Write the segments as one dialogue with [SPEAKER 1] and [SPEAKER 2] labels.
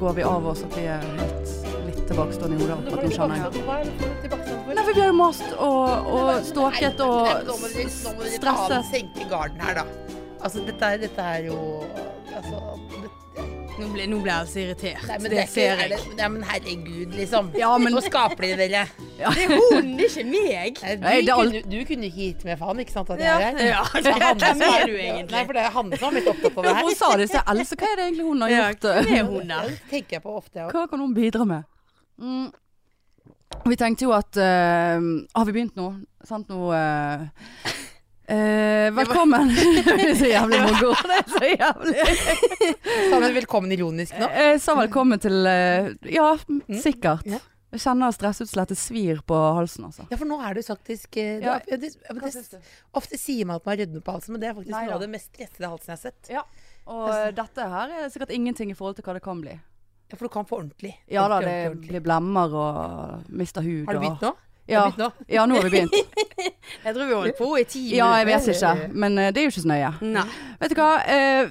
[SPEAKER 1] går vi av oss at vi er helt, litt tilbakestående i hodet.
[SPEAKER 2] Men
[SPEAKER 1] akkurat
[SPEAKER 2] var
[SPEAKER 1] nå,
[SPEAKER 2] det
[SPEAKER 1] skjønner jeg.
[SPEAKER 3] sånn
[SPEAKER 2] tilbakestående for hva, eller var det tilbakestående for?
[SPEAKER 1] Nei, for vi har jo mast og, og stalket
[SPEAKER 3] Nei, nei,
[SPEAKER 1] og
[SPEAKER 3] nå må dere- nå må dere ta av-
[SPEAKER 1] stresset.
[SPEAKER 3] Senke garden her, da. Altså, dette, er- dette er jo Altså det,
[SPEAKER 2] Nå ble, nå ble jeg så irritert.
[SPEAKER 3] nei, men
[SPEAKER 2] det,
[SPEAKER 3] det er ikke-
[SPEAKER 2] ser
[SPEAKER 3] er
[SPEAKER 2] jeg.
[SPEAKER 3] det- Nei, men herregud, liksom.
[SPEAKER 1] Ja, men-
[SPEAKER 3] Nå skaper de dere.
[SPEAKER 2] Det er hun, ikke meg.
[SPEAKER 3] Nei, Du,
[SPEAKER 1] Nei, det er alt-
[SPEAKER 3] kunne, du kunne ikke gitt med faen, ikke sant, at jeg
[SPEAKER 2] Ja,
[SPEAKER 3] er her?
[SPEAKER 2] ja.
[SPEAKER 3] Det er Hanne som
[SPEAKER 2] Hvem er
[SPEAKER 3] er-
[SPEAKER 2] du egentlig?
[SPEAKER 3] Nei, for det er Hanne som er mest opptatt av det her.
[SPEAKER 1] Hun sa det til Else. Hva er det egentlig hun har
[SPEAKER 2] Ja,
[SPEAKER 1] gjort?
[SPEAKER 2] hvem er hun da?
[SPEAKER 3] Det tenker jeg på ofte. jeg også.
[SPEAKER 1] Hva kan hun bidra med? Mm. Vi tenkte jo at eh, Har vi begynt nå? Sant nå eh, eh, Velkommen! det er så jævlig mongo. Det er så jævlig.
[SPEAKER 3] Sa du velkommen ironisk nå?
[SPEAKER 1] Jeg sa velkommen til eh, Ja, sikkert.
[SPEAKER 3] Ja.
[SPEAKER 1] Jeg kjenner stressutslettet svir på halsen, altså.
[SPEAKER 3] Ja, for nå er du faktisk eh, du
[SPEAKER 1] Ja.
[SPEAKER 3] er- ja, det, ja, men
[SPEAKER 1] syns du?
[SPEAKER 3] det, Ofte sier man at man har rødme på halsen, men det er faktisk
[SPEAKER 1] Nei
[SPEAKER 3] noe av
[SPEAKER 1] da.
[SPEAKER 3] det mest stressede halsen jeg har sett.
[SPEAKER 1] Ja. Og eh, dette her er sikkert ingenting i forhold til hva det kan bli.
[SPEAKER 3] Ja, for du kan få ordentlig.
[SPEAKER 1] Ja da,
[SPEAKER 3] Ordentlig,
[SPEAKER 1] det
[SPEAKER 3] ordentlig,
[SPEAKER 1] blir
[SPEAKER 3] ordentlig.
[SPEAKER 1] blemmer og mister hud.
[SPEAKER 3] Har du
[SPEAKER 1] og-
[SPEAKER 3] begynt nå?
[SPEAKER 1] Ja.
[SPEAKER 3] Har du begynt nå?
[SPEAKER 1] Ja, nå har vi begynt.
[SPEAKER 2] Jeg tror vi holdt på i ti
[SPEAKER 1] Ja, jeg vet
[SPEAKER 2] minutter.
[SPEAKER 1] ikke. Men eh, det er jo ikke så nøye.
[SPEAKER 2] Nei.
[SPEAKER 1] Vet du hva? Eh,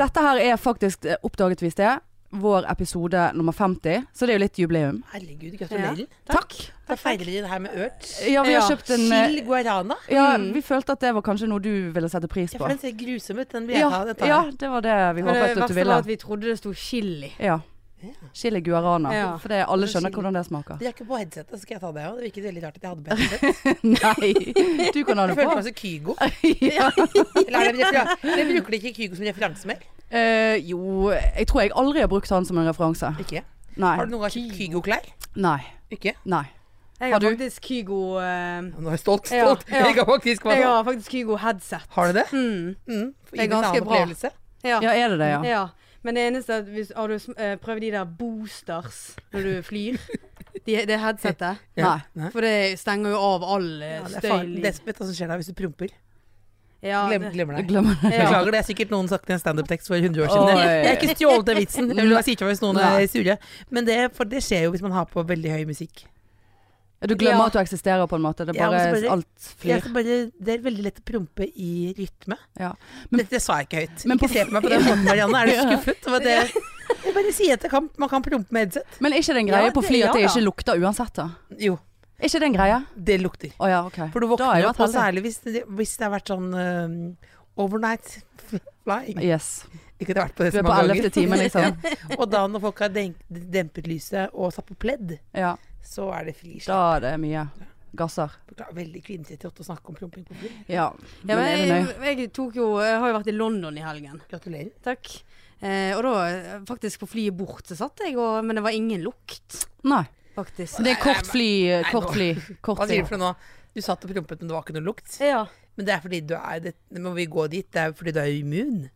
[SPEAKER 1] dette her er faktisk eh, oppdaget vi i sted. Vår episode nummer 50, så det er jo litt jubileum.
[SPEAKER 3] Herregud, gratulerer.
[SPEAKER 1] Takk.
[SPEAKER 3] Da feirer dere det her med ørt.
[SPEAKER 1] Ja, vi har
[SPEAKER 2] Ja,
[SPEAKER 1] kjøpt en eh,
[SPEAKER 3] Chil guarana.
[SPEAKER 1] Ja,
[SPEAKER 3] Mm.
[SPEAKER 1] vi følte at det var kanskje noe du ville sette pris
[SPEAKER 3] Ja,
[SPEAKER 1] på.
[SPEAKER 3] for den ser grusom ut. Den vil jeg
[SPEAKER 1] Ja,
[SPEAKER 3] ha. Den tar
[SPEAKER 1] ja,
[SPEAKER 3] jeg.
[SPEAKER 1] det var det vi
[SPEAKER 2] Men det
[SPEAKER 1] håpet at du
[SPEAKER 2] verste var
[SPEAKER 1] ville.
[SPEAKER 2] at vi trodde det sto chili.
[SPEAKER 1] Ja. Chili guarana.
[SPEAKER 2] Ja.
[SPEAKER 1] For det, alle skjønner
[SPEAKER 3] Chili.
[SPEAKER 1] hvordan det smaker.
[SPEAKER 3] Dere er ikke på headsetet, så skal jeg ta det òg. Det virket veldig rart at jeg hadde på headset.
[SPEAKER 1] Nei, du kan ha
[SPEAKER 3] Jeg
[SPEAKER 1] det
[SPEAKER 3] følte
[SPEAKER 1] på.
[SPEAKER 3] meg som Kygo.
[SPEAKER 1] Ja.
[SPEAKER 3] Eller er det en referan- Dere bruker ikke Kygo som referanse mer?
[SPEAKER 1] Eh, jo, jeg tror jeg aldri har brukt han som en referanse.
[SPEAKER 3] Ikke?
[SPEAKER 1] Nei.
[SPEAKER 3] Har du noen gang kjøpt Kygo-klær?
[SPEAKER 1] Nei.
[SPEAKER 3] Ikke?
[SPEAKER 1] Nei.
[SPEAKER 2] Jeg
[SPEAKER 1] Har
[SPEAKER 2] har
[SPEAKER 1] du?
[SPEAKER 2] faktisk Kygo eh,
[SPEAKER 3] Ja, Nå er jeg stolt,
[SPEAKER 2] Ja,
[SPEAKER 3] stolt.
[SPEAKER 2] ja.
[SPEAKER 3] Jeg har faktisk vært
[SPEAKER 2] Jeg har faktisk Kygo headset.
[SPEAKER 3] Har du det?
[SPEAKER 2] Mm.
[SPEAKER 3] Mm. For
[SPEAKER 2] Det er
[SPEAKER 3] ingen annen
[SPEAKER 2] ganske bra.
[SPEAKER 3] opplevelse.
[SPEAKER 2] Ja.
[SPEAKER 1] Ja, er det det, ja?
[SPEAKER 2] Ja. Men det eneste er at hvis, Har du sm- eh, prøvd de der boosters når du flyr? De, det headsetet?
[SPEAKER 1] Nei.
[SPEAKER 2] For det stenger jo av all eh,
[SPEAKER 3] Ja, det er
[SPEAKER 2] støy.
[SPEAKER 3] farlig. Det er spett, hva som skjer da hvis du promper.
[SPEAKER 2] Ja,
[SPEAKER 3] Glem,
[SPEAKER 2] det-
[SPEAKER 3] glemmer
[SPEAKER 1] Jeg
[SPEAKER 3] deg.
[SPEAKER 1] glemmer det.
[SPEAKER 2] Ja.
[SPEAKER 3] Beklager, det er sikkert noen sagt i en standup-tekst for 100 år siden.
[SPEAKER 1] Oi.
[SPEAKER 3] Jeg har ikke stjålet den vitsen. Jeg vil bare si ifra hvis noen
[SPEAKER 1] Nei.
[SPEAKER 3] er sure. Men det, for det skjer jo hvis man har på veldig høy musikk.
[SPEAKER 1] Du glemmer
[SPEAKER 2] Ja.
[SPEAKER 1] at du eksisterer på en måte. Det er
[SPEAKER 3] Ja, men
[SPEAKER 1] bare
[SPEAKER 3] så bare-
[SPEAKER 1] alt
[SPEAKER 3] Jeg
[SPEAKER 1] flyr.
[SPEAKER 3] skal bare, det er veldig lett å prompe i rytme.
[SPEAKER 1] Ja. Men-
[SPEAKER 3] Men, det, det sa jeg ikke høyt.
[SPEAKER 1] Men på-
[SPEAKER 3] ikke se på meg på den måten, Marianne. Er du
[SPEAKER 1] Ja.
[SPEAKER 3] skuffet? over at jeg- jeg bare sier at det kan, man kan prompe med headset.
[SPEAKER 1] Men er ikke det en greie
[SPEAKER 2] Ja,
[SPEAKER 1] på
[SPEAKER 2] det-
[SPEAKER 1] fly at
[SPEAKER 2] ja
[SPEAKER 1] det
[SPEAKER 2] da.
[SPEAKER 1] ikke lukter uansett, da?
[SPEAKER 3] Jo,
[SPEAKER 1] Er ikke det en greie?
[SPEAKER 3] det lukter.
[SPEAKER 1] Å ja, OK.
[SPEAKER 3] For
[SPEAKER 1] Da
[SPEAKER 3] du
[SPEAKER 1] har
[SPEAKER 3] våkner
[SPEAKER 1] jeg
[SPEAKER 3] jo
[SPEAKER 1] vært
[SPEAKER 3] på,
[SPEAKER 1] heldig.
[SPEAKER 3] særlig hvis det, hvis det har vært sånn eh, overnight flying.
[SPEAKER 1] Yes.
[SPEAKER 3] Ikke at jeg har vært på det
[SPEAKER 1] Du
[SPEAKER 3] så
[SPEAKER 1] er på
[SPEAKER 3] mange
[SPEAKER 1] ellevte
[SPEAKER 3] ganger.
[SPEAKER 1] time, liksom.
[SPEAKER 3] Og da når folk har denk, dempet lyset og satt på pledd,
[SPEAKER 1] Ja.
[SPEAKER 3] så er det frislipp.
[SPEAKER 1] Da er det mye gasser.
[SPEAKER 3] Beklager, Veldig kvinnetrett å snakke om promping på fly.
[SPEAKER 1] Ja.
[SPEAKER 2] Ja,
[SPEAKER 1] men er
[SPEAKER 2] men
[SPEAKER 1] det
[SPEAKER 2] jeg,
[SPEAKER 1] nøye?
[SPEAKER 2] jeg, tok jo, jeg har jo vært i London i helgen.
[SPEAKER 3] Gratulerer.
[SPEAKER 2] Takk. Eh, og da, eh, faktisk på flyet bort, så satt jeg og Men det var ingen lukt,
[SPEAKER 1] Nei.
[SPEAKER 2] faktisk.
[SPEAKER 1] Det er kort fly,
[SPEAKER 3] nei,
[SPEAKER 1] kort
[SPEAKER 3] nå-
[SPEAKER 1] fly, kort
[SPEAKER 3] Hva
[SPEAKER 1] fly.
[SPEAKER 3] sier du for noe nå? Du satt og prompet, men det var ikke noe lukt.
[SPEAKER 2] Ja.
[SPEAKER 3] Men det er fordi du er det, det Må vi gå dit? Det er fordi du er immun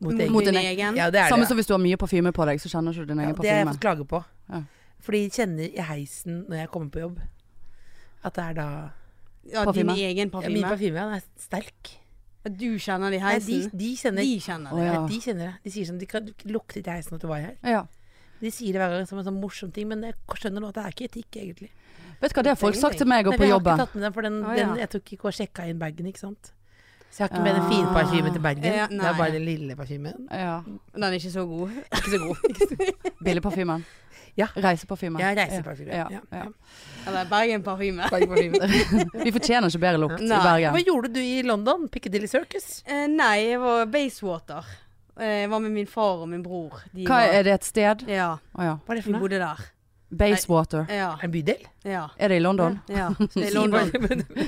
[SPEAKER 3] mot
[SPEAKER 2] Mot,
[SPEAKER 3] egen
[SPEAKER 2] mot
[SPEAKER 1] din
[SPEAKER 2] din
[SPEAKER 1] egen.
[SPEAKER 2] egen.
[SPEAKER 3] Ja, det er
[SPEAKER 1] Samme
[SPEAKER 3] det.
[SPEAKER 1] som hvis du har mye parfyme på deg, så kjenner du ikke din
[SPEAKER 3] ja,
[SPEAKER 1] egen
[SPEAKER 3] det har jeg
[SPEAKER 1] parfyme.
[SPEAKER 3] fått klage på.
[SPEAKER 1] Ja.
[SPEAKER 3] Fordi jeg kjenner i heisen når jeg kommer på jobb, at det er da
[SPEAKER 2] Ja,
[SPEAKER 1] Parfyme.
[SPEAKER 2] Din egen
[SPEAKER 3] ja, Min
[SPEAKER 2] parfyme.
[SPEAKER 3] parfyme den er sterk.
[SPEAKER 2] du kjenner det i
[SPEAKER 3] Nei, de,
[SPEAKER 2] heisen.
[SPEAKER 3] de
[SPEAKER 2] de,
[SPEAKER 3] kjenner
[SPEAKER 2] kjenner
[SPEAKER 1] Å,
[SPEAKER 2] det.
[SPEAKER 1] ja.
[SPEAKER 3] Nei, De kjenner det. De sier sånn Du kan du lukte ikke heisen at du var her.
[SPEAKER 1] Ja.
[SPEAKER 3] De sier det hver gang som en sånn morsom ting, men jeg skjønner nå at det er ikke etikk, egentlig.
[SPEAKER 1] Vet du hva det har folk sagt til meg og
[SPEAKER 3] Nei,
[SPEAKER 1] på
[SPEAKER 3] for Jeg
[SPEAKER 1] jobben?
[SPEAKER 3] har ikke tatt med den, for den,
[SPEAKER 2] Å, ja.
[SPEAKER 3] den jeg tok ikke og sjekka inn bagen, ikke sant. Så jeg har ikke med den fine
[SPEAKER 1] Ah.
[SPEAKER 3] parfymen til Bergen.
[SPEAKER 2] Ja,
[SPEAKER 3] det
[SPEAKER 2] nei.
[SPEAKER 3] er bare den lille parfymen.
[SPEAKER 1] Ja.
[SPEAKER 2] Den er ikke så god.
[SPEAKER 3] Ikke så god.
[SPEAKER 1] Billigparfymen.
[SPEAKER 3] Ja.
[SPEAKER 1] Reiseparfymen.
[SPEAKER 3] Jeg reiser parfyme.
[SPEAKER 1] Ja,
[SPEAKER 3] Ja. Ja.
[SPEAKER 1] ja.
[SPEAKER 2] Eller Bergen-parfyme.
[SPEAKER 3] Bergenparfyme.
[SPEAKER 1] Vi fortjener ikke bedre lukt i
[SPEAKER 2] Nei.
[SPEAKER 3] Hva
[SPEAKER 1] Bergen.
[SPEAKER 3] gjorde du i London? Piccadilly Circus?
[SPEAKER 2] Eh, nei, jeg var Basewater. Eh, jeg var med min far og min bror. De
[SPEAKER 1] Hva
[SPEAKER 2] var,
[SPEAKER 1] er det et sted?
[SPEAKER 2] Ja,
[SPEAKER 1] Å ja.
[SPEAKER 3] Hva er det
[SPEAKER 2] vi
[SPEAKER 3] for noe?
[SPEAKER 2] bodde der.
[SPEAKER 1] Basewater.
[SPEAKER 2] Ja,
[SPEAKER 3] Er det en bydel?
[SPEAKER 2] ja.
[SPEAKER 1] Er det i London?
[SPEAKER 2] ja. Det er London.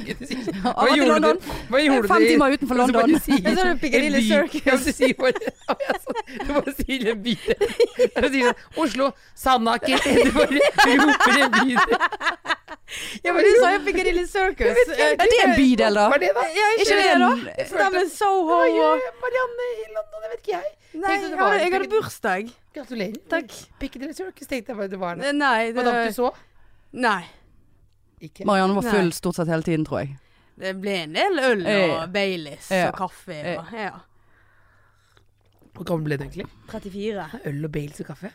[SPEAKER 1] Hva gjorde du-
[SPEAKER 3] Hva gjorde
[SPEAKER 1] Fem timer utenfor London.
[SPEAKER 2] Jeg sa det sånn Piccadilly Circus.
[SPEAKER 3] Ja, men du sier bare Å, jeg sa- Du bare sier en bydel. Du sier sånn Oslo, Sandaker Du bare roper en bydel.
[SPEAKER 2] Ja, men du sa jo Piccadilly Circus. Eh,
[SPEAKER 1] Er det en bydel, da?
[SPEAKER 3] Hva er det, da?
[SPEAKER 2] Ja, ikke
[SPEAKER 1] Ikke
[SPEAKER 2] det,
[SPEAKER 1] det
[SPEAKER 2] da?
[SPEAKER 1] en-
[SPEAKER 2] Det stemmer Soho
[SPEAKER 3] Hva
[SPEAKER 2] og
[SPEAKER 3] gjør Marianne i London? Det vet ikke jeg.
[SPEAKER 2] Nei,
[SPEAKER 3] Tenkte
[SPEAKER 2] jeg
[SPEAKER 3] det var
[SPEAKER 2] hadde,
[SPEAKER 3] en
[SPEAKER 2] jeg hadde
[SPEAKER 3] pikked-
[SPEAKER 2] bursdag.
[SPEAKER 3] Gratulerer.
[SPEAKER 2] Takk.
[SPEAKER 3] Piccadilly Circus tenkte jeg bare det var noe.
[SPEAKER 2] Nei,
[SPEAKER 3] Hva da du
[SPEAKER 2] det,
[SPEAKER 3] så?
[SPEAKER 2] nei.
[SPEAKER 3] Ikke.
[SPEAKER 1] Marianne var full
[SPEAKER 2] Nei.
[SPEAKER 1] stort sett hele tiden, tror jeg.
[SPEAKER 2] Det ble en del øl og
[SPEAKER 1] Ja.
[SPEAKER 2] Baileys
[SPEAKER 1] Ja.
[SPEAKER 2] og kaffe. Og, ja.
[SPEAKER 3] Hvor gammel ble du egentlig?
[SPEAKER 2] 34.
[SPEAKER 3] Øl og Baileys og kaffe?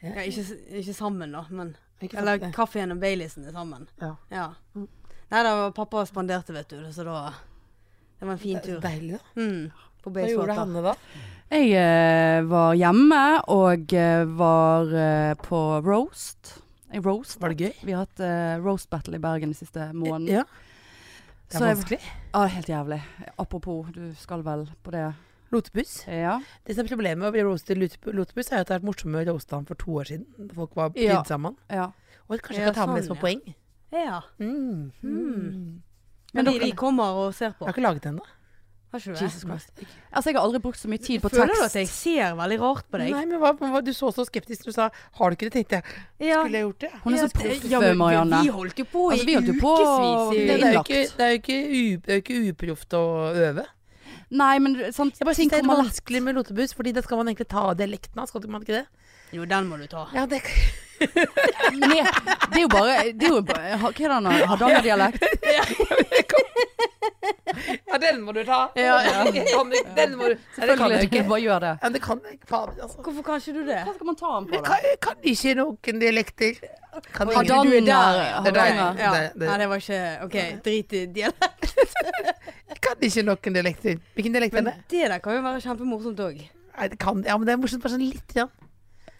[SPEAKER 2] Ja, ikke, s- ikke sammen, da, men
[SPEAKER 3] Ikke sant,
[SPEAKER 2] Eller
[SPEAKER 3] det.
[SPEAKER 2] kaffen og Baileysen er sammen.
[SPEAKER 3] Ja.
[SPEAKER 2] Ja. Mm. Nei, da var pappa spanderte, vet du, så da Det var en fin
[SPEAKER 3] Det er
[SPEAKER 2] tur.
[SPEAKER 3] Deilig, da.
[SPEAKER 2] Mm, på
[SPEAKER 3] Hva gjorde
[SPEAKER 2] Bayswater.
[SPEAKER 3] Hanne da?
[SPEAKER 1] Eh, Jeg eh, var hjemme og eh, var eh, på roast. Jeg roast.
[SPEAKER 3] Var det gøy?
[SPEAKER 1] Vi har hatt eh, roast battle i Bergen den siste måneden.
[SPEAKER 3] Ja. Det
[SPEAKER 1] Så
[SPEAKER 3] er
[SPEAKER 1] jeg-
[SPEAKER 3] vanskelig.
[SPEAKER 1] Ja, det er helt jævlig. Apropos, du skal vel på det?
[SPEAKER 3] Lotepus.
[SPEAKER 1] Ja.
[SPEAKER 3] Det som er problemet med å bli roastet i Lotep- Lotepus, er jo at det har vært morsommere å roaste han for to år siden. Da folk var
[SPEAKER 1] Ja.
[SPEAKER 3] prydd sammen.
[SPEAKER 1] ja.
[SPEAKER 3] Og kanskje
[SPEAKER 2] Ja,
[SPEAKER 3] jeg kan ta med det
[SPEAKER 2] sånn,
[SPEAKER 3] som
[SPEAKER 2] ja.
[SPEAKER 3] poeng.
[SPEAKER 2] Ja.
[SPEAKER 3] Mm.
[SPEAKER 2] Mm.
[SPEAKER 1] Men
[SPEAKER 2] Men de,
[SPEAKER 1] dere-
[SPEAKER 2] de kommer og ser på.
[SPEAKER 3] Jeg har ikke laget det ennå.
[SPEAKER 2] Har ikke du det?
[SPEAKER 3] Jesus Christ.
[SPEAKER 1] Altså, jeg har aldri brukt så mye tid på
[SPEAKER 2] Føler du
[SPEAKER 1] tekst.
[SPEAKER 2] at jeg ser veldig rart på deg?
[SPEAKER 3] Nei, men hva, hva, Du så så skeptisk når du sa 'har du ikke det', tenkte jeg.
[SPEAKER 2] Ja.
[SPEAKER 3] Skulle jeg gjort det?
[SPEAKER 1] Hun er så
[SPEAKER 2] Ja,
[SPEAKER 1] proff,
[SPEAKER 2] ja, men
[SPEAKER 1] Marianne.
[SPEAKER 2] Vi holdt jo på i
[SPEAKER 1] Altså, vi holdt jo på-
[SPEAKER 2] ukevis. i-
[SPEAKER 1] Det er
[SPEAKER 3] Det, er jo
[SPEAKER 1] innlagt.
[SPEAKER 3] ikke, det er jo ikke, u, det er jo ikke uproft å øve.
[SPEAKER 1] Nei, men du- sånn
[SPEAKER 3] Jeg bare
[SPEAKER 1] ting
[SPEAKER 3] synes Det er
[SPEAKER 1] kommer lett.
[SPEAKER 3] vanskelig med lotebus, Fordi da skal man egentlig ta av dialekten hans. Skal man ikke det?
[SPEAKER 2] Jo, den må du ta.
[SPEAKER 3] Ja, det
[SPEAKER 1] Men jeg- det er jo bare det er jo, bare- Hva er det nå? Hardangerdialekt?
[SPEAKER 3] Ja, den må du ta.
[SPEAKER 2] Ja,
[SPEAKER 3] Den må du Nei, det kan jeg ikke.
[SPEAKER 1] Selvfølgelig. Bare gjør det.
[SPEAKER 3] Ja, det kan jeg ikke. Faen, altså.
[SPEAKER 2] Hvorfor kan ikke du det?
[SPEAKER 1] Hva skal man ta den på,
[SPEAKER 3] Jeg
[SPEAKER 1] da?
[SPEAKER 3] kan, jeg kan ikke noen dialekter. Kan
[SPEAKER 2] Oi,
[SPEAKER 3] ingen.
[SPEAKER 2] da- du er
[SPEAKER 1] Hardanger.
[SPEAKER 2] der.
[SPEAKER 3] Det er deg.
[SPEAKER 1] Hardanger.
[SPEAKER 2] Ja.
[SPEAKER 3] Det- det-
[SPEAKER 2] Nei, det var ikke OK, drit i dialekt.
[SPEAKER 3] Jeg kan ikke noen dialekter. Hvilken dialekt er
[SPEAKER 2] Men
[SPEAKER 3] det?
[SPEAKER 2] det der kan jo være kjempemorsomt òg.
[SPEAKER 3] Nei, det kan, ja, men det er morsomt bare sånn litt. Ja.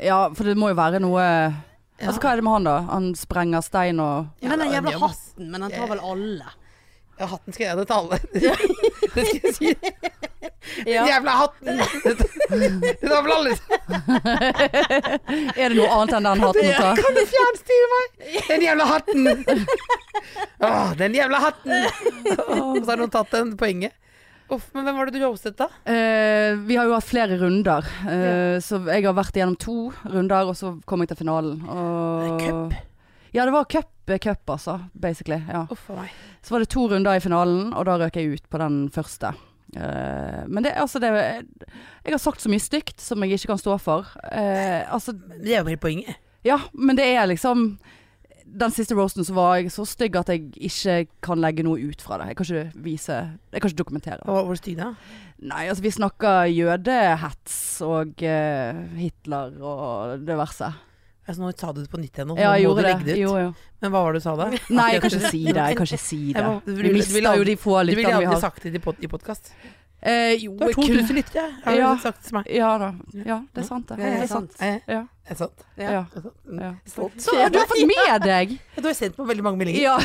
[SPEAKER 1] Ja, for det må jo være noe
[SPEAKER 3] Ja.
[SPEAKER 1] Altså, hva er det med han, da? Han sprenger stein og
[SPEAKER 2] Men den
[SPEAKER 3] Ja,
[SPEAKER 2] jævla
[SPEAKER 3] ja, men-
[SPEAKER 2] hatten, men den tar vel alle.
[SPEAKER 3] Ja, hatten skal jeg ha til alle. Det skal jeg si.
[SPEAKER 2] Ja.
[SPEAKER 3] Jævla hatten! Den har vel alle
[SPEAKER 1] Er det noe annet enn den hatten du tar?
[SPEAKER 3] Kan du fjernstyre meg? Den jævla hatten! Åh, den jævla hatten! Og så har noen tatt den poenget. Uff, men hvem var det du roastet da?
[SPEAKER 1] Eh, vi har jo hatt flere runder, eh, så jeg har vært igjennom to runder, og så kom jeg til finalen. Og... Ja, det var cup, eh, cup altså, basically. Ja.
[SPEAKER 3] Uff a meg.
[SPEAKER 1] Så var det to runder i finalen, og da røk jeg ut på den første. Eh, men det er altså det Jeg har sagt så mye stygt som jeg ikke kan stå for. Eh, altså
[SPEAKER 3] Det er jo bare poenget.
[SPEAKER 1] Ja, men det er liksom Den siste roasten så var jeg så stygg at jeg ikke kan legge noe ut fra det. Jeg kan ikke vise Jeg kan ikke dokumentere.
[SPEAKER 3] Hva var hvor stygg da?
[SPEAKER 1] Nei, altså vi snakker jødehets og eh, Hitler og det verste.
[SPEAKER 3] Altså, nå sa du det på nytt igjen. nå.
[SPEAKER 1] Ja, jeg
[SPEAKER 3] Nå må
[SPEAKER 1] gjorde
[SPEAKER 3] du
[SPEAKER 1] det.
[SPEAKER 3] legge det ut.
[SPEAKER 1] Jo, jo.
[SPEAKER 3] Men hva var det du sa da?
[SPEAKER 1] Nei, jeg kan ikke si det. Jeg kan ikke si det.
[SPEAKER 3] Jeg må- du
[SPEAKER 1] Vi
[SPEAKER 3] ville- du ville
[SPEAKER 1] mister jo de få
[SPEAKER 3] Du ville
[SPEAKER 1] lytterne vi
[SPEAKER 3] aldri
[SPEAKER 1] har.
[SPEAKER 3] sagt det i pod- i podkast.
[SPEAKER 1] Eh, jo,
[SPEAKER 3] Du har
[SPEAKER 1] jeg kunne
[SPEAKER 3] 2000 lyttere, har du
[SPEAKER 1] Ja.
[SPEAKER 3] sagt til meg.
[SPEAKER 1] Ja da. Ja, det er sant, det.
[SPEAKER 2] Ja,
[SPEAKER 1] det
[SPEAKER 2] det
[SPEAKER 1] er sant.
[SPEAKER 3] Eh,
[SPEAKER 1] Ja,
[SPEAKER 3] Er det sant?
[SPEAKER 2] Ja.
[SPEAKER 1] ja.
[SPEAKER 3] Er det sant? Mm.
[SPEAKER 1] Ja.
[SPEAKER 3] Stolt.
[SPEAKER 1] Så du har fått med deg!
[SPEAKER 3] Du har sendt meg veldig mange meldinger.
[SPEAKER 1] Ja,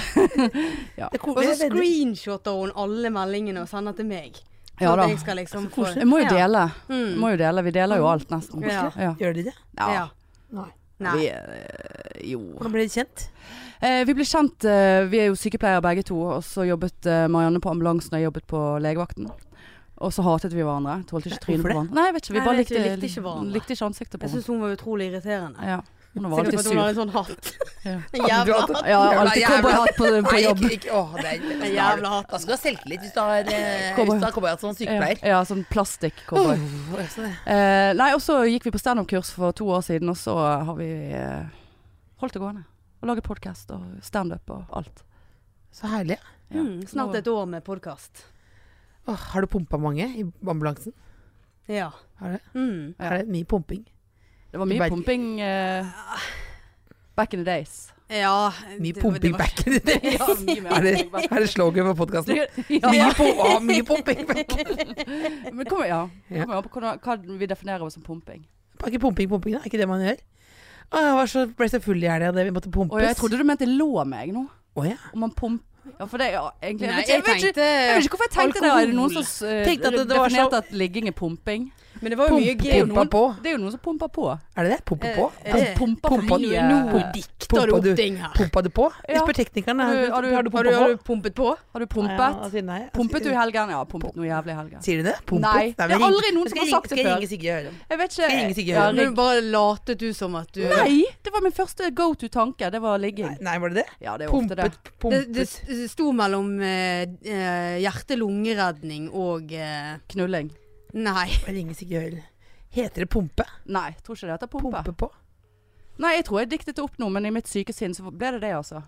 [SPEAKER 3] Det er ko-
[SPEAKER 2] Og så
[SPEAKER 3] jeg er veldig-
[SPEAKER 2] screenshotter hun alle meldingene og sender til meg. Så
[SPEAKER 1] ja da.
[SPEAKER 2] at jeg skal liksom få
[SPEAKER 1] Jeg må jo
[SPEAKER 2] Ja.
[SPEAKER 1] dele.
[SPEAKER 2] Mm.
[SPEAKER 1] Må jo dele. Vi deler jo alt, nesten.
[SPEAKER 2] Ja.
[SPEAKER 1] Ja.
[SPEAKER 3] Gjør de det?
[SPEAKER 1] ja.
[SPEAKER 2] Ja.
[SPEAKER 3] Nei.
[SPEAKER 2] Nei.
[SPEAKER 1] Vi, eh, jo.
[SPEAKER 3] Hvordan ble de kjent?
[SPEAKER 1] Eh, vi ble kjent, eh, vi er jo sykepleiere begge to, og så jobbet eh, Marianne på ambulansen og jeg jobbet på legevakten. Og så hatet vi hverandre. Tålte ikke trynet på
[SPEAKER 3] hvorfor det?
[SPEAKER 1] hverandre. Nei, jeg vet ikke, vi
[SPEAKER 2] Nei,
[SPEAKER 1] bare
[SPEAKER 2] jeg vet
[SPEAKER 1] likte,
[SPEAKER 2] ikke, vi likte ikke hverandre.
[SPEAKER 1] likte ikke ansiktet på
[SPEAKER 2] Jeg
[SPEAKER 1] henne.
[SPEAKER 2] syns hun var utrolig irriterende.
[SPEAKER 1] Ja. Hun var
[SPEAKER 2] Sikkert
[SPEAKER 1] alltid
[SPEAKER 2] fordi hun
[SPEAKER 1] sur.
[SPEAKER 2] har en sånn hatt.
[SPEAKER 1] Ja.
[SPEAKER 2] En jævla hatt.
[SPEAKER 1] Ja, alltid
[SPEAKER 3] Jævla-
[SPEAKER 1] cowboyhatt på, på
[SPEAKER 3] Nei,
[SPEAKER 1] jobb.
[SPEAKER 3] ikke, ikke, å, det er,
[SPEAKER 2] En jævla hatt.
[SPEAKER 3] Da skal du ha selvtillit hvis du har eh,
[SPEAKER 1] Cowboy.
[SPEAKER 3] hvis du har cowboyhatt som sykepleier.
[SPEAKER 1] Ja, ja, sånn plastikk-cowboy.
[SPEAKER 3] Åh, altså, det-
[SPEAKER 1] Eh, nei, og så gikk vi på standup-kurs for to år siden, og så har vi eh, holdt det gående. Og laget podkast og standup og alt.
[SPEAKER 3] Så herlig.
[SPEAKER 1] Ja.
[SPEAKER 2] Mm, snart et år med podkast.
[SPEAKER 3] Åh, har du pumpa mange i ambulansen?
[SPEAKER 2] Ja.
[SPEAKER 3] Har du?
[SPEAKER 2] Mm.
[SPEAKER 1] Ja.
[SPEAKER 3] Er det mye pumping?
[SPEAKER 1] Det var mye
[SPEAKER 3] Berg-
[SPEAKER 1] pumping eh, back in the days.
[SPEAKER 2] Ja.
[SPEAKER 3] Mye
[SPEAKER 2] det- det
[SPEAKER 3] pumping
[SPEAKER 2] var-
[SPEAKER 3] back in the day.
[SPEAKER 1] Ja, mye mer
[SPEAKER 3] Er det,
[SPEAKER 1] pumping back.
[SPEAKER 3] er det slogan for podkasten?
[SPEAKER 1] Ja.
[SPEAKER 3] Mye, pum- å, mye pumping back.
[SPEAKER 1] Men kommer, ja.
[SPEAKER 3] Ja.
[SPEAKER 1] kommer an på hvordan- hva vi definerer som pumping.
[SPEAKER 3] Er ikke pumping pumping, da? Er ikke det man gjør? Å, jeg var så, ble så full i helga at vi måtte pumpes.
[SPEAKER 1] Og jeg trodde du mente lå meg nå.
[SPEAKER 3] Å, ja.
[SPEAKER 1] Om man pump... Ja, for det ja, egentlig
[SPEAKER 2] Nei,
[SPEAKER 1] vet ikke-
[SPEAKER 2] jeg
[SPEAKER 1] vet ikke-
[SPEAKER 2] tenkte
[SPEAKER 1] jeg vet ikke hvorfor jeg tenkte det. Er det noen som eh,
[SPEAKER 3] Tenkte at det- det var så-
[SPEAKER 1] definerte at ligging er pumping?
[SPEAKER 2] Men det var jo mye
[SPEAKER 3] Pump-
[SPEAKER 1] Det er jo
[SPEAKER 2] gøy.
[SPEAKER 3] pump-
[SPEAKER 1] noen,
[SPEAKER 3] Pumpa på.
[SPEAKER 1] Det er jo noen som pumper på.
[SPEAKER 3] Er det det? Pumpe på?
[SPEAKER 2] Eh, eh,
[SPEAKER 1] Altså, pumper
[SPEAKER 3] pumpa-
[SPEAKER 1] for mye.
[SPEAKER 2] Nå
[SPEAKER 1] eh,
[SPEAKER 2] dikter du
[SPEAKER 3] Pumpa
[SPEAKER 2] opp
[SPEAKER 3] du-
[SPEAKER 2] ting her.
[SPEAKER 3] Pumpa du på? Vi
[SPEAKER 1] Ja.
[SPEAKER 3] spør teknikerne.
[SPEAKER 1] Har du- har du-
[SPEAKER 3] du
[SPEAKER 2] Har du,
[SPEAKER 3] pumpa
[SPEAKER 2] har
[SPEAKER 3] på?
[SPEAKER 2] du pumpet på?
[SPEAKER 1] Har du
[SPEAKER 3] Ja, altså, han
[SPEAKER 1] pumpet?
[SPEAKER 3] sier nei. Han
[SPEAKER 1] Pumpet du
[SPEAKER 3] sier-
[SPEAKER 1] i helgen? Ja, pumpet noe jævlig i helgen.
[SPEAKER 3] Sier de det? Pumpet?
[SPEAKER 1] Nei,
[SPEAKER 3] men
[SPEAKER 1] det er
[SPEAKER 3] ring-
[SPEAKER 1] aldri noen
[SPEAKER 3] Jeg skal
[SPEAKER 1] som har
[SPEAKER 3] ringe-
[SPEAKER 1] sagt det
[SPEAKER 3] Skal jeg
[SPEAKER 1] før.
[SPEAKER 3] ringe Sigrid Høyre?
[SPEAKER 1] Jeg vet ikke.
[SPEAKER 3] Skal jeg ringe Sigrid
[SPEAKER 1] Ja,
[SPEAKER 3] Høyre?
[SPEAKER 2] Men
[SPEAKER 1] ring-
[SPEAKER 2] du bare latet du som at du
[SPEAKER 1] Nei! Det var min første go to-tanke. Det var ligging.
[SPEAKER 3] Nei, var det det?
[SPEAKER 1] Ja, det er ofte det.
[SPEAKER 3] Pumpet,
[SPEAKER 2] Det,
[SPEAKER 3] pumpet.
[SPEAKER 2] det s- sto mellom eh, eh, hjerte-lungeredning og eh,
[SPEAKER 1] Knulling.
[SPEAKER 2] Nei.
[SPEAKER 3] Jeg ringer Sigrid Høyre. Heter det pumpe?
[SPEAKER 1] Nei, jeg tror ikke det heter pumpe.
[SPEAKER 3] Pumpe på?
[SPEAKER 1] Nei, jeg tror jeg diktet det opp nå, men i mitt syke sinn så ble det det, altså.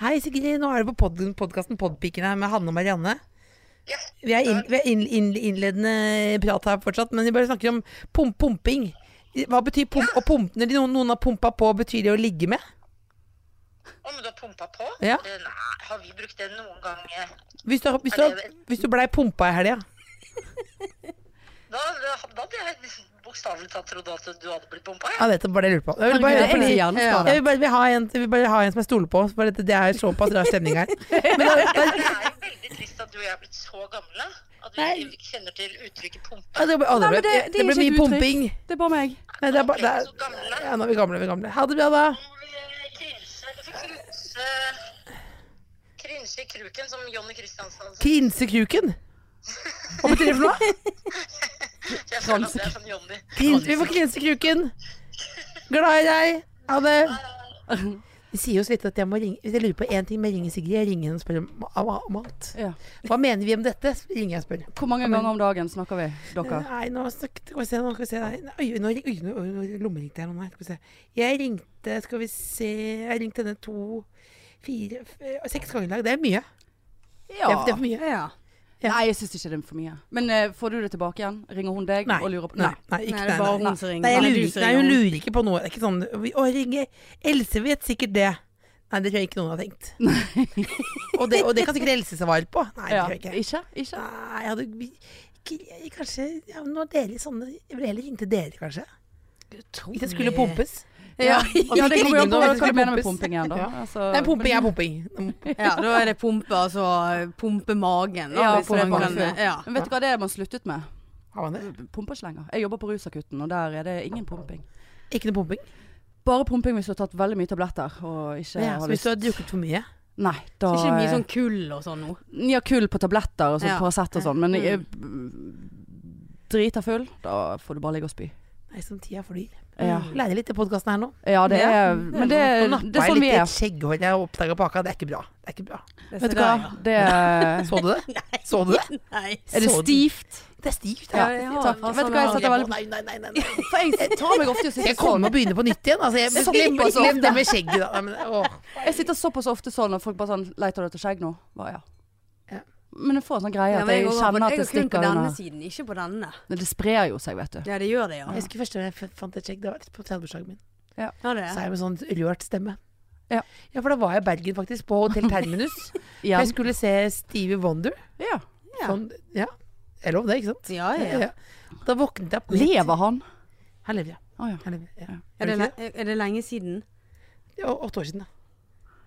[SPEAKER 3] Hei Sigrid, nå er du på pod podkasten Podpiken her med Hanne og Marianne. Vi er, inn, vi er inn, inn, innledende prat her fortsatt, men vi bare snakker om pum pumping. Hva betyr pump, og pump, når de- noen, noen har pumpa på, betyr det å ligge med?
[SPEAKER 4] Om du har pumpa på?
[SPEAKER 3] Ja.
[SPEAKER 4] Eh, Nei, har vi brukt det noen gang? eh?
[SPEAKER 3] Hvis du, har- hvis du, har- hvis du blei pumpa i helga,
[SPEAKER 4] Da, da hadde jeg bokstavelig talt trodd at du hadde blitt pumpa.
[SPEAKER 3] Ja, dette var det jeg lurte på. Jeg vil bare,
[SPEAKER 1] Herregud, jeg
[SPEAKER 3] fordi,
[SPEAKER 1] er hjerneskadet.
[SPEAKER 3] jeg vil bare, vi har en, jeg vil bare ha en som jeg stoler på. For dette, det er såpass rar stemning her. Men da, da,
[SPEAKER 4] Det er jo veldig trist at du og jeg er blitt så gamle at vi ikke kjenner til uttrykket pumpe.
[SPEAKER 3] ja, det, blir- å, det,
[SPEAKER 1] Nei, men
[SPEAKER 3] ble,
[SPEAKER 1] det- det er
[SPEAKER 3] det ble
[SPEAKER 1] ikke
[SPEAKER 3] mye
[SPEAKER 1] et uttrykk.
[SPEAKER 3] pumping.
[SPEAKER 1] Det er bare meg.
[SPEAKER 3] Nei, det er bare, det
[SPEAKER 4] Nå er vi så
[SPEAKER 3] er,
[SPEAKER 4] gamle.
[SPEAKER 3] ja, nå er vi gamle, vi er gamle. Ha det bra, da.
[SPEAKER 4] Nå eh, vil jeg Krynse eller få krynse Krynse eh, i kruken, som Jonny Kristiansen sa.
[SPEAKER 3] Krinsekuken. Hva betyr det for noe?
[SPEAKER 4] Jeg føler at det er sånn Jonny.
[SPEAKER 3] Krins, vi får krinsekuken. Glad i deg. Ha det. Det sier oss litt at jeg må ringe Hvis jeg lurer på én ting med ringe Sigrid, jeg ringer henne og spør om ma- ma- mat.
[SPEAKER 1] Ja.
[SPEAKER 3] Hva mener vi om dette? ringer jeg og spør.
[SPEAKER 1] Hvor mange ganger om dagen snakker vi, dere?
[SPEAKER 3] Nei, nå snakket Skal vi se, nå skal vi se. Nei, Oi, nå, ring- oi, nå, oi, nå lommeringte jeg noen her. Skal vi se. Jeg ringte Skal vi se Jeg ringte henne to, fire, f- eh, seks ganger i dag. Det er mye.
[SPEAKER 1] Ja.
[SPEAKER 3] Det er- det er for mye.
[SPEAKER 1] Ja.
[SPEAKER 3] Ja.
[SPEAKER 1] Nei, jeg syns ikke det er for mye. Men eh, får du det tilbake igjen? Ringer hun deg og lurer på
[SPEAKER 3] Nei, nei, ikke,
[SPEAKER 2] Nei,
[SPEAKER 3] nei,
[SPEAKER 2] det er
[SPEAKER 3] nei,
[SPEAKER 2] bare
[SPEAKER 3] nei.
[SPEAKER 2] hun som ringer.
[SPEAKER 3] Nei, jeg
[SPEAKER 2] Nei,
[SPEAKER 3] lurer,
[SPEAKER 2] du
[SPEAKER 3] ikke-
[SPEAKER 2] som
[SPEAKER 3] nei, hun
[SPEAKER 2] ringer.
[SPEAKER 3] lurer ikke på noe. Det er ikke sånn vi- Å, ringe Else vet sikkert det. Nei, det tror jeg ikke noen har tenkt. og, det, og det kan sikkert Else svare på.
[SPEAKER 1] Ja.
[SPEAKER 3] Nei, det tror jeg ikke.
[SPEAKER 1] Ikke? ikke?
[SPEAKER 3] Nei, jeg hadde vi- ikke, jeg- Kanskje ja, nå er dere sånne Jeg ville heller ringt til dere, kanskje. Hvis jeg skulle pumpes.
[SPEAKER 1] Ja, ja det kommer jo an på hva
[SPEAKER 3] Hvis jeg
[SPEAKER 1] du
[SPEAKER 3] skulle
[SPEAKER 1] mener med
[SPEAKER 3] pumpes.
[SPEAKER 1] pumping igjen, da.
[SPEAKER 3] Ja.
[SPEAKER 1] Altså,
[SPEAKER 3] Nei, pumping er pumping.
[SPEAKER 2] Ja, da er det pumpe, altså pumpe magen. Da,
[SPEAKER 1] Ja,
[SPEAKER 2] hvis
[SPEAKER 1] pumpe
[SPEAKER 2] det er på
[SPEAKER 1] magen.
[SPEAKER 2] den- Ja.
[SPEAKER 1] Men vet du hva det er man sluttet med?
[SPEAKER 3] Har man det?
[SPEAKER 1] Pumper ikke lenger. Jeg jobber på Rusakutten, og der er det ingen pumping.
[SPEAKER 3] Ikke noe pumping?
[SPEAKER 1] Bare pumping hvis du har tatt veldig mye tabletter og ikke
[SPEAKER 3] Ja, så
[SPEAKER 1] har
[SPEAKER 3] hvis
[SPEAKER 1] lyst
[SPEAKER 3] du har drukket for mye?
[SPEAKER 1] Nei, da
[SPEAKER 2] Så ikke det er mye
[SPEAKER 1] eh,
[SPEAKER 2] sånn kull og sånn nå.
[SPEAKER 1] Ja, kull på tabletter og sånn,
[SPEAKER 2] Ja.
[SPEAKER 1] Paracet og sånn, men jeg, drita full, da får du bare ligge og spy.
[SPEAKER 3] Nei, som tida flyr.
[SPEAKER 1] Ja.
[SPEAKER 3] Lærer litt i podkasten her nå.
[SPEAKER 1] Ja, det
[SPEAKER 2] Ja.
[SPEAKER 1] er Men det,
[SPEAKER 3] Nå
[SPEAKER 1] det
[SPEAKER 3] nappa
[SPEAKER 1] er
[SPEAKER 3] jeg
[SPEAKER 1] sånn
[SPEAKER 3] litt
[SPEAKER 1] vi
[SPEAKER 3] i et
[SPEAKER 1] er.
[SPEAKER 3] skjegghår jeg oppdaga på Aka. Det er ikke bra. Det er ikke bra.
[SPEAKER 1] Vet du hva?
[SPEAKER 2] sånn
[SPEAKER 1] Det er
[SPEAKER 3] Så du det? Så du det?
[SPEAKER 2] Nei.
[SPEAKER 1] Er det
[SPEAKER 3] Så den.
[SPEAKER 1] stivt?
[SPEAKER 3] Det er stivt.
[SPEAKER 1] Ja,
[SPEAKER 3] Ja.
[SPEAKER 2] jeg har
[SPEAKER 1] takk.
[SPEAKER 2] en
[SPEAKER 1] Vet du hva jeg
[SPEAKER 2] sånn-
[SPEAKER 1] setter veldig
[SPEAKER 3] Nei, nei, nei, nei, nei.
[SPEAKER 1] For jeg tar meg ofte i å
[SPEAKER 3] Skal
[SPEAKER 1] sitte
[SPEAKER 3] jeg komme
[SPEAKER 1] sånn.
[SPEAKER 3] og begynne på nytt igjen? Altså, jeg,
[SPEAKER 1] Såpass
[SPEAKER 3] glem,
[SPEAKER 1] ofte.
[SPEAKER 3] glem det med skjegget, da. Nei, men, åh.
[SPEAKER 1] Jeg sitter såpass ofte sånn, og folk bare sånn 'Leter du etter skjegg nå?' Bare
[SPEAKER 3] Ja.
[SPEAKER 1] ja. Men jeg får sånn greie
[SPEAKER 2] Ja,
[SPEAKER 1] at
[SPEAKER 2] men
[SPEAKER 1] jeg
[SPEAKER 2] går
[SPEAKER 1] kjenner
[SPEAKER 2] på-
[SPEAKER 1] at det
[SPEAKER 2] jeg går kun på
[SPEAKER 1] stikker
[SPEAKER 2] denne
[SPEAKER 1] under.
[SPEAKER 2] siden, ikke på denne.
[SPEAKER 1] Men Det sprer jo seg, vet du.
[SPEAKER 2] Ja, det gjør det, ja.
[SPEAKER 3] Jeg husker første gang jeg f- fant et skjegg. Det var på 30-bursdagen min.
[SPEAKER 2] Ja, det.
[SPEAKER 3] Så er jeg med sånn rørt stemme.
[SPEAKER 1] Ja.
[SPEAKER 3] for da var jeg i Bergen, faktisk. På Hotell Terminus. For
[SPEAKER 1] Ja.
[SPEAKER 3] jeg skulle se Stevie Wonder.
[SPEAKER 1] ja.
[SPEAKER 2] Ja.
[SPEAKER 3] Sånn, ja. Jeg lov det, ikke sant?
[SPEAKER 2] Ja, ja.
[SPEAKER 3] Ja. Da våknet jeg opp
[SPEAKER 1] Lever han?
[SPEAKER 3] Her lever jeg.
[SPEAKER 1] Å ja.
[SPEAKER 2] Mm.
[SPEAKER 3] Her lever jeg. Ja.
[SPEAKER 2] Er, det, le- er det lenge siden?
[SPEAKER 3] Ja, Åtte år siden, da.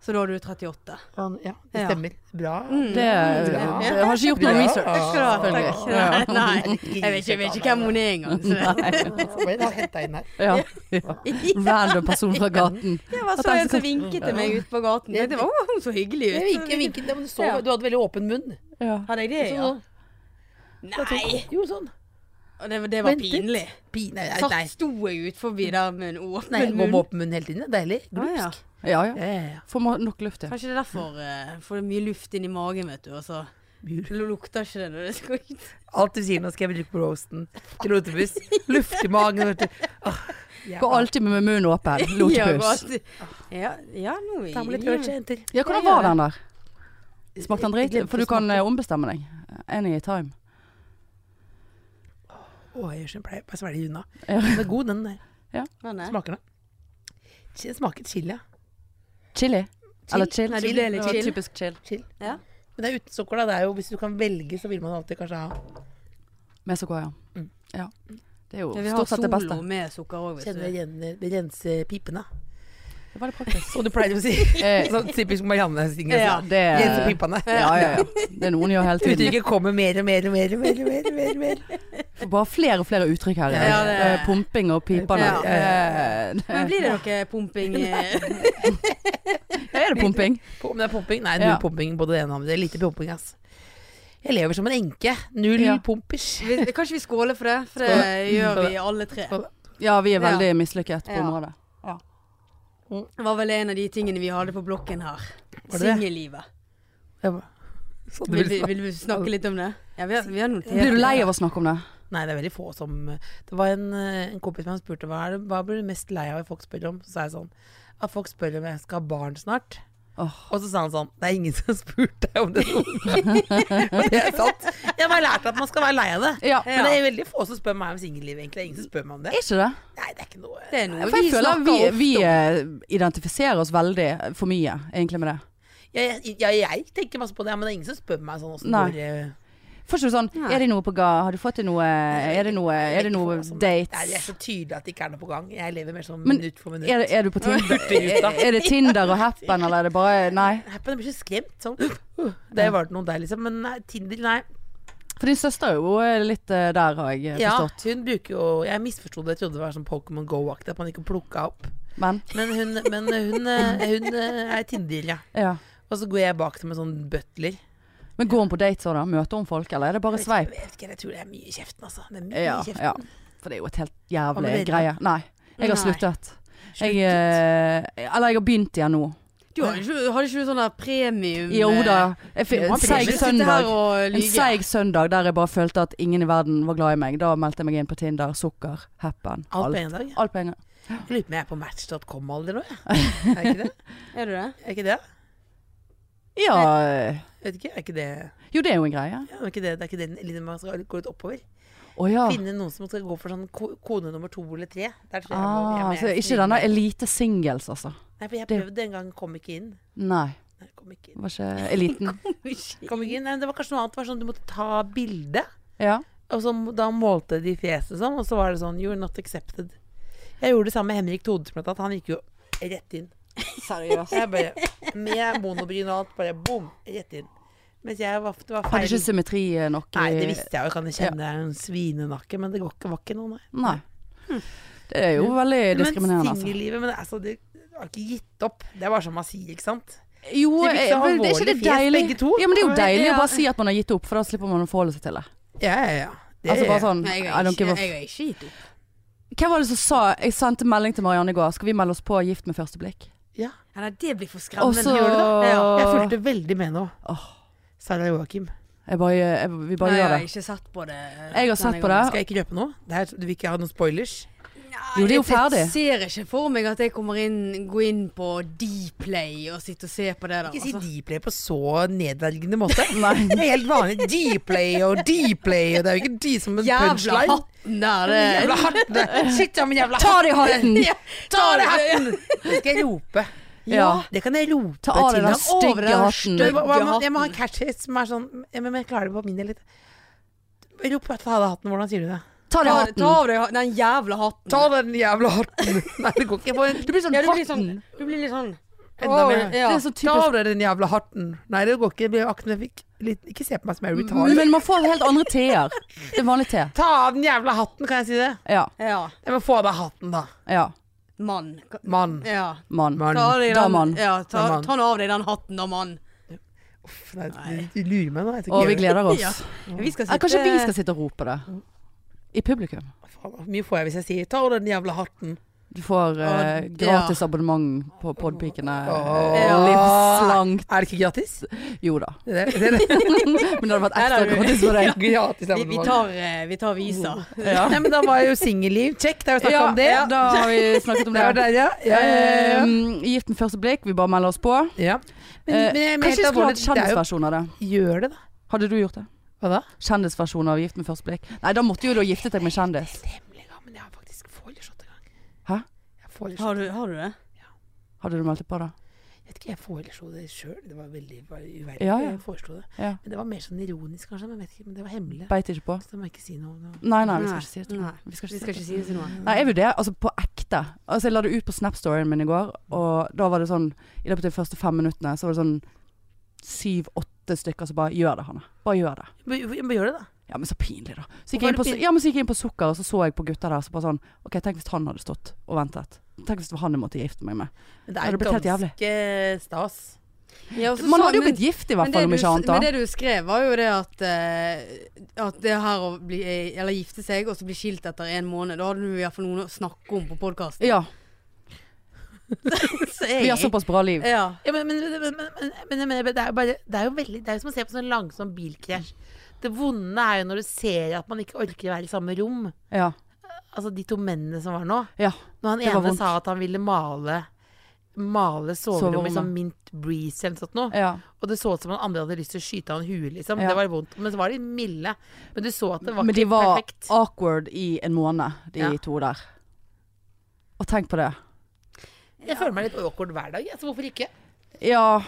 [SPEAKER 2] Så da er du 38.
[SPEAKER 3] Han- Ja, Mm. det
[SPEAKER 2] Ja.
[SPEAKER 3] stemmer. Bra.
[SPEAKER 1] Det
[SPEAKER 3] Ja.
[SPEAKER 1] Jeg har ikke gjort noe
[SPEAKER 3] Ja.
[SPEAKER 1] research.
[SPEAKER 2] Takk skal du ha.
[SPEAKER 1] Selvfølgelig.
[SPEAKER 2] Takk. Nei, jeg vet ikke, jeg vet ikke hvem hun er engang. så det-
[SPEAKER 3] Ble henta inn her.
[SPEAKER 1] Ja. ja. Random person fra gaten.
[SPEAKER 2] Det var
[SPEAKER 1] At
[SPEAKER 2] så
[SPEAKER 1] han
[SPEAKER 2] en som
[SPEAKER 1] skal-
[SPEAKER 2] vinket til meg ute på gaten. Det var «Å, hun så hyggelig
[SPEAKER 3] Jeg
[SPEAKER 2] ut.
[SPEAKER 3] vinket, jeg vinket, ja, men du, så,
[SPEAKER 2] Ja.
[SPEAKER 3] du hadde veldig åpen munn.
[SPEAKER 1] Ja.
[SPEAKER 2] Hadde jeg det, ja?
[SPEAKER 3] Sånn,
[SPEAKER 2] Nei!
[SPEAKER 3] Jo, sånn.
[SPEAKER 2] Og det, det var
[SPEAKER 3] Ventet.
[SPEAKER 2] pinlig. Eh,
[SPEAKER 3] Pi- Nei, nei, nei.
[SPEAKER 2] Satt sto jeg ut forbi der med en
[SPEAKER 3] nei jeg
[SPEAKER 2] åpen
[SPEAKER 3] går med
[SPEAKER 2] munn.
[SPEAKER 3] åpen munn hele tiden. det er Deilig.
[SPEAKER 2] Ah, ja.
[SPEAKER 3] Glupsk.
[SPEAKER 1] Ja, ja.
[SPEAKER 3] Ja, ja, ja.
[SPEAKER 1] Får må- nok luft, ja.
[SPEAKER 2] Kanskje det er derfor eh, får det mye luft inn i magen, vet du. Og så
[SPEAKER 3] Mur.
[SPEAKER 2] lukter ikke det når det skal ut.
[SPEAKER 3] Alt du sier nå, skal jeg bruke på roasten. Til rotepus. Luft i magen. Vet du. Åh, ja.
[SPEAKER 1] Går alltid med munnen åpen.
[SPEAKER 2] Ja,
[SPEAKER 1] Lotepus.
[SPEAKER 2] godt. Ja, ja, nå
[SPEAKER 3] Ta med litt urgenter.
[SPEAKER 1] Ja, hvordan var den der? Smakte den
[SPEAKER 3] Jeg
[SPEAKER 1] drit?
[SPEAKER 3] glemte
[SPEAKER 1] For du
[SPEAKER 3] å
[SPEAKER 1] kan
[SPEAKER 3] smake.
[SPEAKER 1] eh, ombestemme deg. Any time.
[SPEAKER 3] Å, jeg gjør som jeg pleier. Bare svelg unna.
[SPEAKER 1] Ja.
[SPEAKER 3] Den er god, den der.
[SPEAKER 2] Ja, nei.
[SPEAKER 3] Smaker den? Chi- Smaker chili. ja.
[SPEAKER 1] Chili? Eller chill?
[SPEAKER 2] Nei, det ble litt
[SPEAKER 1] var
[SPEAKER 2] chill.
[SPEAKER 1] Typisk chill.
[SPEAKER 3] Chill.
[SPEAKER 2] Ja.
[SPEAKER 3] Men det er uten sukker, da. Det er jo, hvis du kan velge, så vil man alltid kanskje ha
[SPEAKER 1] Med sukker, ja.
[SPEAKER 3] Mm.
[SPEAKER 1] ja. Det er jo
[SPEAKER 2] Ja, vi har
[SPEAKER 1] stort sett det beste.
[SPEAKER 2] solo med sukker òg,
[SPEAKER 3] Kjenner det
[SPEAKER 2] vet du.
[SPEAKER 3] renner- det renser pipene.
[SPEAKER 1] Det er veldig praktisk.
[SPEAKER 3] Som du pleier å si.
[SPEAKER 1] Eh,
[SPEAKER 3] Sånn typisk sånn, Marianne-ting.
[SPEAKER 2] Ja,
[SPEAKER 3] Ja,
[SPEAKER 1] det
[SPEAKER 3] renser pipene.
[SPEAKER 1] Ja, ja, ja. Det er noen gjør hele tiden.
[SPEAKER 3] Uttrykket kommer mer og mer og mer. og mer, og mer, og mer, og mer.
[SPEAKER 1] Får Bare flere og flere uttrykk her.
[SPEAKER 3] Ja,
[SPEAKER 1] eh.
[SPEAKER 2] det er-
[SPEAKER 1] Eh, Pumping og pipene.
[SPEAKER 2] Ja.
[SPEAKER 1] Eh,
[SPEAKER 2] Men blir det noe pumping? eh?
[SPEAKER 1] Er det pumping?
[SPEAKER 3] Om det er pumping? Nei, null
[SPEAKER 1] Ja.
[SPEAKER 3] pumping. Både det ene og det andre. Lite pumping, ass. Jeg lever som en enke. Null
[SPEAKER 1] Ja.
[SPEAKER 3] pumpers.
[SPEAKER 2] Vi- Kanskje vi skåler for det, for det gjør vi alle tre.
[SPEAKER 1] Ja, vi er
[SPEAKER 2] Ja.
[SPEAKER 1] veldig mislykket på
[SPEAKER 2] Ja.
[SPEAKER 1] området.
[SPEAKER 2] Det var vel en av de tingene vi hadde på blokken her.
[SPEAKER 3] Var det det?
[SPEAKER 2] Singellivet.
[SPEAKER 3] Jeg bare- Så du
[SPEAKER 2] Vil,
[SPEAKER 3] Sånn vil
[SPEAKER 2] vi-
[SPEAKER 3] snakke?
[SPEAKER 2] vil du snakke litt om det? Ja, vi har, vi har notert
[SPEAKER 1] Blir du
[SPEAKER 2] det.
[SPEAKER 1] lei av å snakke om det?
[SPEAKER 3] Nei, det er veldig få som Det var en, eh, en kompis som spurte hva, er det, hva blir du mest lei av at folk spør om. Så sa jeg sånn At folk spør om jeg skal ha barn snart.
[SPEAKER 1] Åh.
[SPEAKER 3] Og så sa han sånn Det er ingen som har spurt deg om det noen gang. Og det er sant. Jeg har bare lært at man skal være lei av det.
[SPEAKER 1] Ja.
[SPEAKER 3] Men det er veldig få som spør meg om singellivet, egentlig. Det er ingen som spør meg om det.
[SPEAKER 1] Er ikke det?
[SPEAKER 3] Nei, det er ikke noe
[SPEAKER 2] Det er noe
[SPEAKER 1] For jeg
[SPEAKER 2] vi
[SPEAKER 1] føler
[SPEAKER 2] snakker
[SPEAKER 1] vi,
[SPEAKER 2] ofte om.
[SPEAKER 1] vi eh, identifiserer oss veldig eh, for mye, egentlig, med det.
[SPEAKER 3] jeg, jeg, jeg tenker masse på det, men det er ingen som spør meg sånn åssen
[SPEAKER 1] Nei.
[SPEAKER 3] går det
[SPEAKER 1] Får ikke du sånn
[SPEAKER 2] Nei.
[SPEAKER 1] Er det noe på ga? Har du fått til noe Er det noe, er det noe
[SPEAKER 3] Nei, det er
[SPEAKER 2] sånn.
[SPEAKER 1] dates?
[SPEAKER 3] så tydelig at det ikke er noe på gang. Jeg lever mer sånn
[SPEAKER 1] Men
[SPEAKER 3] minutt for minutt.
[SPEAKER 1] Er, er du på Tinder?
[SPEAKER 2] sånn.
[SPEAKER 3] Hurtigruta.
[SPEAKER 1] Er det Tinder og Happen, eller er det bare Nei.
[SPEAKER 3] Happen, jeg blir så skremt sånn. Uh, Det var det noe der, liksom. Men nei, Tinder, nei.
[SPEAKER 1] For din søster er jo litt eh, der, har jeg eh,
[SPEAKER 3] Ja,
[SPEAKER 1] forstått.
[SPEAKER 3] hun bruker jo Jeg misforsto det, jeg trodde det var sånn Pokémon Go-aktig, at man ikke plukka opp.
[SPEAKER 1] Men
[SPEAKER 3] Men hun, men hun, eh, hun eh, er Tinder, ja.
[SPEAKER 1] ja.
[SPEAKER 3] Og så går jeg bak til med sånn butler.
[SPEAKER 1] Men går hun på dates òg, da? Møter hun folk, eller er det bare
[SPEAKER 3] Jeg
[SPEAKER 1] sveip?
[SPEAKER 3] vet ikke, jeg tror det er mye i kjeften, altså. Det er mye
[SPEAKER 1] Ja,
[SPEAKER 3] i kjeften.
[SPEAKER 1] ja. For det er jo et helt
[SPEAKER 3] Har du
[SPEAKER 1] jævlig
[SPEAKER 3] det?
[SPEAKER 1] greie. Nei. Jeg har
[SPEAKER 2] Nei.
[SPEAKER 1] sluttet. Jeg,
[SPEAKER 3] Slutt.
[SPEAKER 1] eh, eller jeg har begynt igjen nå.
[SPEAKER 2] Du hadde ikke, hadde ikke du sånn der premium
[SPEAKER 1] Jo da.
[SPEAKER 2] eh,
[SPEAKER 1] Jeg fikk
[SPEAKER 3] Nå har
[SPEAKER 1] en
[SPEAKER 3] vi
[SPEAKER 1] seig
[SPEAKER 2] premium? Sitte her
[SPEAKER 1] søndag.
[SPEAKER 2] og
[SPEAKER 1] En
[SPEAKER 2] lyge.
[SPEAKER 1] seig søndag der jeg bare følte at ingen i verden var glad i meg. Da meldte jeg meg inn på Tinder, Sukker, Happen.
[SPEAKER 3] Alt på
[SPEAKER 1] Alt.
[SPEAKER 3] en dag.
[SPEAKER 1] Alt på en gang.
[SPEAKER 3] Jeg lurer på om jeg er på match.com-alder nå, jeg. Er ikke det?
[SPEAKER 2] Er du det?
[SPEAKER 3] Er ikke det?
[SPEAKER 1] Ja
[SPEAKER 3] Vet ikke, er ikke det
[SPEAKER 1] Eh, Jo, det er jo en greie.
[SPEAKER 3] ja, er ikke det, det er ikke den linjen man skal gå litt oppover?
[SPEAKER 1] Å ja.
[SPEAKER 3] Finne noen som skal gå for sånn ko- kone nummer to eller tre. Der tror jeg jeg må-
[SPEAKER 1] Ah,
[SPEAKER 3] jeg må- jeg
[SPEAKER 1] så
[SPEAKER 3] er
[SPEAKER 1] ikke
[SPEAKER 3] snill.
[SPEAKER 1] denne elite singles, altså.
[SPEAKER 3] Nei, for jeg
[SPEAKER 1] det-
[SPEAKER 3] prøvde en gang, kom ikke inn.
[SPEAKER 1] Nei.
[SPEAKER 3] Nei, kom ikke inn.
[SPEAKER 1] Det var ikke eliten.
[SPEAKER 3] Kom ikke inn. Nei, det var kanskje noe annet. Det var sånn, du måtte ta bilde.
[SPEAKER 1] Ja.
[SPEAKER 3] Og så, da målte de fjeset sånn, og så var det sånn You're not accepted. Jeg gjorde det samme med Henrik Thodesen, blant annet. Han gikk jo rett inn.
[SPEAKER 1] Seriøst.
[SPEAKER 3] Jeg bare, Med monobryn og alt, bare bom, rett inn. Mens jeg var, det var
[SPEAKER 1] Hadde ikke
[SPEAKER 3] feil.
[SPEAKER 1] symmetri eh, nok i
[SPEAKER 3] Nei, det visste jeg jo, kan jeg kjenne det er en svinenakke, men det går ikke, var ikke noe, nei.
[SPEAKER 1] Nei. Det er jo veldig diskriminerende,
[SPEAKER 3] Hm. Men
[SPEAKER 1] altså.
[SPEAKER 3] singellivet men det- altså, det har ikke gitt opp. Det er bare sånn man sier, ikke sant?
[SPEAKER 1] Jo,
[SPEAKER 3] De fikk så
[SPEAKER 1] eh, men det er ikke det
[SPEAKER 3] alvorlig fjes,
[SPEAKER 1] deilig?
[SPEAKER 3] begge to.
[SPEAKER 1] Ja, men det er jo deilig
[SPEAKER 2] Ja.
[SPEAKER 1] å bare si at man har gitt opp, for da slipper man å forholde seg til det.
[SPEAKER 3] Ja, ja, ja. Det,
[SPEAKER 1] Altså bare sånn,
[SPEAKER 2] Nei, jeg
[SPEAKER 1] I
[SPEAKER 2] har
[SPEAKER 1] don't
[SPEAKER 2] ikke,
[SPEAKER 1] give a
[SPEAKER 2] jeg har ikke gitt opp.
[SPEAKER 1] f- Hvem var det som sa Jeg sendte melding til Marianne i går. Skal vi melde oss på Gift med første blikk?
[SPEAKER 3] ja.
[SPEAKER 2] Ja, nei, det blir for
[SPEAKER 1] Og
[SPEAKER 2] skremmende.
[SPEAKER 1] så
[SPEAKER 2] Gjør det da? Ja.
[SPEAKER 3] Jeg fulgte veldig med nå.
[SPEAKER 1] Åh.
[SPEAKER 3] Sara Joakim.
[SPEAKER 1] Jeg bare, jeg, Vi bare
[SPEAKER 2] Nei, jeg
[SPEAKER 1] gjør
[SPEAKER 2] har
[SPEAKER 1] det.
[SPEAKER 2] ikke sett på det.
[SPEAKER 1] Jeg har sett på det.
[SPEAKER 3] Skal jeg ikke røpe noe? Det her, du vil ikke ha noen spoilers?
[SPEAKER 1] Jo, det er jo ferdig.
[SPEAKER 2] Jeg ser ikke for meg at jeg kommer inn, går inn på Dplay og sitter og ser på det der.
[SPEAKER 3] Ikke si
[SPEAKER 2] Altså.
[SPEAKER 3] Dplay på så nedverdigende måte.
[SPEAKER 1] Nei.
[SPEAKER 3] Det er helt vanlig. Dplay og Dplay, og det er jo ikke de som en
[SPEAKER 2] Jævla
[SPEAKER 3] punchline.
[SPEAKER 2] hatten der.
[SPEAKER 3] Jævla
[SPEAKER 2] Det.
[SPEAKER 3] hatten! Shit, ja, men jævla
[SPEAKER 1] Ta av deg hatten!
[SPEAKER 3] Ja, Ta av deg hatten! Det skal jeg rope.
[SPEAKER 1] Ja.
[SPEAKER 3] Det kan jeg rope
[SPEAKER 1] Ta av deg
[SPEAKER 3] til
[SPEAKER 1] den
[SPEAKER 3] ham.
[SPEAKER 2] Over
[SPEAKER 1] stygge
[SPEAKER 2] den
[SPEAKER 1] hatten.
[SPEAKER 3] Jeg
[SPEAKER 2] stygge-
[SPEAKER 3] må, jeg må, jeg må ha en catchphrase som er sånn jeg, Men jeg klarer det på min del litt. Rop ta av deg hatten. Hvordan sier du det?
[SPEAKER 1] Ta av deg
[SPEAKER 2] Ta ta
[SPEAKER 1] hatten.
[SPEAKER 2] av deg ha- den jævla hatten.
[SPEAKER 3] Ta den jævla hatten! Nei, det går ikke. Jeg får en
[SPEAKER 1] Du blir sånn
[SPEAKER 2] Ja, du blir
[SPEAKER 1] hatten.
[SPEAKER 2] sånn, du blir litt sånn
[SPEAKER 3] enda
[SPEAKER 2] Åh,
[SPEAKER 3] mer.
[SPEAKER 2] ja.
[SPEAKER 1] Det er sånn
[SPEAKER 3] Ta
[SPEAKER 1] typisk
[SPEAKER 3] av deg den jævla hatten. Nei, det går ikke. Jeg blir akten jeg fikk litt, Ikke se på meg som jeg er retard.
[SPEAKER 1] Mm, Men man får helt andre T-er. Det er vanlig T.
[SPEAKER 3] Ta av den jævla hatten, kan jeg si det?
[SPEAKER 1] Ja.
[SPEAKER 2] Ja.
[SPEAKER 3] Jeg må få av deg hatten, da.
[SPEAKER 1] Ja.
[SPEAKER 2] Mann.
[SPEAKER 3] Mann.
[SPEAKER 2] Ja.
[SPEAKER 1] Mann.
[SPEAKER 3] Mann.
[SPEAKER 2] Ta av deg
[SPEAKER 1] Da,
[SPEAKER 2] den,
[SPEAKER 1] mann.
[SPEAKER 2] ja, ta,
[SPEAKER 3] Da, mann.
[SPEAKER 2] ta nå av deg den hatten, da, mann.
[SPEAKER 3] Uff, nei, du- du lurer meg nå. Jeg
[SPEAKER 1] Og vi gleder oss.
[SPEAKER 2] Ja. Vi skal
[SPEAKER 1] Ja, kanskje vi skal sitte og rope det. I publikum.
[SPEAKER 3] Faen, Hvor mye får jeg hvis jeg sier 'ta av deg den jævla hatten'?
[SPEAKER 1] Du får eh,
[SPEAKER 2] Og-
[SPEAKER 1] gratis abonnement på Podpikene.
[SPEAKER 3] Åh.
[SPEAKER 1] eh, Livslangt.
[SPEAKER 3] Er det ikke gratis?
[SPEAKER 1] Jo da.
[SPEAKER 3] Det er, det er,
[SPEAKER 1] Men det hadde vært
[SPEAKER 2] Der
[SPEAKER 1] ekstra
[SPEAKER 2] er du.
[SPEAKER 1] gratis for deg.
[SPEAKER 3] gratis
[SPEAKER 2] vi, vi,
[SPEAKER 3] abonnement.
[SPEAKER 2] tar, eh, vi tar
[SPEAKER 1] Oh,
[SPEAKER 2] viser.
[SPEAKER 3] Nei, men da var jo singelliv. Check, da har vi snakket om det.
[SPEAKER 1] Ja, da har vi snakket om
[SPEAKER 3] Det
[SPEAKER 1] det.
[SPEAKER 3] var der, ja. ja, ja, ja.
[SPEAKER 1] Eh, gift med første blikk, vi bare melder oss på.
[SPEAKER 3] ja. Men,
[SPEAKER 1] Eh,
[SPEAKER 3] men, men
[SPEAKER 1] Kanskje
[SPEAKER 3] helt
[SPEAKER 1] vi skulle
[SPEAKER 3] alvorlig,
[SPEAKER 1] hatt
[SPEAKER 3] det er jo
[SPEAKER 1] kjendisversjon av det.
[SPEAKER 3] Gjør det, da.
[SPEAKER 1] Hadde du gjort det?
[SPEAKER 3] Hva da?
[SPEAKER 1] Kjendisversjon av Gift med første blikk? Nei, da måtte jo du ha giftet deg med kjendis.
[SPEAKER 3] Hemmelig, ja, men jeg har faktisk foreslått en gang.
[SPEAKER 1] Hæ?
[SPEAKER 3] Jeg foreslått
[SPEAKER 2] Har du, har du det?
[SPEAKER 1] Hadde du meldt deg på da?
[SPEAKER 3] Vet ikke, jeg foreslo det sjøl. Det var veldig bare uverdig.
[SPEAKER 1] Ja, ja.
[SPEAKER 3] Jeg foreslo det.
[SPEAKER 1] Ja.
[SPEAKER 3] Men det var mer sånn ironisk, kanskje. Men, jeg vet ikke, men det var hemmelig.
[SPEAKER 1] Beit ikke på?
[SPEAKER 3] Så det må jeg ikke si noe om. det.
[SPEAKER 1] Nei, nei, vi skal ikke si det. til noen.
[SPEAKER 2] Nei.
[SPEAKER 1] Vi skal
[SPEAKER 2] Vi
[SPEAKER 1] ikke
[SPEAKER 2] skal
[SPEAKER 1] si det.
[SPEAKER 2] ikke si det til noen.
[SPEAKER 1] Nei, jeg vurderer, altså på ekte. Altså Jeg la det ut på Snap-storyen min i går, og da var det sånn I løpet av de første fem minuttene så var det sånn syv-åtte stykker som bare gjør det, Hanne. Bare gjør det.
[SPEAKER 3] Men, men gjør det, da.
[SPEAKER 1] Ja, men så pinlig, da. Så gikk,
[SPEAKER 3] Hvorfor
[SPEAKER 1] jeg inn på,
[SPEAKER 3] er det pinlig?
[SPEAKER 1] ja, men så gikk jeg inn på Sukker, og så så jeg på gutta der, så bare sånn OK, tenk hvis han hadde stått og ventet. Tenk hvis det var han jeg måtte gifte meg med.
[SPEAKER 3] Men det
[SPEAKER 1] Ja,
[SPEAKER 3] er
[SPEAKER 1] det ble helt jævlig.
[SPEAKER 3] ganske stas.
[SPEAKER 2] Ja, og så
[SPEAKER 1] Man
[SPEAKER 2] sa-
[SPEAKER 1] hadde jo
[SPEAKER 2] men-
[SPEAKER 1] blitt gift, i
[SPEAKER 2] men
[SPEAKER 1] hvert fall,
[SPEAKER 2] det
[SPEAKER 1] om
[SPEAKER 2] du
[SPEAKER 1] ikke
[SPEAKER 2] s- Men
[SPEAKER 1] annet, da.
[SPEAKER 2] det du skrev, var jo det at, eh, at det her å bli, eh, eller gifte seg og så bli skilt etter en måned, da hadde du i hvert fall noen å snakke om på podkasten.
[SPEAKER 1] Ja.
[SPEAKER 2] Så jeg-
[SPEAKER 1] Vi har såpass bra liv.
[SPEAKER 2] Ja.
[SPEAKER 3] Ja, men, men, men, men, men, men, men det, er jo bare, det er jo veldig Det er jo som å se på sånn langsom bilkrasj. Det vonde er jo når du ser at man ikke orker å være i samme rom.
[SPEAKER 1] Ja.
[SPEAKER 3] Altså de to mennene som var nå.
[SPEAKER 1] ja.
[SPEAKER 3] Når han
[SPEAKER 1] Det var
[SPEAKER 3] ene
[SPEAKER 1] vondt.
[SPEAKER 3] sa at han ville male Male soverommet
[SPEAKER 1] Soverommet.
[SPEAKER 3] i sånn mint breeze eller noe sånt noe.
[SPEAKER 1] ja.
[SPEAKER 3] Og det så ut som han andre hadde lyst til å skyte han i huet, liksom.
[SPEAKER 1] Ja.
[SPEAKER 3] Det var vondt. Men så var de milde. Men du så at det var
[SPEAKER 1] Men de
[SPEAKER 3] ikke
[SPEAKER 1] var
[SPEAKER 3] perfekt.
[SPEAKER 1] awkward i en måned, de
[SPEAKER 3] Ja.
[SPEAKER 1] to der. Og tenk på det.
[SPEAKER 3] Jeg føler meg litt awkward hver dag, jeg, så hvorfor ikke?
[SPEAKER 1] Ja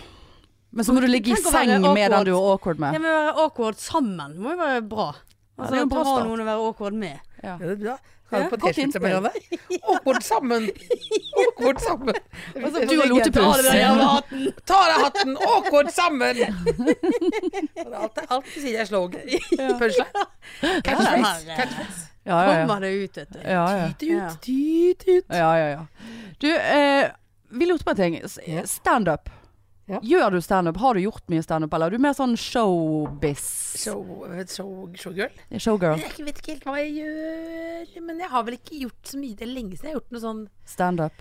[SPEAKER 1] Men så må du ligge i
[SPEAKER 2] Tenk å
[SPEAKER 1] seng
[SPEAKER 2] være
[SPEAKER 1] med den
[SPEAKER 2] awkward.
[SPEAKER 1] du er awkward med.
[SPEAKER 2] Ja, men å være awkward sammen må jo være bra.
[SPEAKER 1] det er jo
[SPEAKER 2] Altså,
[SPEAKER 1] en
[SPEAKER 2] at du
[SPEAKER 1] bra
[SPEAKER 2] har
[SPEAKER 1] start.
[SPEAKER 2] noen å være awkward med.
[SPEAKER 1] Ja.
[SPEAKER 3] Ja, det er bra. Har
[SPEAKER 2] Ja,
[SPEAKER 3] du på
[SPEAKER 1] godt
[SPEAKER 3] T-skjorte med deg? Awkward sammen. Awkward sammen.
[SPEAKER 2] Og så
[SPEAKER 1] Du og
[SPEAKER 2] Ta det
[SPEAKER 1] Lotepus.
[SPEAKER 2] med den jævla hatten!
[SPEAKER 3] Ta av deg hatten! Awkward sammen! Alt, alt du sier er slogan. Punchline. Catchphrase.
[SPEAKER 2] Ja.
[SPEAKER 3] Catchphrase.
[SPEAKER 1] Ja, ja, ja.
[SPEAKER 2] Kommer det ut, vet du.
[SPEAKER 1] ja, ja.
[SPEAKER 3] Tyt ut, tyt ut.
[SPEAKER 1] ja, ja, ja. Du, eh, vi lurte på en ting. S-
[SPEAKER 3] Ja.
[SPEAKER 1] Standup.
[SPEAKER 3] Ja.
[SPEAKER 1] Gjør du standup? Har du gjort mye standup, eller er du mer sånn showbiz?
[SPEAKER 3] Show, show, uh, showgirl?
[SPEAKER 1] Showgirl.
[SPEAKER 3] Jeg vet ikke helt hva jeg gjør, men jeg har vel ikke gjort så mye. Det er lenge siden jeg har gjort noe sånn
[SPEAKER 1] Standup.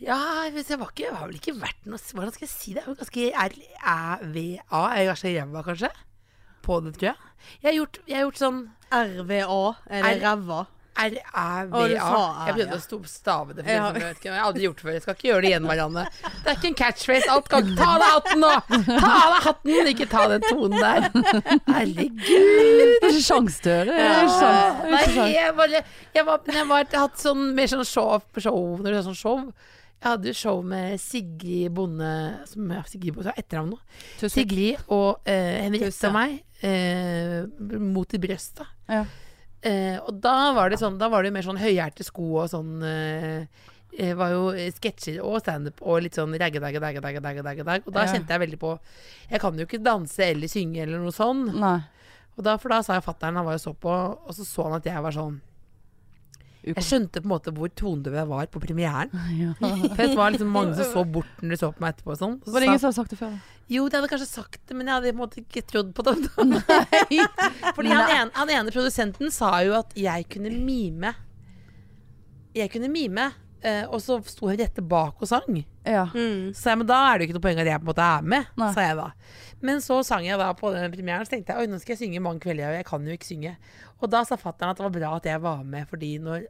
[SPEAKER 3] Ja, hvis jeg var ikke, jeg har vel ikke vært noe Hvordan skal jeg si det? Jeg er jo ganske RVA. Jeg er ganske ræva, kanskje? På det, tror jeg. Jeg har gjort, jeg har gjort sånn
[SPEAKER 2] RVA, er det
[SPEAKER 3] R-
[SPEAKER 2] ræva?
[SPEAKER 3] R-æ-v-a.
[SPEAKER 2] Å, du sa æ,
[SPEAKER 3] Jeg prøvde
[SPEAKER 2] ja.
[SPEAKER 3] å sto- stave det, for
[SPEAKER 2] Ja.
[SPEAKER 3] ja. jeg vet ikke, jeg har aldri gjort det før. Jeg skal ikke gjøre det igjen, Marianne. Det er ikke en catchphrase. Alt kan Ta av deg hatten nå! Ta av deg hatten! Ikke ta den tonen der. Herregud.
[SPEAKER 1] Det er ikke sjans, du. Det er ikke
[SPEAKER 2] sånn.
[SPEAKER 1] sjans. Det er
[SPEAKER 3] Nei,
[SPEAKER 1] ikke sjans.
[SPEAKER 3] jeg bare Jeg var, jeg var jeg hatt sånn mer sånn show, show Når du har sånn show Jeg hadde jo show med Sigrid Bonde Som er Sigrid Bonde, så har jeg etternavn nå.
[SPEAKER 1] Tusen.
[SPEAKER 3] Sigrid og eh,
[SPEAKER 2] Tusse.
[SPEAKER 3] Henriette og meg. eh, mot i brøstet.
[SPEAKER 1] Ja.
[SPEAKER 3] Eh, og da var det sånn Da var det jo mer sånn høyhælte sko og sånn eh, eh, Var jo eh, sketsjer og standup og litt sånn ragge, dagge, dagge, dagge, dagge, dagge, dagge. Og da
[SPEAKER 1] Ja.
[SPEAKER 3] kjente jeg veldig på Jeg kan jo ikke danse eller synge eller noe sånn.
[SPEAKER 1] Nei.
[SPEAKER 3] Og da, for da sa jeg fatter'n, han var jo så på, og så så han at jeg var sånn Jeg
[SPEAKER 1] Ukom.
[SPEAKER 3] skjønte på en måte hvor tonedøv jeg var på premieren.
[SPEAKER 1] Ja.
[SPEAKER 3] For det var liksom mange som så bort når de så på meg etterpå og sånn. Og så
[SPEAKER 1] Var det
[SPEAKER 3] sa
[SPEAKER 1] ingen som hadde sagt det før? da?
[SPEAKER 3] jo, de hadde kanskje sagt det, men jeg hadde på en måte ikke trodd på dem. Fordi han ene, han ene produsenten sa jo at jeg kunne mime. Jeg kunne mime, eh, og så sto hun rette bak og sang.
[SPEAKER 1] Ja.
[SPEAKER 2] Mm.
[SPEAKER 3] Så sa jeg, men da er det jo ikke noe poeng at jeg på en måte er med,
[SPEAKER 1] Nei.
[SPEAKER 3] sa jeg da. Men så sang jeg da på den premieren, så tenkte jeg, oi, nå skal jeg synge mange kvelder, og jeg kan jo ikke synge. Og da sa fatteren at det var bra at jeg var med, fordi når,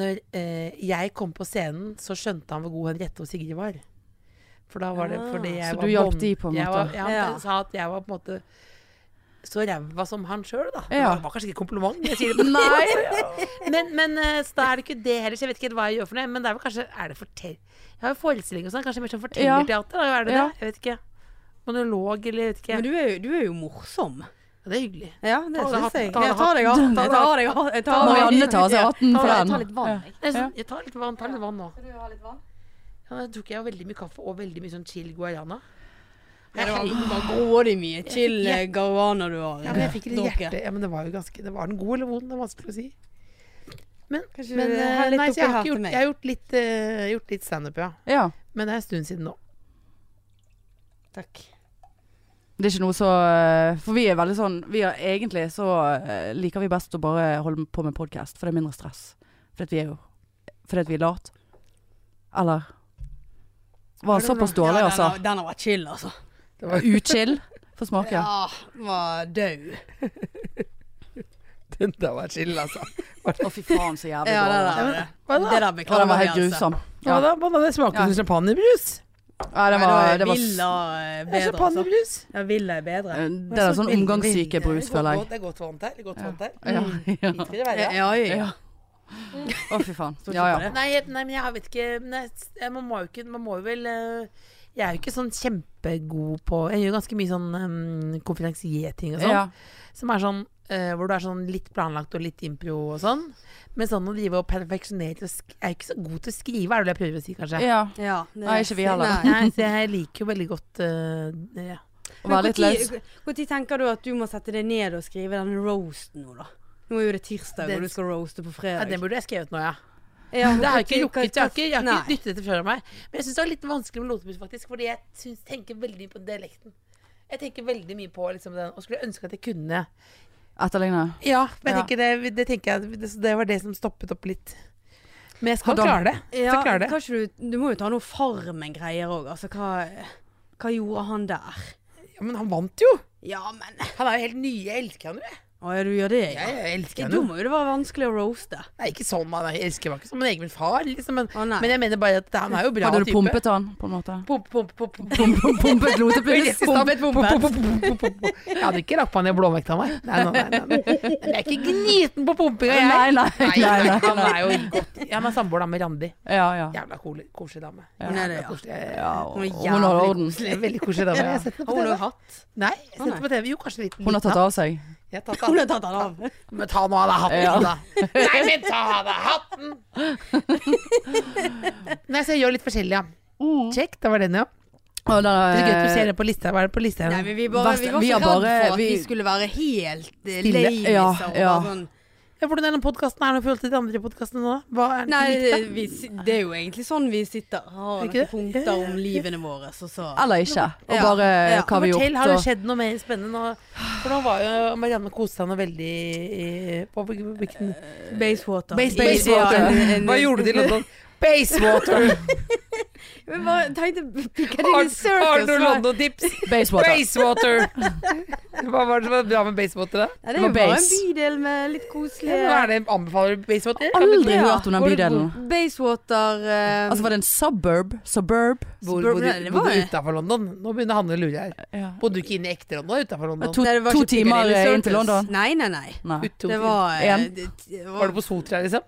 [SPEAKER 3] når eh, jeg kom på scenen, så skjønte han hvor god Henriette og Sigrid var. For da var det fordi jeg
[SPEAKER 1] Ah, Så
[SPEAKER 3] var
[SPEAKER 1] du hjalp
[SPEAKER 3] bånd-
[SPEAKER 1] de på en
[SPEAKER 3] Jeg
[SPEAKER 1] måte?
[SPEAKER 3] var, ja,
[SPEAKER 2] Ja.
[SPEAKER 3] han sa at jeg var på en måte så ræva som han sjøl, da.
[SPEAKER 1] Ja.
[SPEAKER 3] Det var kanskje ikke et kompliment, jeg sier det på
[SPEAKER 1] Nei!
[SPEAKER 3] men, men eh, så da er det ikke det heller, så jeg vet ikke helt hva jeg gjør for noe. Men det er vel kanskje er det fortell... Jeg har jo forestilling og sånn, kanskje mer som fortellerteater? da, Er det
[SPEAKER 1] Ja.
[SPEAKER 3] det? Jeg vet ikke. Monolog eller jeg vet ikke.
[SPEAKER 2] Men du Mm. er, jo, du er jo morsom.
[SPEAKER 3] Ja, det er hyggelig.
[SPEAKER 2] Ja,
[SPEAKER 3] Ta
[SPEAKER 2] det
[SPEAKER 3] av deg
[SPEAKER 2] syns jeg.
[SPEAKER 3] hatten, ta av deg
[SPEAKER 2] Ja, Ta deg av
[SPEAKER 3] hatten.
[SPEAKER 2] ta av deg av- ta av deg-
[SPEAKER 1] Marianne tar seg hatten for
[SPEAKER 3] Ta-
[SPEAKER 1] den.
[SPEAKER 3] ta
[SPEAKER 1] litt vann.
[SPEAKER 3] Jeg,
[SPEAKER 1] Ja.
[SPEAKER 3] jeg tar litt vann, tar litt vann nå.
[SPEAKER 2] Skal du ha litt vann?
[SPEAKER 3] Ja, da tok jeg veldig mye kaffe og veldig mye sånn chill guayana.
[SPEAKER 2] Ja, det var bare grådig mye chill
[SPEAKER 3] Ja.
[SPEAKER 2] eh, garuaner du har.
[SPEAKER 3] Ja, men jeg fikk litt
[SPEAKER 2] drukket.
[SPEAKER 3] hjerte. Ja, men det var jo ganske Det var den god eller vond, det er vanskelig å si. Men,
[SPEAKER 2] Kanskje
[SPEAKER 3] men
[SPEAKER 2] du
[SPEAKER 3] eh,
[SPEAKER 2] heller
[SPEAKER 3] nei,
[SPEAKER 2] tok
[SPEAKER 3] så jeg
[SPEAKER 2] en
[SPEAKER 3] har
[SPEAKER 2] her
[SPEAKER 3] ikke
[SPEAKER 2] til
[SPEAKER 3] gjort
[SPEAKER 2] meg.
[SPEAKER 3] Jeg har gjort litt, eh, gjort litt standup, ja.
[SPEAKER 1] Ja.
[SPEAKER 3] Men det er en stund siden nå.
[SPEAKER 2] Takk.
[SPEAKER 1] Det er ikke noe så eh, For vi er veldig sånn vi er, Egentlig så eh, liker vi best å bare holde på med podkast, for det er mindre stress. Fordi at vi er jo Fordi at vi er lat. Eller Var såpass
[SPEAKER 2] Ja,
[SPEAKER 1] dårlig,
[SPEAKER 2] den
[SPEAKER 1] altså.
[SPEAKER 2] har- Den har vært chill, altså.
[SPEAKER 1] Utchill. Få smake.
[SPEAKER 2] Ja, den var død.
[SPEAKER 3] Den der var chill, altså.
[SPEAKER 1] Å, fy faen, så jævlig
[SPEAKER 2] Ja, det
[SPEAKER 1] dårlig.
[SPEAKER 2] der.
[SPEAKER 3] Hva
[SPEAKER 2] Det
[SPEAKER 3] da?
[SPEAKER 2] der
[SPEAKER 1] Å,
[SPEAKER 2] beklager
[SPEAKER 1] den var
[SPEAKER 2] vi,
[SPEAKER 1] helt
[SPEAKER 2] altså.
[SPEAKER 1] grusom.
[SPEAKER 3] Hva da? Hva da? Det smaker
[SPEAKER 1] Ja.
[SPEAKER 3] som champagnebrus.
[SPEAKER 1] Ja, det
[SPEAKER 2] Nei, da
[SPEAKER 1] var,
[SPEAKER 2] er
[SPEAKER 1] det var s-
[SPEAKER 2] Villa eh,
[SPEAKER 3] Det er
[SPEAKER 2] bedre, altså.
[SPEAKER 3] champagnebrus.
[SPEAKER 2] Ja, Villa er bedre.
[SPEAKER 1] eh, Det er sånn omgangssyke brus, føler jeg.
[SPEAKER 3] Det er godt vann der. det er Godt
[SPEAKER 1] Ja.
[SPEAKER 3] vann der.
[SPEAKER 1] Ja, ja.
[SPEAKER 3] Fint vil det være,
[SPEAKER 2] Ja,
[SPEAKER 3] ja.
[SPEAKER 2] ja, ja.
[SPEAKER 1] Å, fy faen. Ja, ja.
[SPEAKER 3] Nei, jeg- nei, men jeg vet ikke nei, s- eh, Man må jo ikke Man må jo vel eh, Jeg er jo ikke sånn kjempegod på Jeg gjør ganske mye sånn um, konferansierting og sånn.
[SPEAKER 1] ja.
[SPEAKER 3] Som er sånn eh, hvor du er sånn litt planlagt og litt impro og sånn. Men sånn å drive og perfeksjonere til å sk Jeg er ikke så god til å skrive, er det vel jeg prøver å si, kanskje.
[SPEAKER 1] ja.
[SPEAKER 2] ja det-
[SPEAKER 1] Nei, ikke vi heller.
[SPEAKER 2] Nei.
[SPEAKER 3] Nei, så jeg liker jo veldig godt eh, ja.
[SPEAKER 1] Å være
[SPEAKER 2] Men
[SPEAKER 1] litt løs.
[SPEAKER 2] Når tenker du at du må sette deg ned og skrive den roasten nå, da? Nå er jo det tirsdag,
[SPEAKER 3] Den-
[SPEAKER 2] og du skal roaste
[SPEAKER 3] ja,
[SPEAKER 2] på fredag.
[SPEAKER 3] Den burde jeg skrevet nå, ja.
[SPEAKER 2] Ja,
[SPEAKER 3] Det har jeg
[SPEAKER 2] hva-
[SPEAKER 3] ikke rukket. Jeg har ikke, jeg har
[SPEAKER 2] Nei.
[SPEAKER 3] ikke dyttet dette fra meg. Men jeg syns det var litt vanskelig med Lotepus, faktisk. Fordi jeg syns- tenker veldig mye på dialekten. Jeg tenker veldig mye på liksom, den, og skulle ønske at jeg kunne
[SPEAKER 1] Etterligne.
[SPEAKER 3] Ja, men
[SPEAKER 1] Ja.
[SPEAKER 3] jeg tenker det, det tenker jeg det, det var det som stoppet opp litt. Men jeg skal
[SPEAKER 1] Hvordan?
[SPEAKER 3] klare det. Jeg
[SPEAKER 2] Ja,
[SPEAKER 3] skal klare det.
[SPEAKER 2] kanskje du, du må jo ta noe Farmen-greier òg. Altså, hva, hva gjorde han der?
[SPEAKER 3] Ja, men han vant jo!
[SPEAKER 2] Ja, men
[SPEAKER 3] Han er jo helt ny. Jeg elsker han jo, jeg.
[SPEAKER 2] Å ja, du gjør det, ja.
[SPEAKER 3] Jeg, jeg elsker
[SPEAKER 2] Da
[SPEAKER 3] henne.
[SPEAKER 2] må jo det være vanskelig å roaste.
[SPEAKER 3] Nei, ikke sånn, man. Jeg elsker meg ikke som en egen far, liksom. Men,
[SPEAKER 2] Å nei.
[SPEAKER 3] men jeg mener bare at han er jo bra
[SPEAKER 1] Hadde du
[SPEAKER 3] type.
[SPEAKER 1] pumpet han, på en måte?
[SPEAKER 3] Pump, pump, pump, pump.
[SPEAKER 1] Pumpet lotepus?
[SPEAKER 3] Pumpet, pumpet, pumpet, pumpet. Jeg hadde ikke lagt meg ned og blåvekta meg. Nei, nei, nei, nei. Men Jeg er ikke gniten på pumpinga, jeg.
[SPEAKER 1] Nei, nei,
[SPEAKER 3] Nei,
[SPEAKER 1] nei, nei,
[SPEAKER 3] Han er jo godt Jeg har samboer da med Randi.
[SPEAKER 1] Ja, ja.
[SPEAKER 3] Jævla kole- koselig dame.
[SPEAKER 2] Hun er
[SPEAKER 3] Jævla
[SPEAKER 2] det, ja.
[SPEAKER 3] koselig. Jeg-
[SPEAKER 1] ja og-
[SPEAKER 2] Hun er
[SPEAKER 1] og hun har
[SPEAKER 2] jævlig
[SPEAKER 1] orden.
[SPEAKER 3] jeg er Veldig koselig dame. Jeg har sett henne på
[SPEAKER 2] Har hun
[SPEAKER 3] TV.
[SPEAKER 2] også hatt?
[SPEAKER 3] Nei, jeg har sett henne på TV. Jo, kanskje litt.
[SPEAKER 1] Hun har tatt av seg.
[SPEAKER 3] Jeg har tatt
[SPEAKER 2] Hun
[SPEAKER 3] av.
[SPEAKER 2] har tatt den av.
[SPEAKER 3] Men ta nå av deg hatten,
[SPEAKER 1] Ja.
[SPEAKER 3] da. Nei, men ta av deg hatten! Nei, så jeg gjør litt forskjellig, ja.
[SPEAKER 1] Mm.
[SPEAKER 3] Check, da var den, ja.
[SPEAKER 1] Og da, eh,
[SPEAKER 3] Det er gøy at du ser det på lista. Hva er det på lista?
[SPEAKER 2] Nei, men vi, bare,
[SPEAKER 1] Verst-
[SPEAKER 2] vi var
[SPEAKER 1] vi
[SPEAKER 2] så
[SPEAKER 1] har
[SPEAKER 2] redd for
[SPEAKER 1] bare-
[SPEAKER 2] at vi,
[SPEAKER 1] vi-
[SPEAKER 2] skulle være helt eh,
[SPEAKER 1] Stille.
[SPEAKER 2] lei
[SPEAKER 1] Ja,
[SPEAKER 2] liksom, og
[SPEAKER 1] ja.
[SPEAKER 2] bare sånn
[SPEAKER 3] Ja, hvordan er den podkasten her nå i forhold til de andre podkastene nå? Hva er den
[SPEAKER 2] Nei,
[SPEAKER 3] til
[SPEAKER 2] det,
[SPEAKER 3] likt,
[SPEAKER 2] vi, si- det er jo egentlig sånn vi sitter. Har
[SPEAKER 3] Er ikke
[SPEAKER 2] noen
[SPEAKER 3] det?
[SPEAKER 2] punkter
[SPEAKER 3] Ja, ja, ja.
[SPEAKER 2] om livene våre, så så
[SPEAKER 1] Eller ikke. Og
[SPEAKER 2] Ja,
[SPEAKER 1] bare eh,
[SPEAKER 2] ja.
[SPEAKER 1] hva vi
[SPEAKER 3] Men
[SPEAKER 1] har
[SPEAKER 3] fortell, Har
[SPEAKER 1] gjort.
[SPEAKER 3] det
[SPEAKER 1] Og,
[SPEAKER 3] skjedd noe mer spennende nå? For nå var jo Marianne koste seg noe veldig i- på på- hvilken
[SPEAKER 2] Basewater.
[SPEAKER 3] Base-
[SPEAKER 2] I-
[SPEAKER 1] Basewater.
[SPEAKER 2] ja, en- en-
[SPEAKER 3] du til London? Basewater!
[SPEAKER 2] Vi bare tenkte Piccadilly Circus. var-
[SPEAKER 3] Dips?
[SPEAKER 1] Basewater.
[SPEAKER 3] Basewater! Hva var det som var bra med Basewater, da?
[SPEAKER 2] Ja, det er jo
[SPEAKER 1] var
[SPEAKER 2] bare en
[SPEAKER 1] base.
[SPEAKER 2] bydel med litt koselige
[SPEAKER 3] Hva er det anbefaler du Basewater?
[SPEAKER 1] Aldri
[SPEAKER 2] Ja.
[SPEAKER 1] hørt om den
[SPEAKER 3] Hvor-
[SPEAKER 1] bydelen.
[SPEAKER 2] Basewater eh,
[SPEAKER 1] Altså var det en suburb? Suburb?
[SPEAKER 3] Bor,
[SPEAKER 2] Bor-
[SPEAKER 3] bodde
[SPEAKER 2] Nei, det var
[SPEAKER 3] bodde
[SPEAKER 2] det.
[SPEAKER 3] utafor London? Nå begynner Hanne å lure her.
[SPEAKER 1] Ja.
[SPEAKER 3] Bodde du ikke inne i ekte London? Utafor London?
[SPEAKER 1] To,
[SPEAKER 2] Nei, det var
[SPEAKER 1] to
[SPEAKER 2] ikke
[SPEAKER 1] timer
[SPEAKER 2] Piccadilly
[SPEAKER 1] eh, inn til
[SPEAKER 2] Circus.
[SPEAKER 1] London?
[SPEAKER 2] Nei, nei, nei.
[SPEAKER 1] Nei.
[SPEAKER 3] Ut- to-
[SPEAKER 2] Det var eh,
[SPEAKER 1] En.
[SPEAKER 2] det, det
[SPEAKER 3] Var du på Sotra, liksom?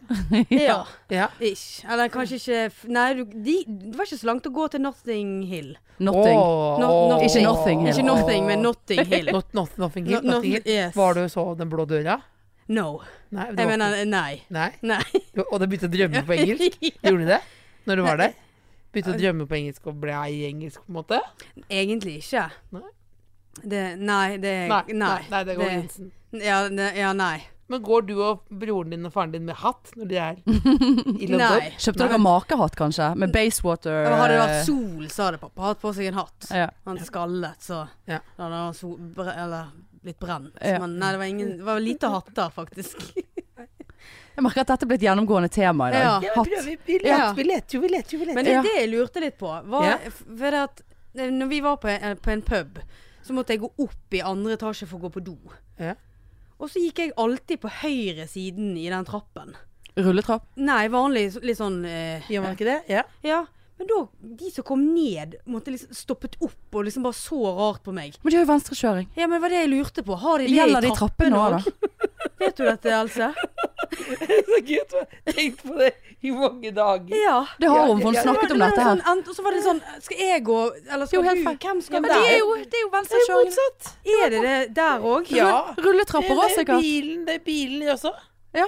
[SPEAKER 2] Ja.
[SPEAKER 3] Ja.
[SPEAKER 2] Ish. Eller kanskje ikke f- Nei, du, de, det var ikke så langt å gå til Notting Hill.
[SPEAKER 1] Nothing.
[SPEAKER 3] Åh.
[SPEAKER 2] Not- not-
[SPEAKER 1] Ikke Nothing Hill.
[SPEAKER 2] Ikke Notting, men Notting Hill.
[SPEAKER 3] Not, not, nothing hill,
[SPEAKER 2] Not- not-
[SPEAKER 3] nothing hill.
[SPEAKER 2] yes.
[SPEAKER 3] Var du så Den blå døra?
[SPEAKER 2] No.
[SPEAKER 3] Nei. det
[SPEAKER 2] Jeg
[SPEAKER 3] var
[SPEAKER 2] mener
[SPEAKER 3] ikke-
[SPEAKER 2] nei.
[SPEAKER 3] Nei.
[SPEAKER 2] Nei.
[SPEAKER 3] Du- Og du begynte å drømme på engelsk? Gjorde du det? Når du var der? Begynte å drømme på engelsk og ble i engelsk, på en måte?
[SPEAKER 2] Egentlig ikke.
[SPEAKER 3] Nei.
[SPEAKER 2] Det, nei, det
[SPEAKER 3] Nei. Nei, nei det går Jensen.
[SPEAKER 2] Ja, ne, ja, nei.
[SPEAKER 3] Men går du og broren din og faren din med hatt når de er i London?
[SPEAKER 2] Nei.
[SPEAKER 1] Kjøpte dere makehatt, kanskje? Med Basewater
[SPEAKER 2] Men hadde det
[SPEAKER 3] Eh.
[SPEAKER 2] vært sol, så hadde pappa hatt på seg en hatt.
[SPEAKER 1] eh, ja.
[SPEAKER 2] Han skallet, så
[SPEAKER 3] Ja.
[SPEAKER 2] da hadde han sol, bre, eller blitt brent.
[SPEAKER 1] Ja.
[SPEAKER 2] Men nei, det var, ingen, det var lite hatter, faktisk.
[SPEAKER 1] Jeg merker at dette ble et gjennomgående tema i
[SPEAKER 2] Ja.
[SPEAKER 1] dag.
[SPEAKER 3] Ja, men
[SPEAKER 1] Hatt.
[SPEAKER 3] prøv, vi, vi,
[SPEAKER 2] Ja.
[SPEAKER 3] leter, vi leter jo, vi leter jo. Vi leter.
[SPEAKER 2] Men det,
[SPEAKER 1] Ja.
[SPEAKER 2] det jeg lurte litt på, var
[SPEAKER 3] Ja.
[SPEAKER 2] f- for det at eh, når vi var på en, på en pub, så måtte jeg gå opp i andre etasje for å gå på do.
[SPEAKER 3] Ja.
[SPEAKER 2] Og så gikk jeg alltid på høyre siden i den trappen.
[SPEAKER 1] Rulletrapp.
[SPEAKER 2] Nei, vanlig så- litt sånn eh,
[SPEAKER 3] Gjør man ikke det? Ja.
[SPEAKER 2] Ja. Men da, de som kom ned, måtte liksom stoppet opp og liksom bare så rart på meg.
[SPEAKER 1] Men de har jo venstrekjøring.
[SPEAKER 2] Ja, men det var det jeg lurte på. Har de det
[SPEAKER 1] Gjelder
[SPEAKER 2] i
[SPEAKER 1] det i trappene òg, da?
[SPEAKER 2] også? Vet du dette, Else?
[SPEAKER 3] Så gøy at du har tenkt på det i mange dager.
[SPEAKER 2] Ja.
[SPEAKER 1] Det har hun, for hun
[SPEAKER 3] Ja, ja, ja.
[SPEAKER 1] snakket om dette her.
[SPEAKER 2] Sånn, ent- og så var det sånn Skal jeg gå,
[SPEAKER 1] Jo,
[SPEAKER 2] eller skal
[SPEAKER 1] helt
[SPEAKER 2] du?
[SPEAKER 1] feil.
[SPEAKER 2] Hvem skal
[SPEAKER 3] Ja, men
[SPEAKER 2] gå?
[SPEAKER 3] det er jo-
[SPEAKER 1] det er jo
[SPEAKER 3] Det er jo motsatt.
[SPEAKER 2] Er det det der òg?
[SPEAKER 3] Ja.
[SPEAKER 1] Rulletrapper òg,
[SPEAKER 3] Det er
[SPEAKER 1] sikkert.
[SPEAKER 3] bilen, det er bilen også.
[SPEAKER 1] Ja.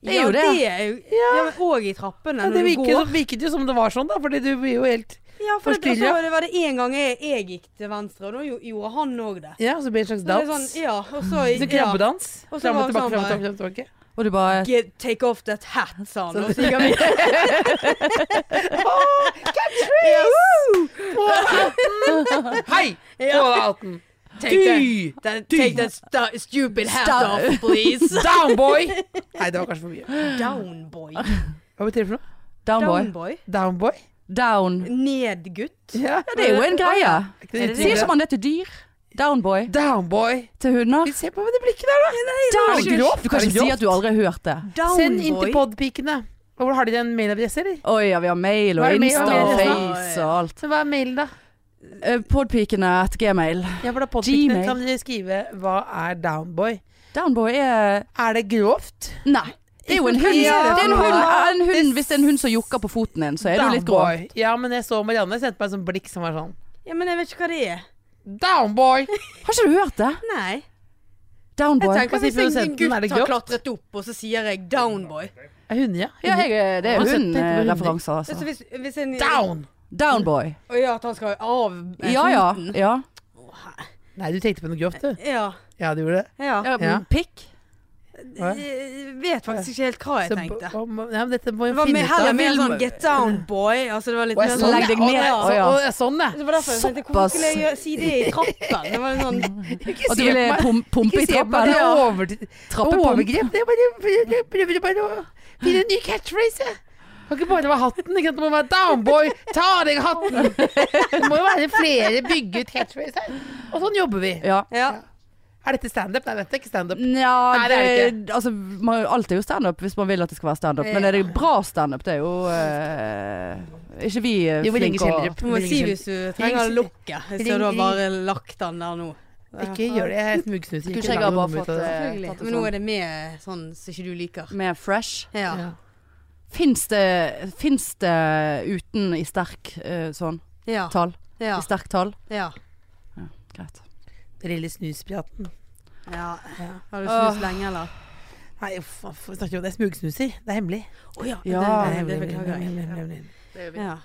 [SPEAKER 1] Det er jo det.
[SPEAKER 2] Ja, det er jo ja. men Og i trappene
[SPEAKER 3] Ja,
[SPEAKER 2] når
[SPEAKER 3] det
[SPEAKER 2] du
[SPEAKER 3] virket,
[SPEAKER 2] går.
[SPEAKER 3] som- virket jo som det var sånn, da. Fordi du blir jo helt
[SPEAKER 2] Ja, for det, og
[SPEAKER 3] forstyrret.
[SPEAKER 2] så var det- var det en gang jeg, jeg gikk til venstre, og da gjo- gjorde han òg det.
[SPEAKER 3] Ja, og så blir det en slags
[SPEAKER 2] Så det er
[SPEAKER 3] dans.
[SPEAKER 2] sånn, ja, og så,
[SPEAKER 3] Så
[SPEAKER 2] ja.
[SPEAKER 3] krabbedans.
[SPEAKER 2] Og så
[SPEAKER 3] Fram og
[SPEAKER 2] var det
[SPEAKER 3] tilbake,
[SPEAKER 2] sånn
[SPEAKER 3] fram og
[SPEAKER 2] bare-
[SPEAKER 3] tilbake. Fram og tilbake.
[SPEAKER 1] Og du bare
[SPEAKER 2] Get, take off that hat, sa han.
[SPEAKER 3] Så-
[SPEAKER 2] Og så gikk han videre.
[SPEAKER 3] Hei! Få deg hatten.
[SPEAKER 2] Take that,
[SPEAKER 3] Dy!
[SPEAKER 2] that, take that stu stupid hat off, please.
[SPEAKER 3] Down, boy! Nei, det var kanskje for mye.
[SPEAKER 2] Down, boy.
[SPEAKER 3] Hva betyr det for noe?
[SPEAKER 1] Down, boy.
[SPEAKER 2] Down, boy.
[SPEAKER 3] Down, boy?
[SPEAKER 1] Down.
[SPEAKER 2] Ned, gutt.
[SPEAKER 3] Ja.
[SPEAKER 1] Det er jo en greie.
[SPEAKER 3] Er ikke det
[SPEAKER 1] Sier ikke
[SPEAKER 3] uttrykket?
[SPEAKER 1] man det til dyr? Down, boy.
[SPEAKER 3] Down, boy.
[SPEAKER 1] Til hunder?
[SPEAKER 3] Vi ser på med det blikket der, da.
[SPEAKER 1] Down.
[SPEAKER 3] det grovt?
[SPEAKER 1] Du kan
[SPEAKER 3] Er det
[SPEAKER 1] ikke si
[SPEAKER 3] grovt?
[SPEAKER 1] at du aldri har hørt det.
[SPEAKER 2] Down,
[SPEAKER 3] Send inn til
[SPEAKER 2] boy.
[SPEAKER 3] podpikene. Hvor har de den mailadresse, eller?
[SPEAKER 1] Oi, ja, vi har mail
[SPEAKER 3] Hva er
[SPEAKER 1] og
[SPEAKER 3] det mail-
[SPEAKER 1] Insta
[SPEAKER 3] hva er
[SPEAKER 1] og
[SPEAKER 3] det
[SPEAKER 2] mail?
[SPEAKER 1] Face og alt.
[SPEAKER 3] Så hva er mailen, da?
[SPEAKER 1] Eh, Podpikene at gmail.
[SPEAKER 3] Ja, for da podpikene
[SPEAKER 1] Gmail.
[SPEAKER 3] kan dere skrive hva er down, boy?
[SPEAKER 1] Down, boy er
[SPEAKER 3] Er det grovt?
[SPEAKER 1] Nei. Det er jo en hund. Det
[SPEAKER 3] Ja.
[SPEAKER 1] er en hund, en hund. Hvis det er en hund som jokker på foten din, så er du
[SPEAKER 3] Down
[SPEAKER 1] litt grov.
[SPEAKER 3] boy. Ja, men jeg så Marianne sendte meg et sånt blikk som var sånn
[SPEAKER 2] Ja, men jeg vet ikke hva det er.
[SPEAKER 3] Down, boy!
[SPEAKER 1] Har ikke du hørt det?
[SPEAKER 2] Nei.
[SPEAKER 1] Down boy.
[SPEAKER 3] tenker- Hva
[SPEAKER 2] Hva hvis
[SPEAKER 3] sier
[SPEAKER 2] en, en
[SPEAKER 3] produsenten? Er det
[SPEAKER 2] gutt har
[SPEAKER 3] grovt?
[SPEAKER 2] klatret opp, og så sier jeg 'down, boy'?
[SPEAKER 3] Er Hunde, ja.
[SPEAKER 1] Ja, jeg, er- det er
[SPEAKER 3] Har du sett Petter med hunder?
[SPEAKER 1] hundereferanser,
[SPEAKER 2] Så
[SPEAKER 1] altså.
[SPEAKER 2] hvis, hvis en
[SPEAKER 3] Down!
[SPEAKER 1] Down boy.
[SPEAKER 2] Å ja, at han skal av eh,
[SPEAKER 1] Ja ja.
[SPEAKER 2] foten.
[SPEAKER 1] ja.
[SPEAKER 2] Å, her-
[SPEAKER 3] Nei, du tenkte på noe grovt, du.
[SPEAKER 2] Ja.
[SPEAKER 3] Ja, du gjorde det.
[SPEAKER 2] ja.
[SPEAKER 1] ja.
[SPEAKER 3] Ja.
[SPEAKER 1] men Pikk?
[SPEAKER 2] Jeg vet faktisk ikke helt hva jeg
[SPEAKER 3] Så
[SPEAKER 2] tenkte.
[SPEAKER 3] b- om- Ja, men dette må vi
[SPEAKER 2] Det var
[SPEAKER 3] finne
[SPEAKER 2] mer,
[SPEAKER 3] ut av.
[SPEAKER 2] heller mer
[SPEAKER 1] Vil-
[SPEAKER 2] sånn 'get down, boy'. Altså det var litt
[SPEAKER 3] Å,
[SPEAKER 2] mer
[SPEAKER 3] ja,
[SPEAKER 2] sånn
[SPEAKER 1] Legg deg
[SPEAKER 3] ja. Å,
[SPEAKER 1] ned.
[SPEAKER 3] ja,
[SPEAKER 1] Å,
[SPEAKER 3] så-
[SPEAKER 1] ja.
[SPEAKER 3] å, ja, sånn, ja.
[SPEAKER 2] Det var derfor jeg tenkte Hvorfor
[SPEAKER 1] Såpass.
[SPEAKER 2] skulle jeg gjøre- si det i trappen? Det var litt sånn
[SPEAKER 1] At du ville pum pumpe i
[SPEAKER 3] Ikke se på meg,
[SPEAKER 1] trappen?
[SPEAKER 3] det er over,
[SPEAKER 1] Trappepump?
[SPEAKER 3] overgrep. Det er bare, jeg prøver bare å finne en ny catchphrase. jeg. Det kan ikke bare være hatten. Ikke? sant? Det må være 'downboy, ta av deg hatten'. Det må jo være flere bygget catchphraser. Og sånn jobber vi.
[SPEAKER 1] Ja.
[SPEAKER 2] Ja.
[SPEAKER 3] Er dette standup? Nei, dette er ikke standup.
[SPEAKER 1] Nja,
[SPEAKER 3] Nei, det er det
[SPEAKER 1] det- altså, man, alt er jo standup hvis man vil at det skal være standup. Men er det bra standup? Det er jo eh, Ikke vi eh,
[SPEAKER 3] Jo, vi
[SPEAKER 1] flinke
[SPEAKER 3] ringer
[SPEAKER 1] å
[SPEAKER 3] Kjellerup.
[SPEAKER 2] Du må si hvis du trenger lukket. Hvis
[SPEAKER 3] Ring-
[SPEAKER 2] du har
[SPEAKER 3] ring-
[SPEAKER 2] bare lagt den der nå.
[SPEAKER 3] Ikke gjør det. Jeg smugsnuser.
[SPEAKER 1] Skulle
[SPEAKER 3] ikke.
[SPEAKER 1] ikke jeg
[SPEAKER 3] La
[SPEAKER 1] ha
[SPEAKER 3] meg
[SPEAKER 1] bare
[SPEAKER 3] komme ut
[SPEAKER 1] fått
[SPEAKER 3] av det.
[SPEAKER 1] eh,
[SPEAKER 2] Selvfølgelig.
[SPEAKER 1] tatt det
[SPEAKER 2] Men nå
[SPEAKER 1] sånn?
[SPEAKER 2] er det med sånn som ikke du liker.
[SPEAKER 1] Mer fresh?
[SPEAKER 2] Ja.
[SPEAKER 3] Ja.
[SPEAKER 1] Fins det, finnes det uten i sterk eh, sånn
[SPEAKER 2] Ja.
[SPEAKER 1] tall?
[SPEAKER 2] Ja.
[SPEAKER 1] I sterk tall?
[SPEAKER 2] ja.
[SPEAKER 1] Greit.
[SPEAKER 3] Den lille snuspraten.
[SPEAKER 2] ja.
[SPEAKER 3] Ja.
[SPEAKER 2] Har du snust lenge, eller?
[SPEAKER 3] Nei, uff, uff, vi snakker jo om det. Jeg smugsnuser. Det er hemmelig.
[SPEAKER 2] Å ja.
[SPEAKER 1] Ja,
[SPEAKER 3] Det er
[SPEAKER 2] Det,
[SPEAKER 3] hemmelig,
[SPEAKER 2] det beklager
[SPEAKER 3] hemmelig,
[SPEAKER 2] jeg.
[SPEAKER 3] hemmelig, hemmelig.
[SPEAKER 2] Ja.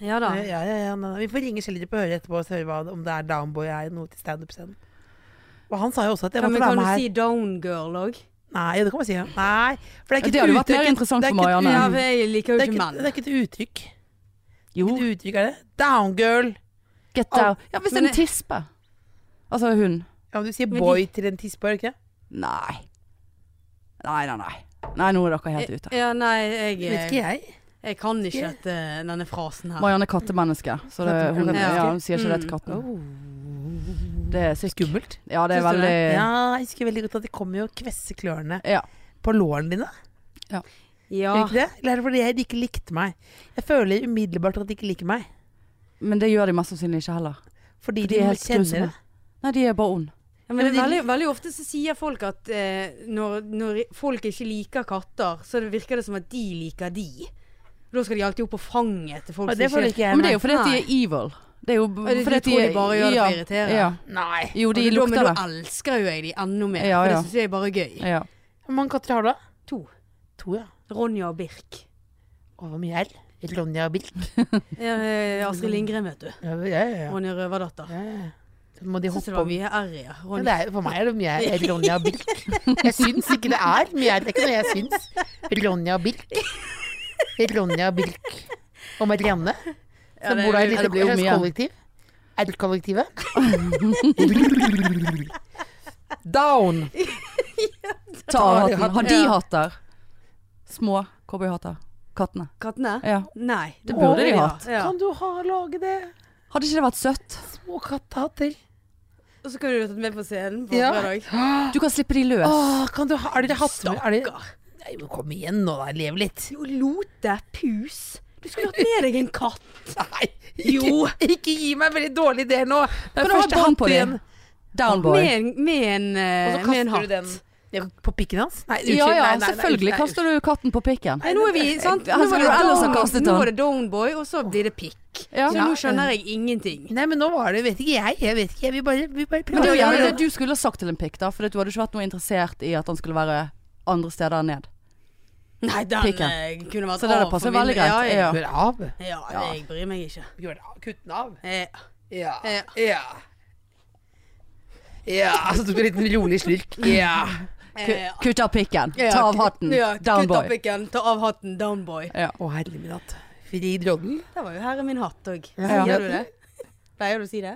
[SPEAKER 2] ja da.
[SPEAKER 3] Eh, Ja, ja, ja, nei, nei. Vi får ringe Kjellerup og høre etterpå og høre hva- om det er downboy er noe til standup-scenen. Og han sa jo også at jeg
[SPEAKER 2] Ja,
[SPEAKER 3] måtte
[SPEAKER 2] men
[SPEAKER 3] være
[SPEAKER 2] kan
[SPEAKER 3] med
[SPEAKER 2] du
[SPEAKER 3] her.
[SPEAKER 2] si down girl òg?
[SPEAKER 3] Nei, ja, det kan man si. Ja. Nei, for det er ikke
[SPEAKER 1] Det
[SPEAKER 3] et
[SPEAKER 1] hadde vært
[SPEAKER 3] uttrykk-
[SPEAKER 1] mer interessant
[SPEAKER 3] det er
[SPEAKER 1] for
[SPEAKER 3] ikke
[SPEAKER 1] Marianne.
[SPEAKER 3] et-
[SPEAKER 2] Ja,
[SPEAKER 1] Ja,
[SPEAKER 2] for jeg liker
[SPEAKER 3] Det
[SPEAKER 2] jo
[SPEAKER 3] er
[SPEAKER 2] ikke
[SPEAKER 3] ikke, det
[SPEAKER 2] menn.
[SPEAKER 3] er ikke et uttrykk.
[SPEAKER 1] Jo,
[SPEAKER 3] Et uttrykk er det. Downgirl.
[SPEAKER 1] get down. Ja, hvis
[SPEAKER 2] Men
[SPEAKER 1] en
[SPEAKER 2] det-
[SPEAKER 1] tispe. Altså hun.
[SPEAKER 3] Ja, men du sier
[SPEAKER 2] Men de-
[SPEAKER 3] boy til en tispe, gjør du ikke det?
[SPEAKER 1] Nei. Nei, nei, nei. Nei, nå er dere helt ute.
[SPEAKER 2] Ja, nei,
[SPEAKER 3] Det vet
[SPEAKER 2] jeg,
[SPEAKER 3] ikke
[SPEAKER 2] eh,
[SPEAKER 3] jeg.
[SPEAKER 2] jeg kan ikke dette, denne frasen her.
[SPEAKER 1] Marianne er kattemenneske, så det, hun,
[SPEAKER 3] Kattemenneske?
[SPEAKER 1] ja, hun sier ikke det
[SPEAKER 2] Mm.
[SPEAKER 1] til katten. Oh. Det er sykt.
[SPEAKER 3] Skummelt.
[SPEAKER 1] Ja, det er
[SPEAKER 2] Syns Oh. du det?
[SPEAKER 1] veldig
[SPEAKER 3] Ja, jeg husker veldig godt at de kom jo og kvesse klørne
[SPEAKER 1] Ja.
[SPEAKER 3] på lårene dine.
[SPEAKER 2] Ja.
[SPEAKER 3] Gjør de ikke det? Eller er det fordi jeg- de ikke likte meg? Jeg føler umiddelbart at de ikke liker meg.
[SPEAKER 1] Men det gjør de mest sannsynlig ikke heller.
[SPEAKER 3] Fordi
[SPEAKER 1] For
[SPEAKER 3] de,
[SPEAKER 1] de er helt
[SPEAKER 3] kjenner
[SPEAKER 1] grusomme.
[SPEAKER 3] det.
[SPEAKER 1] Nei, de er bare ond.
[SPEAKER 2] Ja, men det er
[SPEAKER 3] Men de-
[SPEAKER 2] veldig, veldig ofte så sier folk at eh, når, når folk ikke liker katter, så det virker det som at de liker de. Da skal de alltid opp på fanget til folk
[SPEAKER 3] Og det
[SPEAKER 2] som
[SPEAKER 3] føler
[SPEAKER 2] ikke
[SPEAKER 3] ikke jeg.
[SPEAKER 1] Men det er jo
[SPEAKER 3] nei.
[SPEAKER 1] fordi at de
[SPEAKER 2] Nei.
[SPEAKER 1] er evil. Det er jo b-
[SPEAKER 2] Ja, de-
[SPEAKER 1] fordi
[SPEAKER 2] de
[SPEAKER 1] at
[SPEAKER 2] tror de bare gjør det for å
[SPEAKER 1] ja,
[SPEAKER 2] irritere.
[SPEAKER 1] Ja.
[SPEAKER 3] Nei.
[SPEAKER 1] Jo, de
[SPEAKER 2] Og da-
[SPEAKER 1] lukter
[SPEAKER 2] Men
[SPEAKER 1] det.
[SPEAKER 2] da elsker jo jeg de enda mer,
[SPEAKER 1] Ja,
[SPEAKER 2] for
[SPEAKER 1] ja.
[SPEAKER 2] det syns jeg er bare gøy.
[SPEAKER 1] Ja.
[SPEAKER 3] Hvor mange katter har du, da?
[SPEAKER 2] To.
[SPEAKER 3] To, ja.
[SPEAKER 2] Ronja og Birk.
[SPEAKER 3] Og hvor mye er Ronja og Bill?
[SPEAKER 2] Eh, Astrid Lindgren, vet du.
[SPEAKER 3] Ja, ja, ja.
[SPEAKER 2] Ronja Røverdatter.
[SPEAKER 3] Ja, ja. Så må de
[SPEAKER 2] Jeg syns
[SPEAKER 3] hoppe
[SPEAKER 2] det var
[SPEAKER 3] om
[SPEAKER 2] mye r i
[SPEAKER 3] Ja,
[SPEAKER 2] Ronja.
[SPEAKER 3] det er, for meg er det mye er Ronja og Birk. Jeg syns ikke det er mye er. Det er ikke noe jeg syns. Ronja og Birk. Ronja og Birk. Og Marianne, som
[SPEAKER 1] det-
[SPEAKER 3] bor der i
[SPEAKER 1] ja,
[SPEAKER 3] et
[SPEAKER 1] det blir jo
[SPEAKER 3] lite
[SPEAKER 1] mye.
[SPEAKER 3] kollektiv. R-kollektivet. Down!
[SPEAKER 1] Ta av hatten. Har de
[SPEAKER 2] Ja.
[SPEAKER 1] hatt der? Små cowboyhatter. Kattene.
[SPEAKER 2] Kattene?
[SPEAKER 1] Ja.
[SPEAKER 2] Nei.
[SPEAKER 1] Det burde de
[SPEAKER 2] Ja,
[SPEAKER 1] hatt.
[SPEAKER 2] Ja.
[SPEAKER 3] Kan du ha, lage det?
[SPEAKER 1] Hadde ikke det vært søtt?
[SPEAKER 3] Små kattehatter.
[SPEAKER 2] Og så kunne du tatt med på scenen på
[SPEAKER 3] Ja.
[SPEAKER 2] fredag.
[SPEAKER 1] Du kan slippe de løs.
[SPEAKER 3] Åh, kan du ha, er dere hatt med er dere- Nei, men Kom igjen nå, da. Lev litt.
[SPEAKER 2] Jo, Lote, pus. Du skulle hatt med deg en katt.
[SPEAKER 3] Nei, ikke, ikke gi meg veldig dårlige ideer nå. Det
[SPEAKER 1] Kan
[SPEAKER 3] er
[SPEAKER 1] du ha
[SPEAKER 3] første
[SPEAKER 1] bånd på
[SPEAKER 3] hatt igjen.
[SPEAKER 1] dem? Downboy.
[SPEAKER 2] Med en, med en, eh,
[SPEAKER 3] Og så
[SPEAKER 2] med en
[SPEAKER 3] kaster
[SPEAKER 2] hatt.
[SPEAKER 3] du den ja, på pikken hans? Nei,
[SPEAKER 1] Ja ja,
[SPEAKER 3] nei, nei, nei,
[SPEAKER 1] selvfølgelig
[SPEAKER 3] nei,
[SPEAKER 1] kaster du katten på pikken.
[SPEAKER 2] Nei, nå er vi, sant?
[SPEAKER 1] Her
[SPEAKER 2] Nå
[SPEAKER 1] skulle
[SPEAKER 2] var
[SPEAKER 1] du
[SPEAKER 2] det
[SPEAKER 1] ellers ha
[SPEAKER 2] down-
[SPEAKER 1] kastet
[SPEAKER 2] Nå
[SPEAKER 1] den.
[SPEAKER 2] var det downboy, og så blir det pikk.
[SPEAKER 1] Ja.
[SPEAKER 2] Så nå skjønner jeg ingenting.
[SPEAKER 3] Nei, men nå var det Vet ikke jeg. Jeg vet ikke, jeg vil bare, vi bare
[SPEAKER 1] Men det er jo
[SPEAKER 3] prate.
[SPEAKER 1] gjerne det du skulle ha sagt til en pikk, da. For du hadde ikke vært noe interessert i at han skulle være andre steder enn ned.
[SPEAKER 2] Nei, den
[SPEAKER 1] Pikken.
[SPEAKER 2] eh, kunne vært
[SPEAKER 1] Så det der
[SPEAKER 2] av
[SPEAKER 1] passer
[SPEAKER 2] for min-
[SPEAKER 1] veldig greit,
[SPEAKER 2] Ja, ja.
[SPEAKER 1] ja.
[SPEAKER 3] Gjør det av.
[SPEAKER 2] ja, jeg bryr meg ikke.
[SPEAKER 3] Gjør det av. Kutt den av.
[SPEAKER 2] Eh,
[SPEAKER 3] Ja.
[SPEAKER 2] Ja.
[SPEAKER 3] Ja. Ja, så tok du en liten rolig slurk. Ja.
[SPEAKER 1] Ku-
[SPEAKER 2] eh,
[SPEAKER 1] Kutt av pikken.
[SPEAKER 2] ja,
[SPEAKER 1] Ta av hatten.
[SPEAKER 2] Ja, Kutt av
[SPEAKER 1] Downboy.
[SPEAKER 2] pikken, ta av hatten, downboy.
[SPEAKER 3] Å, herre min hatt. Fri drodden.
[SPEAKER 2] Der var jo herre min hatt òg.
[SPEAKER 3] Ja.
[SPEAKER 2] Sier du det? Pleier du å si det?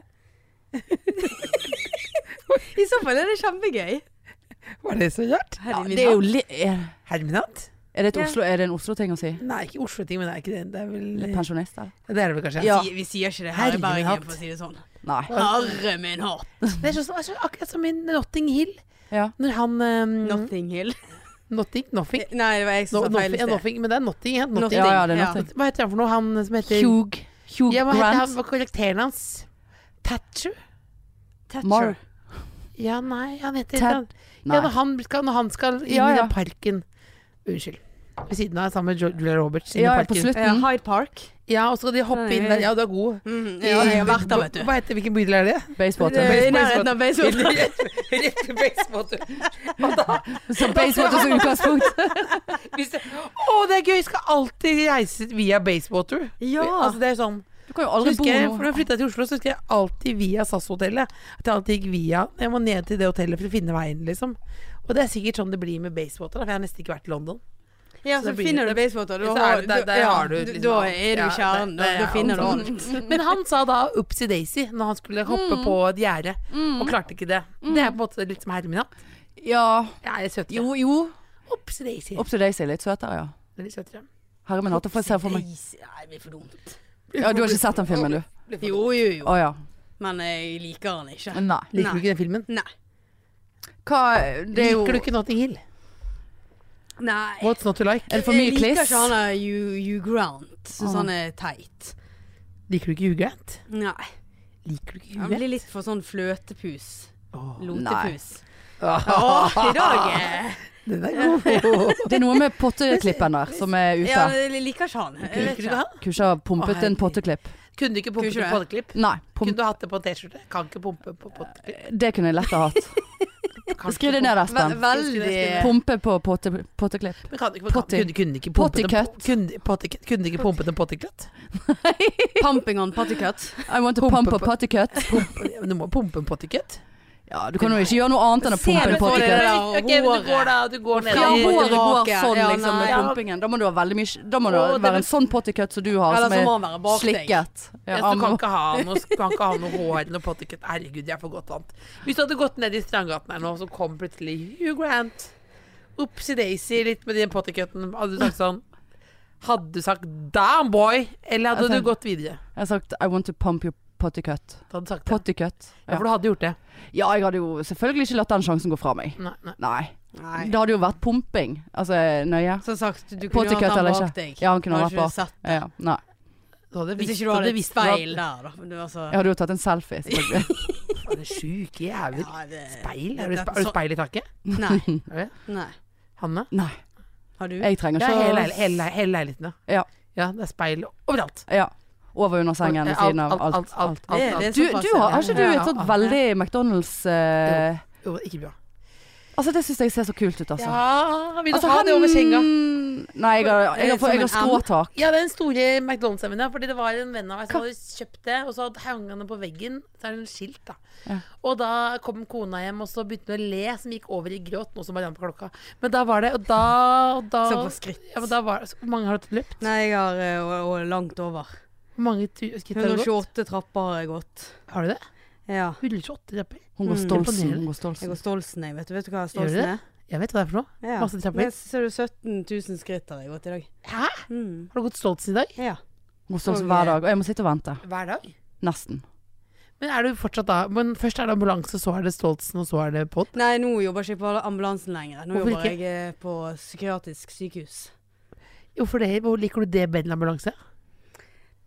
[SPEAKER 2] I så fall er det kjempegøy.
[SPEAKER 3] Var det så rart?
[SPEAKER 1] Ja,
[SPEAKER 2] Herre min
[SPEAKER 1] det er jo
[SPEAKER 2] hatt.
[SPEAKER 1] li... Er
[SPEAKER 3] Herre min hatt?
[SPEAKER 1] er det, et
[SPEAKER 2] Ja.
[SPEAKER 1] Oslo, er det en Oslo-ting å si?
[SPEAKER 3] Nei, ikke Oslo-ting, men det er ikke det. Det er vel
[SPEAKER 1] Pensjonist, eller?
[SPEAKER 3] Det er det vel kanskje.
[SPEAKER 1] Ja.
[SPEAKER 2] Vi, vi sier ikke det her
[SPEAKER 3] Herre min
[SPEAKER 2] i Bergen,
[SPEAKER 3] hatt.
[SPEAKER 2] for å si det sånn.
[SPEAKER 1] Nei.
[SPEAKER 2] Herre min hatt.
[SPEAKER 3] Det er sånn som- altså, akkurat som i Notting Hill.
[SPEAKER 1] Ja.
[SPEAKER 3] Når han
[SPEAKER 1] Mm.
[SPEAKER 3] ehm,
[SPEAKER 2] Nothing Hill.
[SPEAKER 3] Notting, Nothing.
[SPEAKER 2] Nei, det var jeg
[SPEAKER 3] No,
[SPEAKER 2] som sa
[SPEAKER 3] nothing,
[SPEAKER 2] feil i
[SPEAKER 3] ja,
[SPEAKER 2] sted.
[SPEAKER 3] nothing, men det er Notting. Ja. Notting.
[SPEAKER 2] Notting.
[SPEAKER 1] Ja, ja, det er nothing.
[SPEAKER 3] Hva heter han for noe? Han som heter
[SPEAKER 1] Hugh, Hugh
[SPEAKER 3] Ja, hva heter han?
[SPEAKER 1] Grant.
[SPEAKER 3] Hva er karakteren hans? Thatcher?
[SPEAKER 2] Thatcher.
[SPEAKER 1] Mar
[SPEAKER 3] Ja, nei, han heter
[SPEAKER 1] Tat-
[SPEAKER 3] han.
[SPEAKER 1] Nei.
[SPEAKER 3] Ja, når han skal, når han skal inn
[SPEAKER 1] Ja,
[SPEAKER 3] i
[SPEAKER 1] ja.
[SPEAKER 3] den parken Unnskyld. Ved siden av sammen med Jo- Julia Roberts. inn i
[SPEAKER 1] Ja, ja, på
[SPEAKER 3] parken.
[SPEAKER 1] slutten.
[SPEAKER 2] Ja, Hyde Park.
[SPEAKER 3] Ja, og så skal de hoppe inn der. Ja, du er god.
[SPEAKER 2] Mm, ja, jeg har vært der, vet
[SPEAKER 3] Hva
[SPEAKER 2] du.
[SPEAKER 3] heter, hvilken bydel er det?
[SPEAKER 1] Basewater.
[SPEAKER 2] I nærheten av Beisvoll.
[SPEAKER 3] Rett rett ved Basewater. Og da,
[SPEAKER 1] Så Basewater som utgangspunkt.
[SPEAKER 3] hvis det, å, det er gøy! Skal alltid reise via Basewater.
[SPEAKER 2] Ja.
[SPEAKER 3] Altså, det er sånn
[SPEAKER 1] Du kan jo
[SPEAKER 3] Så
[SPEAKER 1] aldri bo
[SPEAKER 3] husker jeg, for
[SPEAKER 1] noe.
[SPEAKER 3] da jeg flytta til Oslo, så husker jeg alltid via SAS-hotellet. At jeg alltid gikk via Jeg må ned til det hotellet for å finne veien, liksom. Og det er sikkert sånn det blir med Basewater, da, for jeg har nesten ikke vært i London.
[SPEAKER 2] Ja,
[SPEAKER 3] Så
[SPEAKER 2] så
[SPEAKER 3] blir
[SPEAKER 2] finner
[SPEAKER 3] det-
[SPEAKER 2] du Beisvoll.
[SPEAKER 3] Så er det- der- der har du liksom
[SPEAKER 2] Da
[SPEAKER 3] alt.
[SPEAKER 2] er du
[SPEAKER 3] Ja,
[SPEAKER 2] i kjernen.
[SPEAKER 3] det-
[SPEAKER 2] Da,
[SPEAKER 3] det
[SPEAKER 2] da
[SPEAKER 3] er
[SPEAKER 2] finner du
[SPEAKER 3] alt. sånn.
[SPEAKER 2] alt.
[SPEAKER 3] Men han sa da Upsi Daisy når han skulle hoppe på et gjerde, og klarte ikke det. Det er på en måte litt som Hermina.
[SPEAKER 1] Ja,
[SPEAKER 3] Jeg er søtere.
[SPEAKER 1] jo, jo.
[SPEAKER 3] Upsi Daisy.
[SPEAKER 1] Opp til Daisy, litt søtere, ja.
[SPEAKER 3] Veldig søtere.
[SPEAKER 1] Herre min hatt, får jeg se for meg.
[SPEAKER 2] Nei, det blir for dumt.
[SPEAKER 1] Ja, du har ikke sett den filmen, du?
[SPEAKER 2] Jo, jo, jo.
[SPEAKER 1] Å ja.
[SPEAKER 2] men jeg liker den ikke.
[SPEAKER 1] Nei.
[SPEAKER 3] Liker
[SPEAKER 2] Nei.
[SPEAKER 3] du ikke den filmen?
[SPEAKER 2] Nei.
[SPEAKER 1] Hva, det er jo
[SPEAKER 3] Liker du ikke Notting Hill?
[SPEAKER 2] Nei.
[SPEAKER 3] What's not to like?
[SPEAKER 1] Er det for mye
[SPEAKER 2] Jeg
[SPEAKER 1] kliss?
[SPEAKER 2] liker ikke han der Hugh Hugh Grant. Syns
[SPEAKER 1] Ah.
[SPEAKER 2] han er teit.
[SPEAKER 3] Liker du ikke Hugh Grant?
[SPEAKER 2] Nei.
[SPEAKER 3] Liker du ikke
[SPEAKER 2] Han
[SPEAKER 3] Hugh Grant?
[SPEAKER 2] blir litt for sånn fløtepus.
[SPEAKER 3] Åh.
[SPEAKER 2] Lotepus.
[SPEAKER 3] Åh,
[SPEAKER 2] Åh, i dag eh.
[SPEAKER 3] Den er god.
[SPEAKER 1] Det er noe med potteklippen der som er ute.
[SPEAKER 2] Ja, jeg liker ikke han. Jeg
[SPEAKER 3] Liker
[SPEAKER 2] vet
[SPEAKER 3] du ikke
[SPEAKER 2] ikke.
[SPEAKER 3] han?
[SPEAKER 1] Kunne ikke ha
[SPEAKER 3] Å,
[SPEAKER 1] pumpet en
[SPEAKER 3] herregud.
[SPEAKER 1] potteklipp.
[SPEAKER 3] Kunne du ikke
[SPEAKER 2] Kunne
[SPEAKER 3] pumpe
[SPEAKER 2] ikke
[SPEAKER 3] på
[SPEAKER 2] det?
[SPEAKER 3] podklipp?
[SPEAKER 1] Nei, pum
[SPEAKER 3] Kunne du hatt det på en T-skjorte? Kan ikke pumpe på podklipp.
[SPEAKER 1] det kunne jeg lett ha hatt.
[SPEAKER 3] Kan
[SPEAKER 1] Eh, Skriv
[SPEAKER 3] ikke
[SPEAKER 1] det ned,
[SPEAKER 2] Ve
[SPEAKER 1] Espen.
[SPEAKER 2] veldig
[SPEAKER 1] Pumpe på potte, potteklipp.
[SPEAKER 3] Men kan, ikke- kan,
[SPEAKER 1] Potty.
[SPEAKER 3] kunne, kunne, ikke pumpet en,
[SPEAKER 1] Pottycut.
[SPEAKER 3] kunne, pottycut- kunne du ikke pumpet en pottycut?
[SPEAKER 2] Pumping on pattycut.
[SPEAKER 1] I want to
[SPEAKER 3] Pumpe
[SPEAKER 1] pump a
[SPEAKER 3] på-
[SPEAKER 1] pottecut.
[SPEAKER 3] Pumpe- Du må pumpe en pottycut.
[SPEAKER 1] Ja, du kan jo ikke gjøre noe annet enn å
[SPEAKER 2] Ser
[SPEAKER 1] pumpe
[SPEAKER 2] du
[SPEAKER 1] en
[SPEAKER 2] på det
[SPEAKER 1] pottecut.
[SPEAKER 2] der?
[SPEAKER 3] Ok, men du går da du går ned
[SPEAKER 1] Ja,
[SPEAKER 3] i-
[SPEAKER 1] håret går
[SPEAKER 2] tilbake.
[SPEAKER 1] sånn
[SPEAKER 2] Ja,
[SPEAKER 1] liksom med
[SPEAKER 2] nei.
[SPEAKER 1] pumpingen. Da må du ha veldig mye Da må det
[SPEAKER 3] Å, det
[SPEAKER 1] være
[SPEAKER 3] blir-
[SPEAKER 1] en sånn pottecut som du har,
[SPEAKER 2] Eller
[SPEAKER 1] som
[SPEAKER 2] så må
[SPEAKER 1] er
[SPEAKER 2] han være bak deg.
[SPEAKER 1] slikket. Ja,
[SPEAKER 3] Ja, så Altså, du kan
[SPEAKER 1] han-
[SPEAKER 3] ikke ha noe, kan ikke ha noe hår eller noe pottycut. Herregud, jeg er for godt vant. Hvis du hadde gått ned i Strandgaten her nå, så kom plutselig Hugh Grant. Upsi daisy litt med den pottycuten. Hadde du sagt sånn Hadde du sagt 'damn boy', eller hadde
[SPEAKER 1] Altså-
[SPEAKER 3] du gått videre?
[SPEAKER 1] Jeg har sagt I want to pump your pottecut.
[SPEAKER 3] Du hadde sagt det.
[SPEAKER 1] Pottecut.
[SPEAKER 3] Ja,
[SPEAKER 1] Ja.
[SPEAKER 3] for du hadde gjort det.
[SPEAKER 1] ja, jeg hadde jo selvfølgelig ikke latt den sjansen gå fra meg.
[SPEAKER 3] Nei, nei.
[SPEAKER 1] Nei.
[SPEAKER 2] Nei.
[SPEAKER 1] Det hadde jo vært pumping. Altså nøye.
[SPEAKER 2] Som sagt, du kunne jo
[SPEAKER 1] Pottecut
[SPEAKER 2] hatt
[SPEAKER 1] eller
[SPEAKER 2] han
[SPEAKER 1] ikke.
[SPEAKER 2] bak deg.
[SPEAKER 1] Ja, han kunne
[SPEAKER 2] Hadde
[SPEAKER 1] vært
[SPEAKER 2] ikke
[SPEAKER 1] bak.
[SPEAKER 2] du sett
[SPEAKER 1] Ja, ja. Nei.
[SPEAKER 3] Du hadde
[SPEAKER 2] Hvis
[SPEAKER 3] visst-
[SPEAKER 2] ikke du hadde
[SPEAKER 3] hadde
[SPEAKER 2] et
[SPEAKER 3] visst at-
[SPEAKER 2] speil der, da. altså. Men det var så-
[SPEAKER 1] Jeg hadde jo tatt en selfie. selvfølgelig.
[SPEAKER 3] Faen, det er Sjuk jævel.
[SPEAKER 2] Ja, det-
[SPEAKER 3] Speil? Har du,
[SPEAKER 2] det-
[SPEAKER 3] spe- har du speil i taket?
[SPEAKER 2] Nei.
[SPEAKER 3] Er det?
[SPEAKER 2] Nei.
[SPEAKER 3] Hanne?
[SPEAKER 1] Nei,
[SPEAKER 2] Har du?
[SPEAKER 1] jeg trenger
[SPEAKER 3] Ja, hele,
[SPEAKER 1] ikke
[SPEAKER 3] leil- hele, leil- hele leiligheten, ja.
[SPEAKER 1] Ja.
[SPEAKER 3] Ja, det er speil overalt.
[SPEAKER 1] Ja. Over under sengen ved
[SPEAKER 3] Alt-
[SPEAKER 1] siden av
[SPEAKER 3] alt- alt-
[SPEAKER 1] alt.
[SPEAKER 3] alt- alt-
[SPEAKER 2] Det-
[SPEAKER 3] alt.
[SPEAKER 2] det-
[SPEAKER 1] Du, du har, har ikke du et
[SPEAKER 3] Ja,
[SPEAKER 1] sånt
[SPEAKER 3] alt.
[SPEAKER 1] veldig McDonald's eh,
[SPEAKER 3] Jo, ikke bra.
[SPEAKER 1] Altså, det syns jeg ser så kult ut, altså.
[SPEAKER 3] Ja, vil du
[SPEAKER 1] Altså,
[SPEAKER 3] ha det over senga?
[SPEAKER 1] Nei, jeg har, jeg har,
[SPEAKER 2] Som
[SPEAKER 1] jeg
[SPEAKER 2] en
[SPEAKER 1] har skråtak.
[SPEAKER 3] Ja, den store McDonald's-hemmen, ja. Fordi det var en venn av meg som hadde kjøpt det, og så hadde hang han det på veggen. Så er det en skilt, da.
[SPEAKER 1] Ja.
[SPEAKER 3] Og da kom kona hjem, og så begynte hun å le, som gikk over i gråt, nå som Marianne på klokka. Men da var det Og da, og da
[SPEAKER 2] Så på skritt.
[SPEAKER 3] Ja, men da var det så- Hvor mange har du løpt?
[SPEAKER 2] Nei, jeg har eh, og- og langt over.
[SPEAKER 3] Hvor mange tu- skritt har du gått?
[SPEAKER 2] 128 trapper har jeg gått.
[SPEAKER 3] Har du det?
[SPEAKER 2] Ja.
[SPEAKER 3] 128 trapper?
[SPEAKER 1] Hun går
[SPEAKER 2] Mm.
[SPEAKER 1] Stolsen.
[SPEAKER 3] Imponerende.
[SPEAKER 1] Hun går
[SPEAKER 2] Jeg
[SPEAKER 1] Stolsen.
[SPEAKER 2] går Stolsen, jeg. Vet du, vet du hva
[SPEAKER 3] Gjør du
[SPEAKER 2] Stolsen
[SPEAKER 3] det?
[SPEAKER 2] er?
[SPEAKER 3] Jeg vet hva det er for noe.
[SPEAKER 2] Ja.
[SPEAKER 3] Masse trapper.
[SPEAKER 2] Men ser du 17 000 skritt har jeg gått i dag.
[SPEAKER 3] Hæ?
[SPEAKER 2] Mm.
[SPEAKER 3] Har du gått Stoltsen i dag?
[SPEAKER 2] Ja.
[SPEAKER 1] Hun går Stolsen hver dag. Og jeg må sitte og vente.
[SPEAKER 3] Hver dag.
[SPEAKER 1] Nesten.
[SPEAKER 3] Men er du fortsatt da Men først er det ambulanse, så er det Stoltsen, og så er det pod?
[SPEAKER 2] Nei, nå jobber jeg ikke på ambulansen lenger. Nå
[SPEAKER 3] Hvorfor
[SPEAKER 2] jobber
[SPEAKER 3] ikke?
[SPEAKER 2] jeg eh, på psykiatrisk sykehus.
[SPEAKER 3] Hvorfor det? Hvor liker du det bedre enn ambulanse?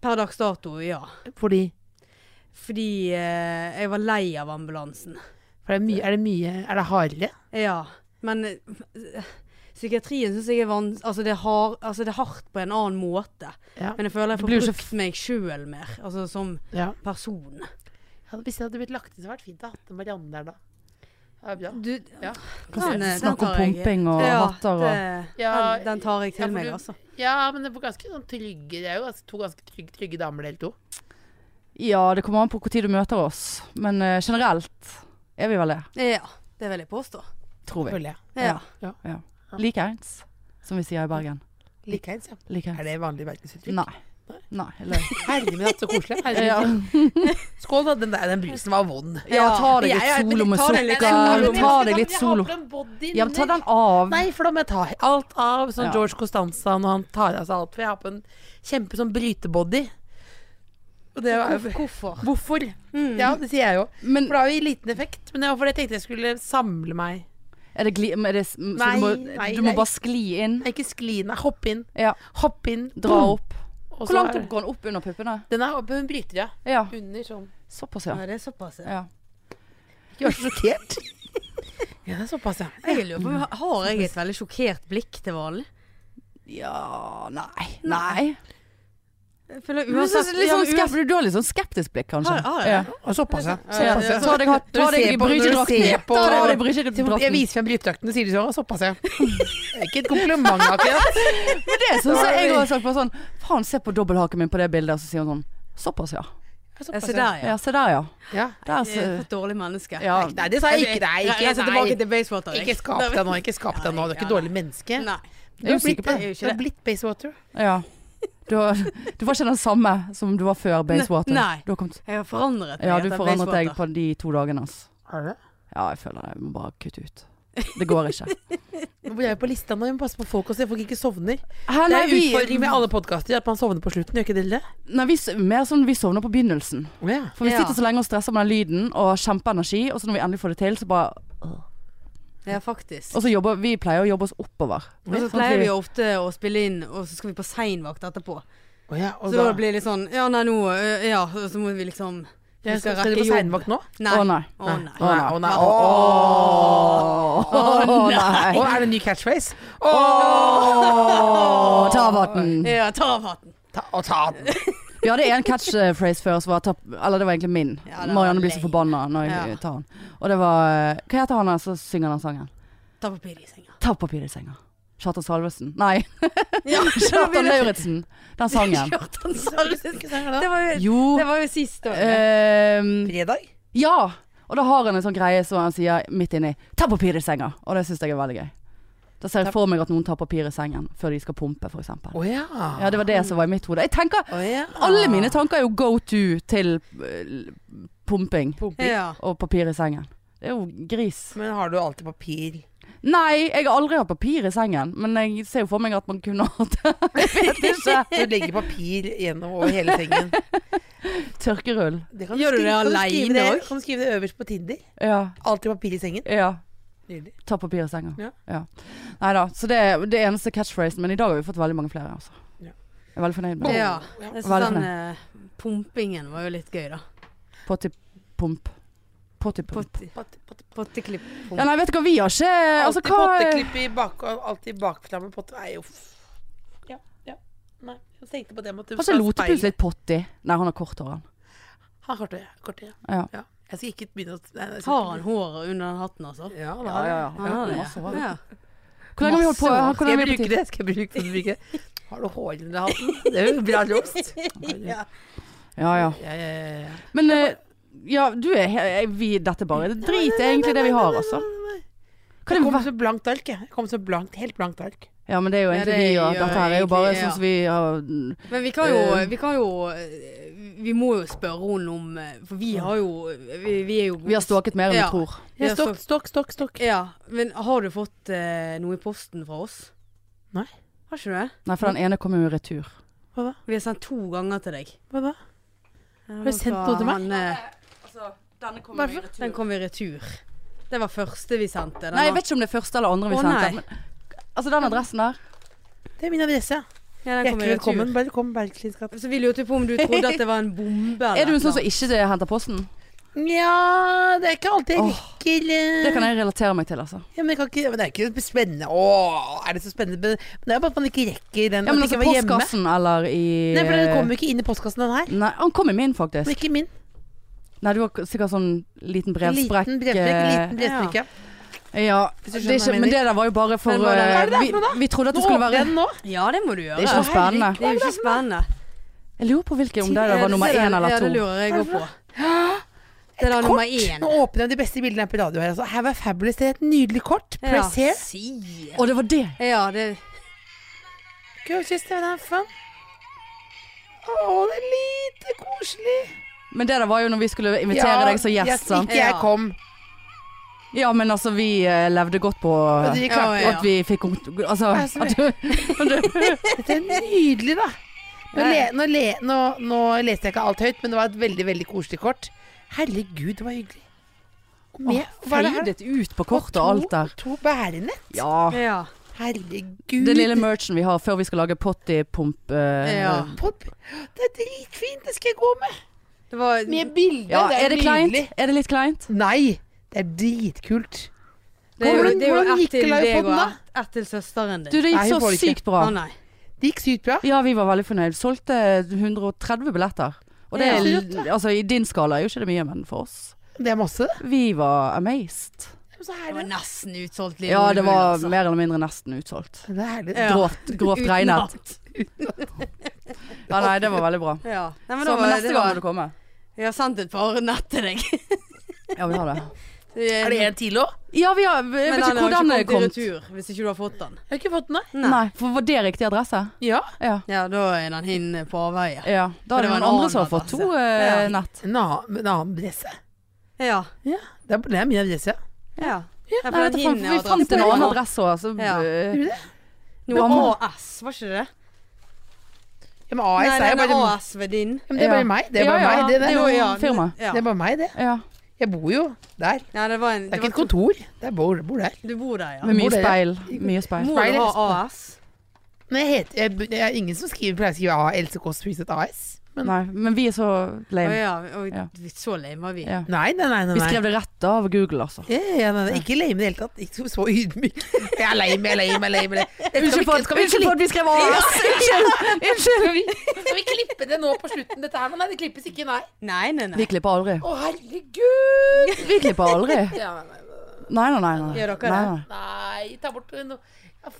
[SPEAKER 2] Per dags dato, ja.
[SPEAKER 3] Fordi
[SPEAKER 2] Fordi eh, jeg var lei av ambulansen.
[SPEAKER 3] For det er, mye, er det mye Er det hardere?
[SPEAKER 2] Ja. Men eh, psykiatrien syns jeg er vanskelig altså, det er hard- altså, det er hardt på en annen måte.
[SPEAKER 3] Ja.
[SPEAKER 2] Men jeg føler jeg
[SPEAKER 1] Det
[SPEAKER 2] får
[SPEAKER 1] blir jo
[SPEAKER 2] brukt
[SPEAKER 1] ikke
[SPEAKER 2] meg sjøl mer, altså som
[SPEAKER 3] ja.
[SPEAKER 2] person.
[SPEAKER 3] Ja, Hvis det hadde blitt lagt inn, så hadde det vært fint å ha hatt Marianne der, da. Mm. Det er bra.
[SPEAKER 2] Du,
[SPEAKER 3] Ja.
[SPEAKER 2] Den, eh, den
[SPEAKER 1] Snakk om
[SPEAKER 2] tar jeg.
[SPEAKER 1] pumping og hatter og
[SPEAKER 2] det-
[SPEAKER 3] Ja,
[SPEAKER 2] den, den tar jeg
[SPEAKER 3] ja,
[SPEAKER 2] til
[SPEAKER 3] for
[SPEAKER 2] meg,
[SPEAKER 3] du-
[SPEAKER 2] altså.
[SPEAKER 3] Ja, men det er ganske sånn trygge Det er jo ganske, to ganske trygge, trygge damer, dere to.
[SPEAKER 1] Ja, det kommer an på hvor tid du møter oss. Men eh, generelt er vi vel det.
[SPEAKER 2] Ja, det vil jeg påstå.
[SPEAKER 1] Tror vi.
[SPEAKER 3] Føler jeg.
[SPEAKER 2] Ja.
[SPEAKER 1] Likeens, som vi sier i Bergen.
[SPEAKER 3] Likeens, ja. Er
[SPEAKER 1] Likeens.
[SPEAKER 3] det vanlig bergensuttrykk?
[SPEAKER 1] Nei. Nei. løgn.
[SPEAKER 3] Herre min hatt, så koselig. Herre min
[SPEAKER 1] Ja.
[SPEAKER 3] hatt. Skål, da. Den, der, den brusen var vond.
[SPEAKER 1] Ja, ta deg
[SPEAKER 3] Jeg-
[SPEAKER 1] litt
[SPEAKER 3] jeg- men
[SPEAKER 1] solo med
[SPEAKER 3] ta den litt- jeg-
[SPEAKER 1] sukker.
[SPEAKER 3] jeg-
[SPEAKER 1] Ta
[SPEAKER 3] jeg-
[SPEAKER 1] deg litt
[SPEAKER 3] jeg
[SPEAKER 1] solo.
[SPEAKER 3] har på en body
[SPEAKER 1] Ja, men ta
[SPEAKER 3] under.
[SPEAKER 1] den av.
[SPEAKER 3] Nei, for da må jeg ta alt av. Sånn
[SPEAKER 1] Ja.
[SPEAKER 3] George Costanza når han tar av seg alt. For jeg har på en kjempe sånn brytebody. Og det er jo
[SPEAKER 2] Hvorfor?
[SPEAKER 3] Hvorfor? Ja, det sier jeg jo.
[SPEAKER 1] Men
[SPEAKER 3] For det har jo liten effekt. Men det var fordi jeg tenkte jeg skulle samle meg.
[SPEAKER 1] Er det gli... Er det, s- så
[SPEAKER 3] Nei,
[SPEAKER 1] du må,
[SPEAKER 3] nei,
[SPEAKER 1] du må
[SPEAKER 3] nei.
[SPEAKER 1] bare skli inn?
[SPEAKER 3] Nei, Ikke skli, nei. Hoppe inn.
[SPEAKER 1] Ja.
[SPEAKER 3] Hoppe inn.
[SPEAKER 1] Dra
[SPEAKER 3] boom,
[SPEAKER 1] opp.
[SPEAKER 3] og så
[SPEAKER 1] Hvor langt
[SPEAKER 3] er-
[SPEAKER 1] opp går den opp under puppene?
[SPEAKER 3] Den er oppe, hun bryter, ja.
[SPEAKER 1] Ja.
[SPEAKER 3] Under sånn.
[SPEAKER 1] Såpass,
[SPEAKER 2] Ja,
[SPEAKER 1] ja.
[SPEAKER 2] det er såpass, ja.
[SPEAKER 1] ja.
[SPEAKER 3] Ikke vær så sjokkert. ja, det er såpass, ja.
[SPEAKER 2] Jeg lurer på, Har jeg et veldig sjokkert blikk til vanlig?
[SPEAKER 1] Ja Nei. Nei.
[SPEAKER 2] Jeg føler
[SPEAKER 1] Du, har
[SPEAKER 2] uansett
[SPEAKER 1] litt
[SPEAKER 2] ja,
[SPEAKER 1] sånn
[SPEAKER 2] men uansett-
[SPEAKER 1] skep- du har litt sånn skeptisk blikk, kanskje.
[SPEAKER 2] Har- har jeg?
[SPEAKER 1] ja.
[SPEAKER 3] Og såpass, ja.
[SPEAKER 1] Ja,
[SPEAKER 3] Såpass, ja.
[SPEAKER 1] Ta deg, hatt- ta
[SPEAKER 3] Når du
[SPEAKER 1] deg
[SPEAKER 3] ser på- når du ser
[SPEAKER 1] brydjedrakten.
[SPEAKER 3] på-
[SPEAKER 1] Ta deg
[SPEAKER 3] Jeg
[SPEAKER 1] brydjedrakten.
[SPEAKER 3] viser frem brytedrakten og sier de sånn. Såpass, ja. Det er ikke et kompliment, akkurat.
[SPEAKER 1] Men det syns jeg jeg har sagt på sånn Faen, se på dobbelthaken min på det bildet, og så sier hun sånn Såpass, ja.
[SPEAKER 2] Ja, Se der, ja.
[SPEAKER 1] Ja, se der, ja.
[SPEAKER 3] ja.
[SPEAKER 1] Der,
[SPEAKER 2] Jeg er
[SPEAKER 1] så,
[SPEAKER 2] et dårlig menneske.
[SPEAKER 1] ja.
[SPEAKER 3] Nei, det sa jeg ikke. Nei,
[SPEAKER 2] Jeg
[SPEAKER 3] ikke,
[SPEAKER 2] reiser
[SPEAKER 3] nei.
[SPEAKER 2] tilbake til Basewater. jeg.
[SPEAKER 3] ikke skap deg nå. Ikke skap deg nå. Du er ikke et dårlig menneske.
[SPEAKER 2] Nei.
[SPEAKER 3] Du
[SPEAKER 1] Jeg
[SPEAKER 3] har
[SPEAKER 1] er usikker
[SPEAKER 3] blitt,
[SPEAKER 1] på
[SPEAKER 2] det.
[SPEAKER 3] du har blitt Basewater.
[SPEAKER 1] ja. Du, har- du var ikke den samme som du var før Basewater.
[SPEAKER 2] Nei.
[SPEAKER 1] Du har kommet,
[SPEAKER 2] Jeg har forandret meg altså,
[SPEAKER 1] ja, du
[SPEAKER 2] etter
[SPEAKER 1] forandret deg
[SPEAKER 2] Basewater.
[SPEAKER 1] på de to dagene. ass.
[SPEAKER 3] Har du det?
[SPEAKER 1] Ja, jeg føler det. Jeg må bare kutte ut. Det går ikke.
[SPEAKER 3] Nå bor jeg på lista nå, jeg må passe på folk også, så folk ikke sovner.
[SPEAKER 1] Her,
[SPEAKER 3] Det
[SPEAKER 1] nei,
[SPEAKER 3] er
[SPEAKER 1] vi,
[SPEAKER 3] utfordring med alle podkaster, at man sovner på slutten, gjør ikke dere det?
[SPEAKER 1] nei, vi, s- mer sånn vi sovner på begynnelsen.
[SPEAKER 3] Ja.
[SPEAKER 1] For vi
[SPEAKER 2] Ja.
[SPEAKER 1] sitter så lenge og stresser med den lyden og har kjempeenergi, og så når vi endelig får det til, så bare
[SPEAKER 2] Ja, faktisk.
[SPEAKER 1] Og så jobber vi pleier å jobbe oss oppover.
[SPEAKER 2] Og så
[SPEAKER 1] Sånn at
[SPEAKER 2] pleier
[SPEAKER 1] vi-
[SPEAKER 2] vi ofte å spille inn, og så skal vi på seinvakt etterpå.
[SPEAKER 3] Å ja, og
[SPEAKER 2] Så da blir det litt sånn Ja, nei, nå øh, Ja, og så må vi liksom
[SPEAKER 3] Ja, skal, skal du på seinvakt nå?
[SPEAKER 2] Nei.
[SPEAKER 1] Å, nei.
[SPEAKER 3] Å
[SPEAKER 2] Å, nei.
[SPEAKER 3] nei. Å nei.
[SPEAKER 1] Å nei!
[SPEAKER 3] Å, er det en ny catchphrase? Å,
[SPEAKER 1] Å, ta vatten.
[SPEAKER 2] Ja, ta av hatten.
[SPEAKER 3] ta, å, ta den.
[SPEAKER 1] Vi hadde en catchphrase før som var ta, Eller det var egentlig min.
[SPEAKER 2] Ja, det var
[SPEAKER 1] Marianne blir så
[SPEAKER 2] lei.
[SPEAKER 1] forbanna når jeg
[SPEAKER 2] Ja.
[SPEAKER 1] tar den. Og det var eh, Hva heter han der som synger den sangen?
[SPEAKER 2] Ta papir i senga.
[SPEAKER 1] Ta papir i senga. Kjartan Salvesen. Nei,
[SPEAKER 2] Ja,
[SPEAKER 1] Kjartan Lauritzen. Den sangen.
[SPEAKER 2] Kjartan Salvesen.
[SPEAKER 3] Hvilken sang er det da?
[SPEAKER 2] Det var jo,
[SPEAKER 1] Jo.
[SPEAKER 2] det var jo sist år.
[SPEAKER 1] ehm,
[SPEAKER 3] Fredag?
[SPEAKER 1] ja. Og da har han en sånn greie som han sier midt inni. Ta papir i senga. Og det syns jeg er veldig gøy. Da ser jeg for meg at noen tar papir i sengen før de skal pumpe, f.eks.
[SPEAKER 3] Å ja.
[SPEAKER 1] Ja, det var det som var i mitt hode. Jeg tenker
[SPEAKER 3] Å ja.
[SPEAKER 1] Alle mine tanker er jo go to til eh, pumping
[SPEAKER 3] Pumping.
[SPEAKER 2] ja.
[SPEAKER 1] og papir i sengen. Det er jo gris.
[SPEAKER 3] Men har du alltid papir?
[SPEAKER 1] Nei, jeg har aldri hatt papir i sengen, men jeg ser jo for meg at man kunne hatt det.
[SPEAKER 3] Du legger papir gjennom over hele sengen.
[SPEAKER 1] Tørkerull.
[SPEAKER 3] Det kan
[SPEAKER 2] Gjør du
[SPEAKER 3] skrive- kan
[SPEAKER 2] det
[SPEAKER 3] skrive det-
[SPEAKER 2] alene også?
[SPEAKER 3] Kan du skrive det øverst på Tinder?
[SPEAKER 1] Ja.
[SPEAKER 3] Alltid papir i sengen.
[SPEAKER 1] ja.
[SPEAKER 3] Nydelig.
[SPEAKER 1] Ta papir i sengen.
[SPEAKER 3] Ja.
[SPEAKER 1] Nei da. Så det er det eneste catchphrasen, men i dag har vi fått veldig mange flere, altså.
[SPEAKER 3] Ja.
[SPEAKER 1] Jeg er veldig fornøyd med det.
[SPEAKER 2] ja.
[SPEAKER 3] Ja.
[SPEAKER 1] Hva er
[SPEAKER 2] Jeg synes
[SPEAKER 1] det for
[SPEAKER 2] den eh, pumpingen var jo litt gøy, da.
[SPEAKER 1] Potipump. Potipump.
[SPEAKER 2] Potti-
[SPEAKER 3] Potte- potte-
[SPEAKER 2] Potteklipp.
[SPEAKER 1] Ja, nei, vet du hva, vi har ikke Altså,
[SPEAKER 3] Alltid
[SPEAKER 1] hva
[SPEAKER 3] potteklipp i bak, alltid bakflamme potte... Nei, uff. Ja, ja. Nei, jeg tenkte på det med at du
[SPEAKER 1] Har ikke Lotepus litt potty? Nei, han har kort hår, han.
[SPEAKER 3] Han har kort hår, kort hår,
[SPEAKER 1] Ja.
[SPEAKER 3] ja. Jeg skal ikke begynne å nei, jeg skal
[SPEAKER 2] Har
[SPEAKER 3] ikke
[SPEAKER 2] han håret under den hatten, altså?
[SPEAKER 3] begynne- Ja, han har det.
[SPEAKER 2] Han har det.
[SPEAKER 1] Masse hår.
[SPEAKER 2] Ah, Ja.
[SPEAKER 1] Hvor lenge har vi holdt på?
[SPEAKER 2] Masse hår.
[SPEAKER 1] Hvor
[SPEAKER 3] Skal
[SPEAKER 1] lenge
[SPEAKER 3] jeg
[SPEAKER 1] har vi holdt på?
[SPEAKER 3] bruke det? Skal jeg bruke, skal jeg bruke det? Har du hår under hatten? Det er jo bra roast.
[SPEAKER 2] Ja.
[SPEAKER 1] Ja, ja.
[SPEAKER 3] Ja, ja, ja, ja.
[SPEAKER 1] Men eh, ja, du er he- eh, vi, Dette bare drit er egentlig det vi har, altså. Kan
[SPEAKER 3] Jeg
[SPEAKER 1] det
[SPEAKER 3] kom
[SPEAKER 1] være
[SPEAKER 3] som blankt ark, jeg. jeg. kom som blankt, Helt blankt ark.
[SPEAKER 1] Ja, men det er jo
[SPEAKER 2] Ja,
[SPEAKER 1] egentlig
[SPEAKER 2] det
[SPEAKER 1] vi gjør.
[SPEAKER 2] gjør
[SPEAKER 1] Dette her er jo
[SPEAKER 2] egentlig-
[SPEAKER 1] bare
[SPEAKER 2] ja.
[SPEAKER 1] sånn som vi har
[SPEAKER 2] Men vi kan jo
[SPEAKER 1] Ehm.
[SPEAKER 2] Vi, kan jo, eh, vi må jo spørre henne om eh, For vi har jo Vi, vi er jo
[SPEAKER 1] Vi har stalket mer enn vi
[SPEAKER 2] Ja.
[SPEAKER 1] tror.
[SPEAKER 2] Vi har
[SPEAKER 3] Stokk,
[SPEAKER 2] stalk-
[SPEAKER 3] stokk, stokk. stokk.
[SPEAKER 2] Ja. Men har du fått eh, noe i posten fra oss?
[SPEAKER 3] Nei.
[SPEAKER 2] Har ikke du det?
[SPEAKER 1] Nei, for den ene kom jo i retur.
[SPEAKER 3] Hva da?
[SPEAKER 2] Vi har sendt to ganger til deg. eh,
[SPEAKER 3] Hva da? du sendt noe til meg?
[SPEAKER 1] denne kom
[SPEAKER 3] Hvorfor?
[SPEAKER 2] Den kom Altså, i retur. Det var første vi sendte. Den
[SPEAKER 1] Nei, jeg
[SPEAKER 2] var-
[SPEAKER 1] vet ikke om det er første eller andre vi
[SPEAKER 2] Å,
[SPEAKER 1] sendte.
[SPEAKER 2] nei.
[SPEAKER 1] Men, altså den adressen der.
[SPEAKER 3] Det er min adresse. ja.
[SPEAKER 2] ja, den kom i
[SPEAKER 3] Hjertelig velkommen.
[SPEAKER 2] retur.
[SPEAKER 3] Velkommen, Bergklins gate.
[SPEAKER 2] Så vi lurte på om du trodde at det var en bombe. eller
[SPEAKER 1] Er du en sånn
[SPEAKER 2] noe.
[SPEAKER 1] som ikke henter posten?
[SPEAKER 3] Nja, det er ikke alltid jeg
[SPEAKER 1] Åh,
[SPEAKER 3] rekker eh,
[SPEAKER 1] Det kan jeg relatere meg til, altså.
[SPEAKER 3] ja, men, jeg kan ikke, men det er ikke spennende. Åh, er det så spennende? Men det er bare at man ikke rekker den.
[SPEAKER 1] Ja, men
[SPEAKER 3] at
[SPEAKER 1] altså
[SPEAKER 3] ikke var hjemme.
[SPEAKER 1] postkassen eller i
[SPEAKER 3] Nei, for den kommer jo ikke inn i postkassen, den her.
[SPEAKER 1] Nei, han kom i min, faktisk.
[SPEAKER 3] Men ikke min.
[SPEAKER 1] Nei, du har k- sikkert sånn liten brevsprekk.
[SPEAKER 3] Liten brevsprekk. Liten brevsprekk, ja.
[SPEAKER 1] eh, Ja,
[SPEAKER 3] Hvis
[SPEAKER 1] det
[SPEAKER 3] du
[SPEAKER 1] er
[SPEAKER 3] skjønner hva
[SPEAKER 1] ikke,
[SPEAKER 3] jeg
[SPEAKER 1] men
[SPEAKER 3] mener.
[SPEAKER 1] det der var jo bare for
[SPEAKER 2] Men var det-
[SPEAKER 1] eh,
[SPEAKER 3] Er det det
[SPEAKER 1] vi,
[SPEAKER 3] for noe da?
[SPEAKER 1] vi trodde at det
[SPEAKER 3] Nå
[SPEAKER 1] skulle
[SPEAKER 3] åpner
[SPEAKER 1] være
[SPEAKER 3] jeg den nå.
[SPEAKER 2] Ja, det må du gjøre.
[SPEAKER 1] Det er ikke noe spennende.
[SPEAKER 2] Det er jo ikke spennende.
[SPEAKER 1] Jeg lurer på hvilken om det der var nummer
[SPEAKER 2] Ja, det-
[SPEAKER 1] én eller
[SPEAKER 2] Ja, det
[SPEAKER 1] to.
[SPEAKER 2] lurer jeg òg på. Det er da nummer én.
[SPEAKER 3] Nå åpner jeg de beste bildene her på radio her. Altså. Her var Fabulous. Det er et nydelig kort. Press
[SPEAKER 2] ja.
[SPEAKER 3] here.
[SPEAKER 2] Si.
[SPEAKER 1] Og det var det.
[SPEAKER 2] Ja, det
[SPEAKER 3] Girl, just have fun. Å, det er lite koselig.
[SPEAKER 1] Men det der var jo når vi skulle invitere deg som
[SPEAKER 3] jeg-
[SPEAKER 1] gjest, sant.
[SPEAKER 3] Ikke jeg
[SPEAKER 2] Ja.
[SPEAKER 3] kom.
[SPEAKER 1] Ja, men altså, vi eh, levde godt på
[SPEAKER 3] Og de
[SPEAKER 1] eh,
[SPEAKER 2] Ja,
[SPEAKER 3] klarte
[SPEAKER 2] ja, ja.
[SPEAKER 1] at vi fikk kont- Altså,
[SPEAKER 3] Jeg ser
[SPEAKER 1] at du
[SPEAKER 3] Dette er nydelig, da. Nå, le, nå, le, nå, nå leste jeg ikke alt høyt, men det var et veldig veldig koselig kort. Herregud, det var hyggelig. Og Med, hva er det her?
[SPEAKER 1] feidet ut på kortet og alt der.
[SPEAKER 3] To, to bærenett.
[SPEAKER 1] Ja.
[SPEAKER 2] Ja.
[SPEAKER 3] Herregud.
[SPEAKER 1] Den lille merchen vi har før vi skal lage pottypump. eh,
[SPEAKER 2] ja.
[SPEAKER 3] Pop. Det er dritfint, det skal jeg gå med.
[SPEAKER 2] Det var
[SPEAKER 3] Med bilde.
[SPEAKER 1] ja.
[SPEAKER 3] det
[SPEAKER 1] Er
[SPEAKER 3] er,
[SPEAKER 1] det kleint?
[SPEAKER 3] nydelig.
[SPEAKER 1] Er det litt kleint?
[SPEAKER 3] Nei, det er dritkult.
[SPEAKER 2] Det er jo,
[SPEAKER 3] Hvordan-
[SPEAKER 2] det er jo
[SPEAKER 3] hvordan
[SPEAKER 2] ett
[SPEAKER 3] gikk det
[SPEAKER 2] til
[SPEAKER 3] live
[SPEAKER 2] deg og
[SPEAKER 3] podden, da?
[SPEAKER 2] ett ett til søsteren
[SPEAKER 1] Du,
[SPEAKER 2] din.
[SPEAKER 1] det
[SPEAKER 3] Nei,
[SPEAKER 1] gikk
[SPEAKER 3] hun får
[SPEAKER 1] så
[SPEAKER 3] det ikke.
[SPEAKER 1] sykt bra.
[SPEAKER 2] Å nei.
[SPEAKER 3] Det gikk sykt bra.
[SPEAKER 1] Ja, vi var veldig fornøyd. Solgte 130 billetter. Og det er,
[SPEAKER 3] Ja. Absolutt,
[SPEAKER 1] altså, I din skala er jo ikke det mye, men for oss
[SPEAKER 3] Det er masse. det.
[SPEAKER 1] Vi var amazed.
[SPEAKER 3] Så
[SPEAKER 2] Det var
[SPEAKER 3] herlig.
[SPEAKER 2] nesten utsolgt liv.
[SPEAKER 1] Ja, det var
[SPEAKER 2] altså.
[SPEAKER 1] mer eller mindre nesten utsolgt.
[SPEAKER 3] Det er herlig.
[SPEAKER 2] Ja.
[SPEAKER 1] Grovt, grovt
[SPEAKER 2] Uten
[SPEAKER 1] regnet.
[SPEAKER 2] natt.
[SPEAKER 1] Ja, nei, det var veldig bra.
[SPEAKER 2] Ja. Nei, men
[SPEAKER 1] Så
[SPEAKER 2] da
[SPEAKER 1] men
[SPEAKER 2] var,
[SPEAKER 1] neste
[SPEAKER 2] det
[SPEAKER 1] gang må
[SPEAKER 2] var,
[SPEAKER 1] du komme.
[SPEAKER 2] jeg har sendt et par nett til deg.
[SPEAKER 1] Ja, vi har det.
[SPEAKER 3] Er det en til òg?
[SPEAKER 1] Ja, vi har Jeg
[SPEAKER 2] Men
[SPEAKER 1] vet
[SPEAKER 2] den
[SPEAKER 1] ikke
[SPEAKER 2] har
[SPEAKER 1] hvor den
[SPEAKER 2] ikke
[SPEAKER 1] er
[SPEAKER 2] kommet
[SPEAKER 1] kommet.
[SPEAKER 2] i retur, hvis ikke du har fått den.
[SPEAKER 3] Jeg har ikke fått den, nei.
[SPEAKER 1] Nei, for var det riktig adresse?
[SPEAKER 3] Ja.
[SPEAKER 1] Ja.
[SPEAKER 2] Ja, da er den hin på avveie.
[SPEAKER 1] ja. Da
[SPEAKER 2] Men
[SPEAKER 1] er
[SPEAKER 2] det
[SPEAKER 1] det
[SPEAKER 2] var
[SPEAKER 1] noen
[SPEAKER 2] en
[SPEAKER 1] andre
[SPEAKER 2] annen
[SPEAKER 1] som har fått to eh, nett.
[SPEAKER 3] En annen, en annen adresse.
[SPEAKER 2] Ja.
[SPEAKER 3] Ja, det er, det er min adresse.
[SPEAKER 2] ja.
[SPEAKER 3] Ja,
[SPEAKER 1] Nei,
[SPEAKER 2] Her på
[SPEAKER 1] vet
[SPEAKER 2] den
[SPEAKER 1] du, faen,
[SPEAKER 2] hinnen
[SPEAKER 1] vi
[SPEAKER 2] jeg
[SPEAKER 1] fant
[SPEAKER 2] hadde
[SPEAKER 1] en
[SPEAKER 2] på
[SPEAKER 1] annen
[SPEAKER 2] meg.
[SPEAKER 1] adresse òg, så
[SPEAKER 2] Ja.
[SPEAKER 1] øh,
[SPEAKER 3] Gjorde det?
[SPEAKER 2] Noe
[SPEAKER 1] Nå-
[SPEAKER 2] AS, var ikke det?
[SPEAKER 3] Ja, men AS
[SPEAKER 2] Nei,
[SPEAKER 3] er jo
[SPEAKER 2] den
[SPEAKER 3] bare
[SPEAKER 2] AS ved din.
[SPEAKER 3] ja, men Det er
[SPEAKER 1] Ja.
[SPEAKER 3] bare meg. Det er bare
[SPEAKER 1] Ja, ja,
[SPEAKER 3] meg, det
[SPEAKER 1] det er
[SPEAKER 3] der.
[SPEAKER 1] jo-
[SPEAKER 2] ja,
[SPEAKER 1] firma.
[SPEAKER 2] Ja.
[SPEAKER 3] Det er bare meg, det.
[SPEAKER 1] ja.
[SPEAKER 3] Jeg bor jo der.
[SPEAKER 2] Nei, det var en
[SPEAKER 3] Det er
[SPEAKER 2] var
[SPEAKER 3] ikke et kontor. Det er bor, bor der.
[SPEAKER 2] Du bor der, ja.
[SPEAKER 1] Med mye
[SPEAKER 3] Hvor er det?
[SPEAKER 1] speil. Mye speil.
[SPEAKER 2] Må
[SPEAKER 3] Speil
[SPEAKER 2] du
[SPEAKER 3] eller
[SPEAKER 2] ha AS?
[SPEAKER 3] Men jeg heter jeg, Det er ingen som skriver, pleier å skrive A, Else Kåss Freezet AS. Men nei,
[SPEAKER 1] Nei, men vi er så
[SPEAKER 2] Å
[SPEAKER 1] lame.
[SPEAKER 2] ja. og
[SPEAKER 1] Ja.
[SPEAKER 2] vi- Så lame var vi.
[SPEAKER 1] Ja.
[SPEAKER 3] nei, nei. nei,
[SPEAKER 1] Vi
[SPEAKER 3] nei.
[SPEAKER 1] skrev det rett av Google, altså.
[SPEAKER 3] Ja, ja, nei, nei, ikke lame i det hele tatt. Ikke så- så ydmyk. Jeg er lame, jeg er lame, jeg er lame. jeg er lame. Det skal
[SPEAKER 1] Unnskyld
[SPEAKER 3] vi
[SPEAKER 1] for
[SPEAKER 3] ikke-
[SPEAKER 1] at
[SPEAKER 3] skal vi ikke
[SPEAKER 1] unnskyld for at vi skrev AS! Unnskyld! Unnskyld!
[SPEAKER 3] klippe- Skal vi klippe det nå på slutten, dette her? Men nei, det klippes ikke, nei.
[SPEAKER 2] Nei, nei, nei.
[SPEAKER 1] Vi klipper aldri.
[SPEAKER 3] Å, herregud!
[SPEAKER 1] Vi klipper aldri.
[SPEAKER 3] Ja, nei,
[SPEAKER 1] Nei, nei, nei. nei.
[SPEAKER 2] Gjør dere
[SPEAKER 1] nei,
[SPEAKER 2] det?
[SPEAKER 1] nei.
[SPEAKER 3] nei, ta bort noe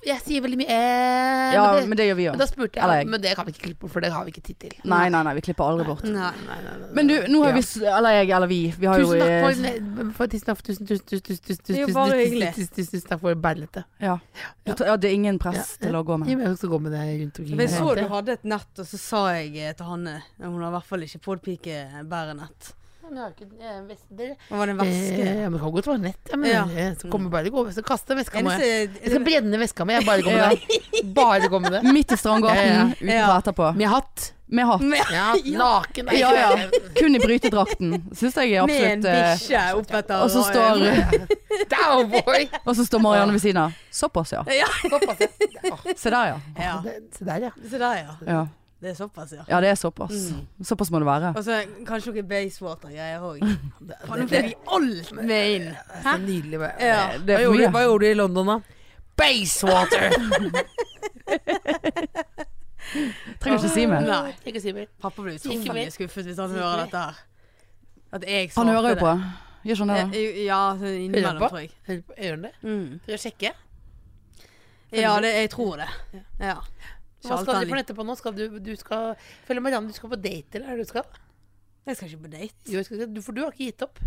[SPEAKER 3] Jeg sier veldig mye eh,
[SPEAKER 1] Ja,
[SPEAKER 3] men, det,
[SPEAKER 1] men det gjør vi
[SPEAKER 3] men da
[SPEAKER 1] òg.
[SPEAKER 3] spurte
[SPEAKER 1] Eller
[SPEAKER 3] jeg,
[SPEAKER 1] jeg.
[SPEAKER 3] men det kan vi ikke klippe bort, for det har vi ikke tid til.
[SPEAKER 1] Nei, nei, nei, vi klipper aldri bort.
[SPEAKER 2] Nei.
[SPEAKER 1] Men du, nå har
[SPEAKER 3] Ja.
[SPEAKER 1] vi s- Eller jeg, eller vi. Vi har jo
[SPEAKER 3] Tusen takk
[SPEAKER 1] eh,
[SPEAKER 3] for, for Tusen takk, tusen, tusen, tusen, tusen, tusen,
[SPEAKER 2] Det er jo
[SPEAKER 3] tusen,
[SPEAKER 2] bare
[SPEAKER 3] tusen,
[SPEAKER 2] hyggelig.
[SPEAKER 3] tusen, tusen, tusen takk for bærlete.
[SPEAKER 1] Ja. Du, tar- ja, det er ingen press
[SPEAKER 3] Ja.
[SPEAKER 1] til å gå med.
[SPEAKER 3] Jeg vil også gå med det rundt omkring.
[SPEAKER 2] Men jeg så
[SPEAKER 3] Ja.
[SPEAKER 2] du hadde et nett, og så sa jeg eh, til Hanne eh, Hun har i hvert fall ikke podpikebærenett.
[SPEAKER 3] Men jeg har ikke- jeg er vest- dere-
[SPEAKER 2] Hva var det en veske?
[SPEAKER 3] Eh, Ja, men det kan godt være nett. Ja, men,
[SPEAKER 2] Ja.
[SPEAKER 3] eh, Så kommer bare gå, så kaster jeg veska mi.
[SPEAKER 2] Eneste,
[SPEAKER 3] Jeg skal brenne veska mi. Jeg bare går med det. Bare går med det.
[SPEAKER 1] Midt i Strandgaten, utenfor
[SPEAKER 2] Ja.
[SPEAKER 1] etterpå.
[SPEAKER 3] Med hatt.
[SPEAKER 1] Med hatt.
[SPEAKER 2] med,
[SPEAKER 3] Ja, naken. Nei,
[SPEAKER 1] Ja, ja. Kun i brytedrakten. Syns jeg er
[SPEAKER 2] med en
[SPEAKER 1] absolutt eh,
[SPEAKER 2] bikkje oppetter
[SPEAKER 1] Og så står,
[SPEAKER 3] Down, boy!
[SPEAKER 1] og så står Marianne ved siden av. Såpass, ja.
[SPEAKER 2] Ja.
[SPEAKER 3] Såpass, ja. Åh,
[SPEAKER 1] Se der, ja.
[SPEAKER 2] ja.
[SPEAKER 3] det- Se der, ja.
[SPEAKER 2] Se der, ja.
[SPEAKER 1] ja.
[SPEAKER 2] Det er såpass, ja.
[SPEAKER 1] Ja, det er såpass. Såpass må det være.
[SPEAKER 2] Og så kanskje noen Basewater-greier òg. Nå får vi alt med inn.
[SPEAKER 3] Så nydelig.
[SPEAKER 2] Ja.
[SPEAKER 1] Det er for mye.
[SPEAKER 3] gjorde du i London, da? Basewater!
[SPEAKER 1] Trenger ikke si mer.
[SPEAKER 2] Nei.
[SPEAKER 3] Ikke si mer.
[SPEAKER 2] Pappa blir
[SPEAKER 3] Ikke
[SPEAKER 2] utrolig
[SPEAKER 3] mer.
[SPEAKER 2] skuffet hvis han hører dette her. At jeg svarte
[SPEAKER 1] Han hører jo
[SPEAKER 2] det.
[SPEAKER 1] på. Gjør ikke han det? da?
[SPEAKER 2] Eh, Ja, sånn innimellom,
[SPEAKER 3] Hører på?
[SPEAKER 2] tror jeg.
[SPEAKER 3] Hører på ørene?
[SPEAKER 2] Mm.
[SPEAKER 3] Skal jeg sjekke?
[SPEAKER 2] Ja, det, jeg tror det.
[SPEAKER 3] Hva
[SPEAKER 2] Ja. Sjalter
[SPEAKER 3] skal
[SPEAKER 2] han
[SPEAKER 3] du for
[SPEAKER 2] litt.
[SPEAKER 3] etterpå nå? Skal du, du skal Følg med Marianne, du skal på date, eller hva er det du skal?
[SPEAKER 2] Jeg skal ikke på date.
[SPEAKER 3] Jo, jeg skal, du- for du har ikke gitt opp.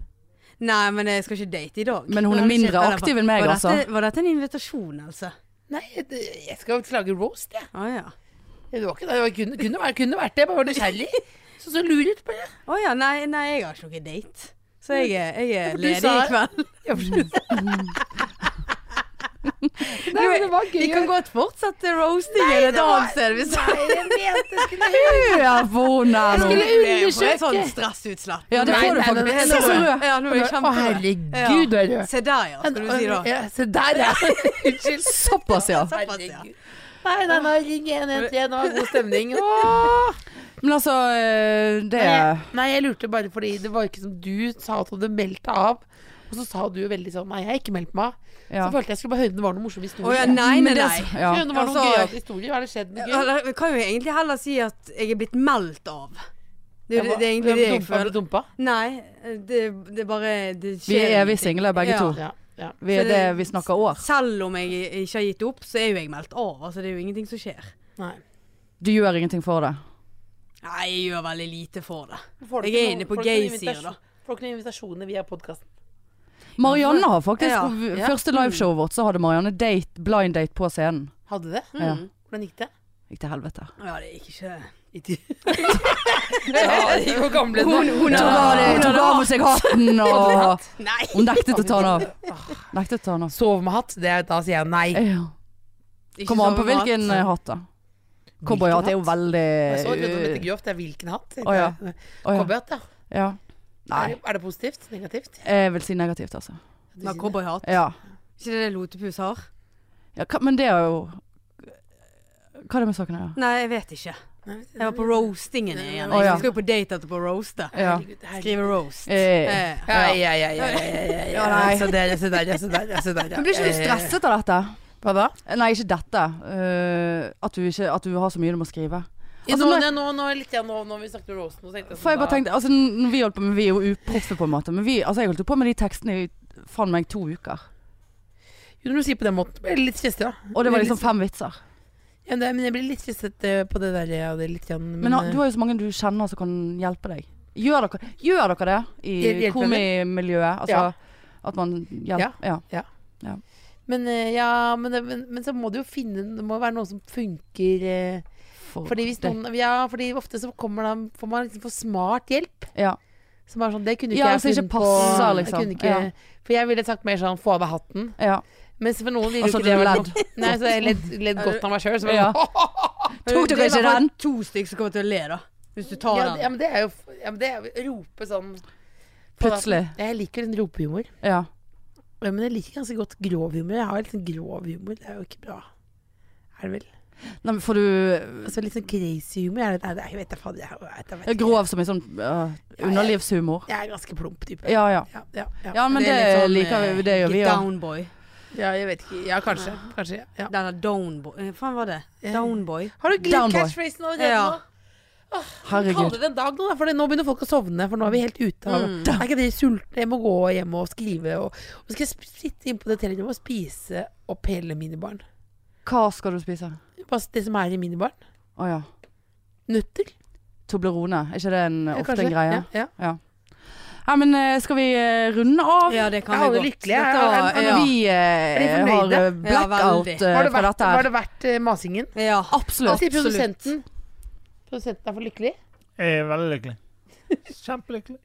[SPEAKER 2] Nei, men jeg skal ikke date i dag.
[SPEAKER 1] Men hun er
[SPEAKER 2] Har du
[SPEAKER 1] mindre
[SPEAKER 2] sett det der?
[SPEAKER 1] aktiv enn meg,
[SPEAKER 2] Var dette-
[SPEAKER 1] altså.
[SPEAKER 2] Var dette en invitasjon, altså?
[SPEAKER 3] Nei, jeg, jeg skal lage roast, jeg.
[SPEAKER 2] Å ja.
[SPEAKER 3] Det var ikke det. Det kunne, kunne, vært, kunne vært det. Jeg bare var nysgjerrig. Så så lurer på det.
[SPEAKER 2] Å ja, nei, nei, jeg har ikke noe date. Så jeg er, jeg
[SPEAKER 3] Ja,
[SPEAKER 2] er
[SPEAKER 3] for du
[SPEAKER 2] ledig
[SPEAKER 3] sa-
[SPEAKER 2] i kveld.
[SPEAKER 3] Ja, for- Nei, men det var gøy.
[SPEAKER 2] Vi kan godt fortsette roastingen et annet sted. hvis-
[SPEAKER 3] Nei, jeg mente jeg skulle
[SPEAKER 1] Hør på hun der nå.
[SPEAKER 3] skulle-
[SPEAKER 2] Jeg får
[SPEAKER 3] undersøke.
[SPEAKER 2] et sånt stressutslett.
[SPEAKER 1] Ja, det
[SPEAKER 3] Nei,
[SPEAKER 1] får du
[SPEAKER 3] nei,
[SPEAKER 1] faktisk.
[SPEAKER 3] den er
[SPEAKER 1] Se så
[SPEAKER 3] rød.
[SPEAKER 1] rød.
[SPEAKER 2] Ja, nå er jeg
[SPEAKER 3] Å,
[SPEAKER 2] kjemperød.
[SPEAKER 3] herregud, du er rød.
[SPEAKER 2] Se der, ja, skal du si da.
[SPEAKER 3] Ja, se der, ja. Unnskyld.
[SPEAKER 1] Såpass, ja.
[SPEAKER 2] Såpass, ja.
[SPEAKER 3] Nei, nei, nei, ring 113. Det var god stemning. Åh.
[SPEAKER 1] Men altså, eh, det
[SPEAKER 3] Nei, nei, jeg lurte bare fordi det var ikke som du sa at du hadde meldt deg av. Og så sa du jo veldig sånn Nei, jeg har ikke meldt meg av.
[SPEAKER 1] Ja.
[SPEAKER 3] Så følte jeg skulle bare høre om det var noen morsomme
[SPEAKER 2] Å
[SPEAKER 3] historier.
[SPEAKER 2] ja, nei, nei,
[SPEAKER 1] Men det-
[SPEAKER 2] nei.
[SPEAKER 1] ja.
[SPEAKER 3] Høre om det var noen
[SPEAKER 2] Altså-
[SPEAKER 3] gøye historier. Har det skjedd noe gøy?
[SPEAKER 2] Eller, vi kan jo egentlig heller si at jeg er blitt meldt av. Det, er jo det, det er egentlig det jeg føler.
[SPEAKER 3] Dumpa?
[SPEAKER 2] Nei, det, det er bare det
[SPEAKER 1] Vi
[SPEAKER 2] skjer
[SPEAKER 1] er evig
[SPEAKER 2] ingenting.
[SPEAKER 1] single, begge
[SPEAKER 2] Ja.
[SPEAKER 1] to.
[SPEAKER 3] Ja, ja.
[SPEAKER 1] Vi er det vi snakker år.
[SPEAKER 2] Selv om jeg ikke har gitt opp, så er jo jeg meldt av. Altså, det er jo ingenting som skjer.
[SPEAKER 3] Nei.
[SPEAKER 1] Du gjør ingenting for det.
[SPEAKER 2] Nei, jeg gjør veldig lite for det.
[SPEAKER 3] Får du
[SPEAKER 2] Jeg
[SPEAKER 3] ikke
[SPEAKER 2] er
[SPEAKER 3] noen-
[SPEAKER 2] inne på
[SPEAKER 3] får du ikke noen
[SPEAKER 2] gay-sider,
[SPEAKER 3] invitasjon-
[SPEAKER 2] da.
[SPEAKER 3] Får du ikke noen invitasjoner via podkasten?
[SPEAKER 1] Marianne har faktisk
[SPEAKER 2] Ja.
[SPEAKER 1] v- Første liveshowet vårt så hadde Marianne date, blind date på scenen.
[SPEAKER 3] Hadde det? Mm.
[SPEAKER 1] Ja.
[SPEAKER 3] Hvordan gikk det?
[SPEAKER 1] Gikk til helvete.
[SPEAKER 2] Ja, det gikk ikke
[SPEAKER 3] ja, det gikk jo gamle
[SPEAKER 2] Hun, hun
[SPEAKER 1] Tok av
[SPEAKER 3] eh,
[SPEAKER 1] det-
[SPEAKER 2] hun
[SPEAKER 1] tok
[SPEAKER 2] hadde-
[SPEAKER 1] av seg hatten og
[SPEAKER 2] Nei!
[SPEAKER 1] Hun nektet å ta den av. Nektet å ta den av.
[SPEAKER 3] Sov med hatt, det, er- da sier jeg nei.
[SPEAKER 1] Ja.
[SPEAKER 2] Ikke
[SPEAKER 1] Kommer an på
[SPEAKER 2] sovemat.
[SPEAKER 1] hvilken eh, hatt, da. Cowboyhatt er jo veldig
[SPEAKER 3] Jeg
[SPEAKER 2] Eh,
[SPEAKER 3] så det, det er grovt, det er hvilken hatt.
[SPEAKER 1] Å, ja. Å, ja.
[SPEAKER 3] Cowboyhatt, ja.
[SPEAKER 1] ja. Nei,
[SPEAKER 3] Er, det- er det positivt? Negativt?
[SPEAKER 1] jeg vil si negativt, altså.
[SPEAKER 3] Du
[SPEAKER 2] Nei,
[SPEAKER 3] sier det.
[SPEAKER 2] cowboyhatt.
[SPEAKER 1] Ja.
[SPEAKER 2] Ikke det det lotepus har?
[SPEAKER 1] ja hva, men det er jo Hva er det med saken her?
[SPEAKER 2] Nei, jeg vet ikke.
[SPEAKER 3] Nei,
[SPEAKER 2] Jeg var på roastingen igjen.
[SPEAKER 1] Å, ja.
[SPEAKER 2] Jeg skal jo på date etterpå og roaste.
[SPEAKER 1] Ja.
[SPEAKER 3] herregud, herregud.
[SPEAKER 2] Skrive roast.
[SPEAKER 1] Eh,
[SPEAKER 2] Eh.
[SPEAKER 3] Ja, ja, ja, ja, ja, ja, ja,
[SPEAKER 1] Ja, nei.
[SPEAKER 3] ja. Se der, se der, ja, se der, ja, se der. ja.
[SPEAKER 1] Men blir ikke du
[SPEAKER 3] Eh,
[SPEAKER 1] stresset av dette?
[SPEAKER 3] Hva da?
[SPEAKER 1] Nei, ikke dette. Eh, at, du ikke, at du har så mye du må skrive.
[SPEAKER 3] Ja,
[SPEAKER 1] Altså,
[SPEAKER 3] nå,
[SPEAKER 1] når-
[SPEAKER 3] nå, nå, nå, litt, igjen nå, når vi snakket om Rosen, så tenkte jeg sånn,
[SPEAKER 1] For jeg bare
[SPEAKER 3] da-
[SPEAKER 1] tenkte, altså når Vi holdt på med, vi er jo uproffe på en måte, men vi, altså jeg holdt jo på med de tekstene i faen meg to uker.
[SPEAKER 3] Jo, Når du sier på den måten, blir jeg litt stresset, da.
[SPEAKER 1] Og det var liksom fem vitser.
[SPEAKER 3] Ja, det, men jeg blir litt stresset eh, på det der. Ja, det er litt igjen, eh,
[SPEAKER 1] Men eh, ha- du har jo så mange du kjenner som kan hjelpe deg. Gjør dere, gjør dere det i
[SPEAKER 3] Hjelper
[SPEAKER 1] komimiljøet? Altså
[SPEAKER 3] Ja.
[SPEAKER 1] at man
[SPEAKER 3] Ja.
[SPEAKER 1] hjelper Ja.
[SPEAKER 3] Men, eh, ja, men, det- men, men så må du jo finne Det må være noe som funker. eh,
[SPEAKER 1] For
[SPEAKER 3] Fordi hvis
[SPEAKER 1] deg.
[SPEAKER 3] noen Ja, fordi ofte så kommer da Får man liksom for smart hjelp.
[SPEAKER 1] Ja.
[SPEAKER 3] Som bare sånn, det kunne ikke
[SPEAKER 1] Ja,
[SPEAKER 3] jeg
[SPEAKER 1] som ikke
[SPEAKER 3] funnet på-
[SPEAKER 1] passer,
[SPEAKER 3] jeg
[SPEAKER 1] liksom.
[SPEAKER 3] kunne ikke,
[SPEAKER 1] Ja.
[SPEAKER 3] For jeg ville sagt mer sånn få av meg hatten.
[SPEAKER 1] Ja.
[SPEAKER 3] Mens for noen ville jo
[SPEAKER 1] Altså,
[SPEAKER 3] ikke det
[SPEAKER 1] du
[SPEAKER 3] være
[SPEAKER 1] ledd.
[SPEAKER 3] godt. Nei, så jeg ledd, ledd godt av meg sjøl.
[SPEAKER 1] Ja.
[SPEAKER 3] Ja.
[SPEAKER 1] Tok
[SPEAKER 2] Det
[SPEAKER 1] dere
[SPEAKER 2] er i
[SPEAKER 1] ikke
[SPEAKER 2] hvert fall
[SPEAKER 1] den?
[SPEAKER 2] To stykker som kommer til å le, da. Hvis du tar
[SPEAKER 3] Ja, det- ja,
[SPEAKER 2] den.
[SPEAKER 3] men det er jo ja, men det er jo rope sånn på
[SPEAKER 1] Plutselig.
[SPEAKER 3] natten. Jeg liker den ropehumor.
[SPEAKER 1] Ja.
[SPEAKER 3] Ja, men jeg liker ganske godt grov humor. Jeg har litt sånn grov humor. Det er jo ikke bra. Er det vel?
[SPEAKER 1] Nei, men får du
[SPEAKER 3] Altså litt sånn crazy humor. Jeg, er, jeg vet da faen. Jeg, jeg, vet, jeg, vet,
[SPEAKER 1] ja,
[SPEAKER 3] ikke.
[SPEAKER 1] grov som en sånn øh, underlivshumor?
[SPEAKER 3] jeg er ganske plump type.
[SPEAKER 1] Ja ja.
[SPEAKER 3] Ja, ja, ja.
[SPEAKER 1] Ja, men det,
[SPEAKER 2] er litt sånn,
[SPEAKER 1] liker
[SPEAKER 2] eh,
[SPEAKER 1] vi. Det gjør vi
[SPEAKER 2] Get
[SPEAKER 1] òg.
[SPEAKER 2] down boy.
[SPEAKER 3] Ja, jeg vet ikke. Ja, kanskje. Kanskje, ja. ja.
[SPEAKER 2] Den er down boy. Hva faen var det?
[SPEAKER 3] Eh.
[SPEAKER 2] Down boy.
[SPEAKER 3] Har du
[SPEAKER 1] Down
[SPEAKER 3] glemt
[SPEAKER 1] boy.
[SPEAKER 3] catchphrasen allerede
[SPEAKER 2] Ja.
[SPEAKER 3] nå? Kall
[SPEAKER 1] Herregud.
[SPEAKER 3] det en dag nå, da, for nå begynner folk å sovne. For nå er vi helt ute av
[SPEAKER 2] Mm.
[SPEAKER 3] Er ikke dere sultne? Jeg må gå hjem og skrive. Og, og så skal jeg sp- sitte inne på det hotellrommet og spise opp hele minibaren.
[SPEAKER 1] Hva skal du spise?
[SPEAKER 3] Bare det som er i minibaren.
[SPEAKER 1] Å ja.
[SPEAKER 3] Nøtter.
[SPEAKER 1] Toblerone. Er ikke det en,
[SPEAKER 3] ja,
[SPEAKER 1] ofte
[SPEAKER 3] kanskje.
[SPEAKER 1] en greie?
[SPEAKER 3] Ja, ja.
[SPEAKER 1] Nei, men eh, skal vi eh, runde av?
[SPEAKER 2] Ja, det kan
[SPEAKER 3] Ja,
[SPEAKER 2] vi
[SPEAKER 3] alle
[SPEAKER 2] godt.
[SPEAKER 3] lykkelige er-
[SPEAKER 2] Dette var-
[SPEAKER 3] er- er-
[SPEAKER 1] Men
[SPEAKER 2] ja.
[SPEAKER 1] Vi eh,
[SPEAKER 3] Er de
[SPEAKER 1] har
[SPEAKER 3] fornøyde?
[SPEAKER 1] eh, blackout
[SPEAKER 2] Ja, veldig.
[SPEAKER 1] eh,
[SPEAKER 3] Var, det
[SPEAKER 1] fra
[SPEAKER 3] verdt,
[SPEAKER 1] dette
[SPEAKER 3] var
[SPEAKER 1] her.
[SPEAKER 3] det verdt eh, masingen?
[SPEAKER 2] ja.
[SPEAKER 1] Ah,
[SPEAKER 3] Hva
[SPEAKER 1] Absolutt.
[SPEAKER 3] sier produsenten? Produsenten er for lykkelig?
[SPEAKER 5] Jeg er veldig lykkelig. Kjempelykkelig.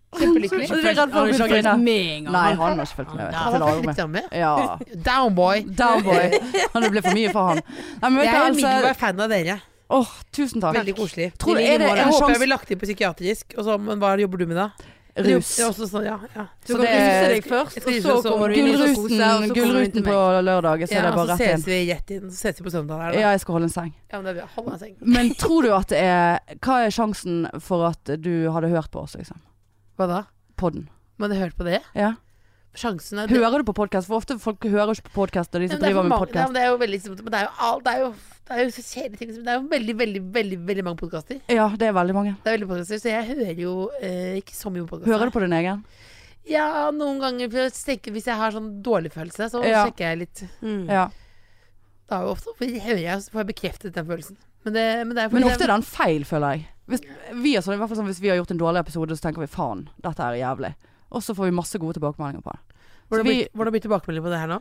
[SPEAKER 3] Kjempelykkelig.
[SPEAKER 1] Og du er redd for å bli
[SPEAKER 2] fulgt
[SPEAKER 1] funnet.
[SPEAKER 2] med engang.
[SPEAKER 1] Nei, han har ikke fulgt med.
[SPEAKER 2] Ja,
[SPEAKER 3] Han
[SPEAKER 1] Til
[SPEAKER 3] har fulgt
[SPEAKER 1] Arme.
[SPEAKER 3] litt med.
[SPEAKER 1] Ja.
[SPEAKER 3] Downboy.
[SPEAKER 1] Downboy. Han det ble for mye for han. Nei, men vet
[SPEAKER 3] Jeg
[SPEAKER 1] du,
[SPEAKER 3] er
[SPEAKER 1] altså,
[SPEAKER 3] umiddelbart fan av dere.
[SPEAKER 1] åh, tusen takk.
[SPEAKER 3] Veldig koselig.
[SPEAKER 1] Tror du
[SPEAKER 2] I like
[SPEAKER 1] er det
[SPEAKER 2] måte.
[SPEAKER 3] Jeg
[SPEAKER 1] en
[SPEAKER 3] håper jeg
[SPEAKER 1] sjanse
[SPEAKER 3] blir lagt inn på psykiatrisk. Og så, men hva jobber du med da?
[SPEAKER 1] Rus.
[SPEAKER 3] Det er også sånn, ja, ja.
[SPEAKER 2] Du
[SPEAKER 1] Så
[SPEAKER 2] kan
[SPEAKER 1] det-
[SPEAKER 2] ruse deg først, og
[SPEAKER 3] Jeg
[SPEAKER 2] så
[SPEAKER 3] skal ruse,
[SPEAKER 2] kommer du inn i psykose. og
[SPEAKER 1] Gullruten,
[SPEAKER 2] så kommer du inn til
[SPEAKER 1] gullruten
[SPEAKER 2] meg.
[SPEAKER 1] på lørdag, så
[SPEAKER 3] ja
[SPEAKER 1] er det
[SPEAKER 3] og så
[SPEAKER 1] bare rett
[SPEAKER 3] ses
[SPEAKER 1] inn.
[SPEAKER 3] vi rett inn. Så ses vi på søndag. Der, da.
[SPEAKER 1] Ja, jeg skal holde en seng.
[SPEAKER 3] Ja, men det er bra. Hold meg seng.
[SPEAKER 1] Men tror du at det er Hva er sjansen for at du hadde hørt på oss, liksom?
[SPEAKER 3] Hva da?
[SPEAKER 1] Podden.
[SPEAKER 3] Man har hørt på det?
[SPEAKER 1] Ja.
[SPEAKER 3] Sjansen er
[SPEAKER 1] Hører du på podkast? For ofte folk hører ikke på podkast, og de
[SPEAKER 3] Nei,
[SPEAKER 1] som
[SPEAKER 3] men det er for
[SPEAKER 1] driver med
[SPEAKER 3] mange- Nei,
[SPEAKER 1] podkast.
[SPEAKER 3] men det er jo veldig liksom- men Det er jo alt Det er jo, det er jo så kjedelige ting som Det er jo veldig, veldig, veldig veldig mange podkaster.
[SPEAKER 1] Ja, det er veldig mange.
[SPEAKER 3] Det er veldig podkaster, så jeg hører jo eh, ikke så mye på podkaster.
[SPEAKER 1] Hører du på din egen?
[SPEAKER 3] Ja, noen ganger for å tenke, hvis jeg har sånn dårlig følelse, så
[SPEAKER 1] Ja.
[SPEAKER 3] sjekker jeg litt.
[SPEAKER 2] Mm.
[SPEAKER 1] Ja.
[SPEAKER 3] Da er jo ofte for jeg hører jeg, så får jeg bekreftet den følelsen. Men det, men det er
[SPEAKER 1] Men ofte er det en feil, føler jeg. Hvis vi, er sånn, i hvert fall sånn, hvis vi har gjort en dårlig episode, så tenker vi faen, dette er jævlig. Og så får vi masse gode tilbakemeldinger på det.
[SPEAKER 3] Hvordan
[SPEAKER 1] så vi-
[SPEAKER 3] blir- hvordan blir tilbakemeldingen på det her nå?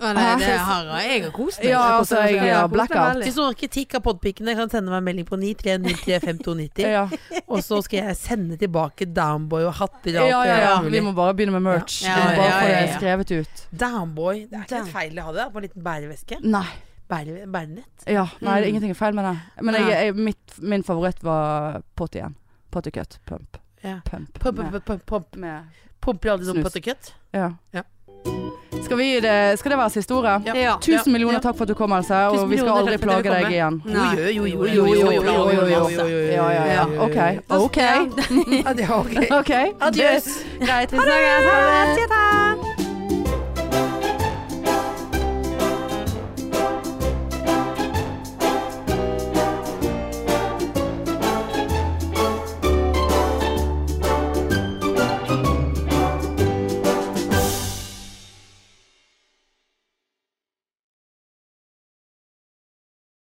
[SPEAKER 2] Ja, nei,
[SPEAKER 1] Hæ?
[SPEAKER 2] det her har jeg kost meg.
[SPEAKER 1] Ja,
[SPEAKER 2] Jeg har
[SPEAKER 1] altså,
[SPEAKER 2] kost meg.
[SPEAKER 1] jeg
[SPEAKER 2] Jeg har
[SPEAKER 1] har
[SPEAKER 2] kost meg
[SPEAKER 1] blackout.
[SPEAKER 2] veldig.
[SPEAKER 3] Hvis noen har kritikk av podpikene, kan sende meg en melding på 93035290.
[SPEAKER 1] Ja,
[SPEAKER 3] Og så skal jeg sende tilbake Downboy og hatter
[SPEAKER 1] ja,
[SPEAKER 3] og
[SPEAKER 1] ja.
[SPEAKER 3] alt det
[SPEAKER 1] ja.
[SPEAKER 3] der mulig.
[SPEAKER 1] Vi må bare begynne med merch.
[SPEAKER 2] Ja,
[SPEAKER 1] Vi må bare
[SPEAKER 2] ja,
[SPEAKER 1] få
[SPEAKER 2] ja,
[SPEAKER 1] det
[SPEAKER 2] ja.
[SPEAKER 1] skrevet ut.
[SPEAKER 3] Downboy. Det er ikke
[SPEAKER 2] Down.
[SPEAKER 3] et feil å ha det. På en liten bæreveske.
[SPEAKER 1] Nei.
[SPEAKER 3] Bære, bærenett.
[SPEAKER 1] Ja, nei, det er ingenting feil med det. Men jeg,
[SPEAKER 2] Nei.
[SPEAKER 1] jeg, mitt, min favoritt var Potty igjen. Pottycut. Pump.
[SPEAKER 3] Ja.
[SPEAKER 1] Pump.
[SPEAKER 3] Pump,
[SPEAKER 1] Med,
[SPEAKER 3] pump, pump, pump.
[SPEAKER 1] med
[SPEAKER 3] Pumper alle sånn
[SPEAKER 1] Snus.
[SPEAKER 3] pottekøtt.
[SPEAKER 1] ja.
[SPEAKER 3] Ja.
[SPEAKER 1] Skal, vi, det, skal det være siste ordet?
[SPEAKER 3] Ja.
[SPEAKER 2] Ja.
[SPEAKER 1] Tusen millioner takk for at du kom, Else. Og
[SPEAKER 3] Tusen
[SPEAKER 1] vi skal
[SPEAKER 3] millioner
[SPEAKER 1] aldri
[SPEAKER 3] takk for at du
[SPEAKER 1] plage deg
[SPEAKER 3] kom.
[SPEAKER 1] igjen.
[SPEAKER 2] Nei.
[SPEAKER 3] Jo, jo, jo,
[SPEAKER 1] Jo, jo, jo,
[SPEAKER 3] jo, jo,
[SPEAKER 1] jo, jo.
[SPEAKER 3] jo, jo,
[SPEAKER 1] Ja, ja, ja.
[SPEAKER 3] jo, jo.
[SPEAKER 1] OK. OK.
[SPEAKER 3] Ja, det er ok.
[SPEAKER 1] OK.
[SPEAKER 3] Adios.
[SPEAKER 1] Greit. Vi snakkes. Ha det.
[SPEAKER 3] Ha det.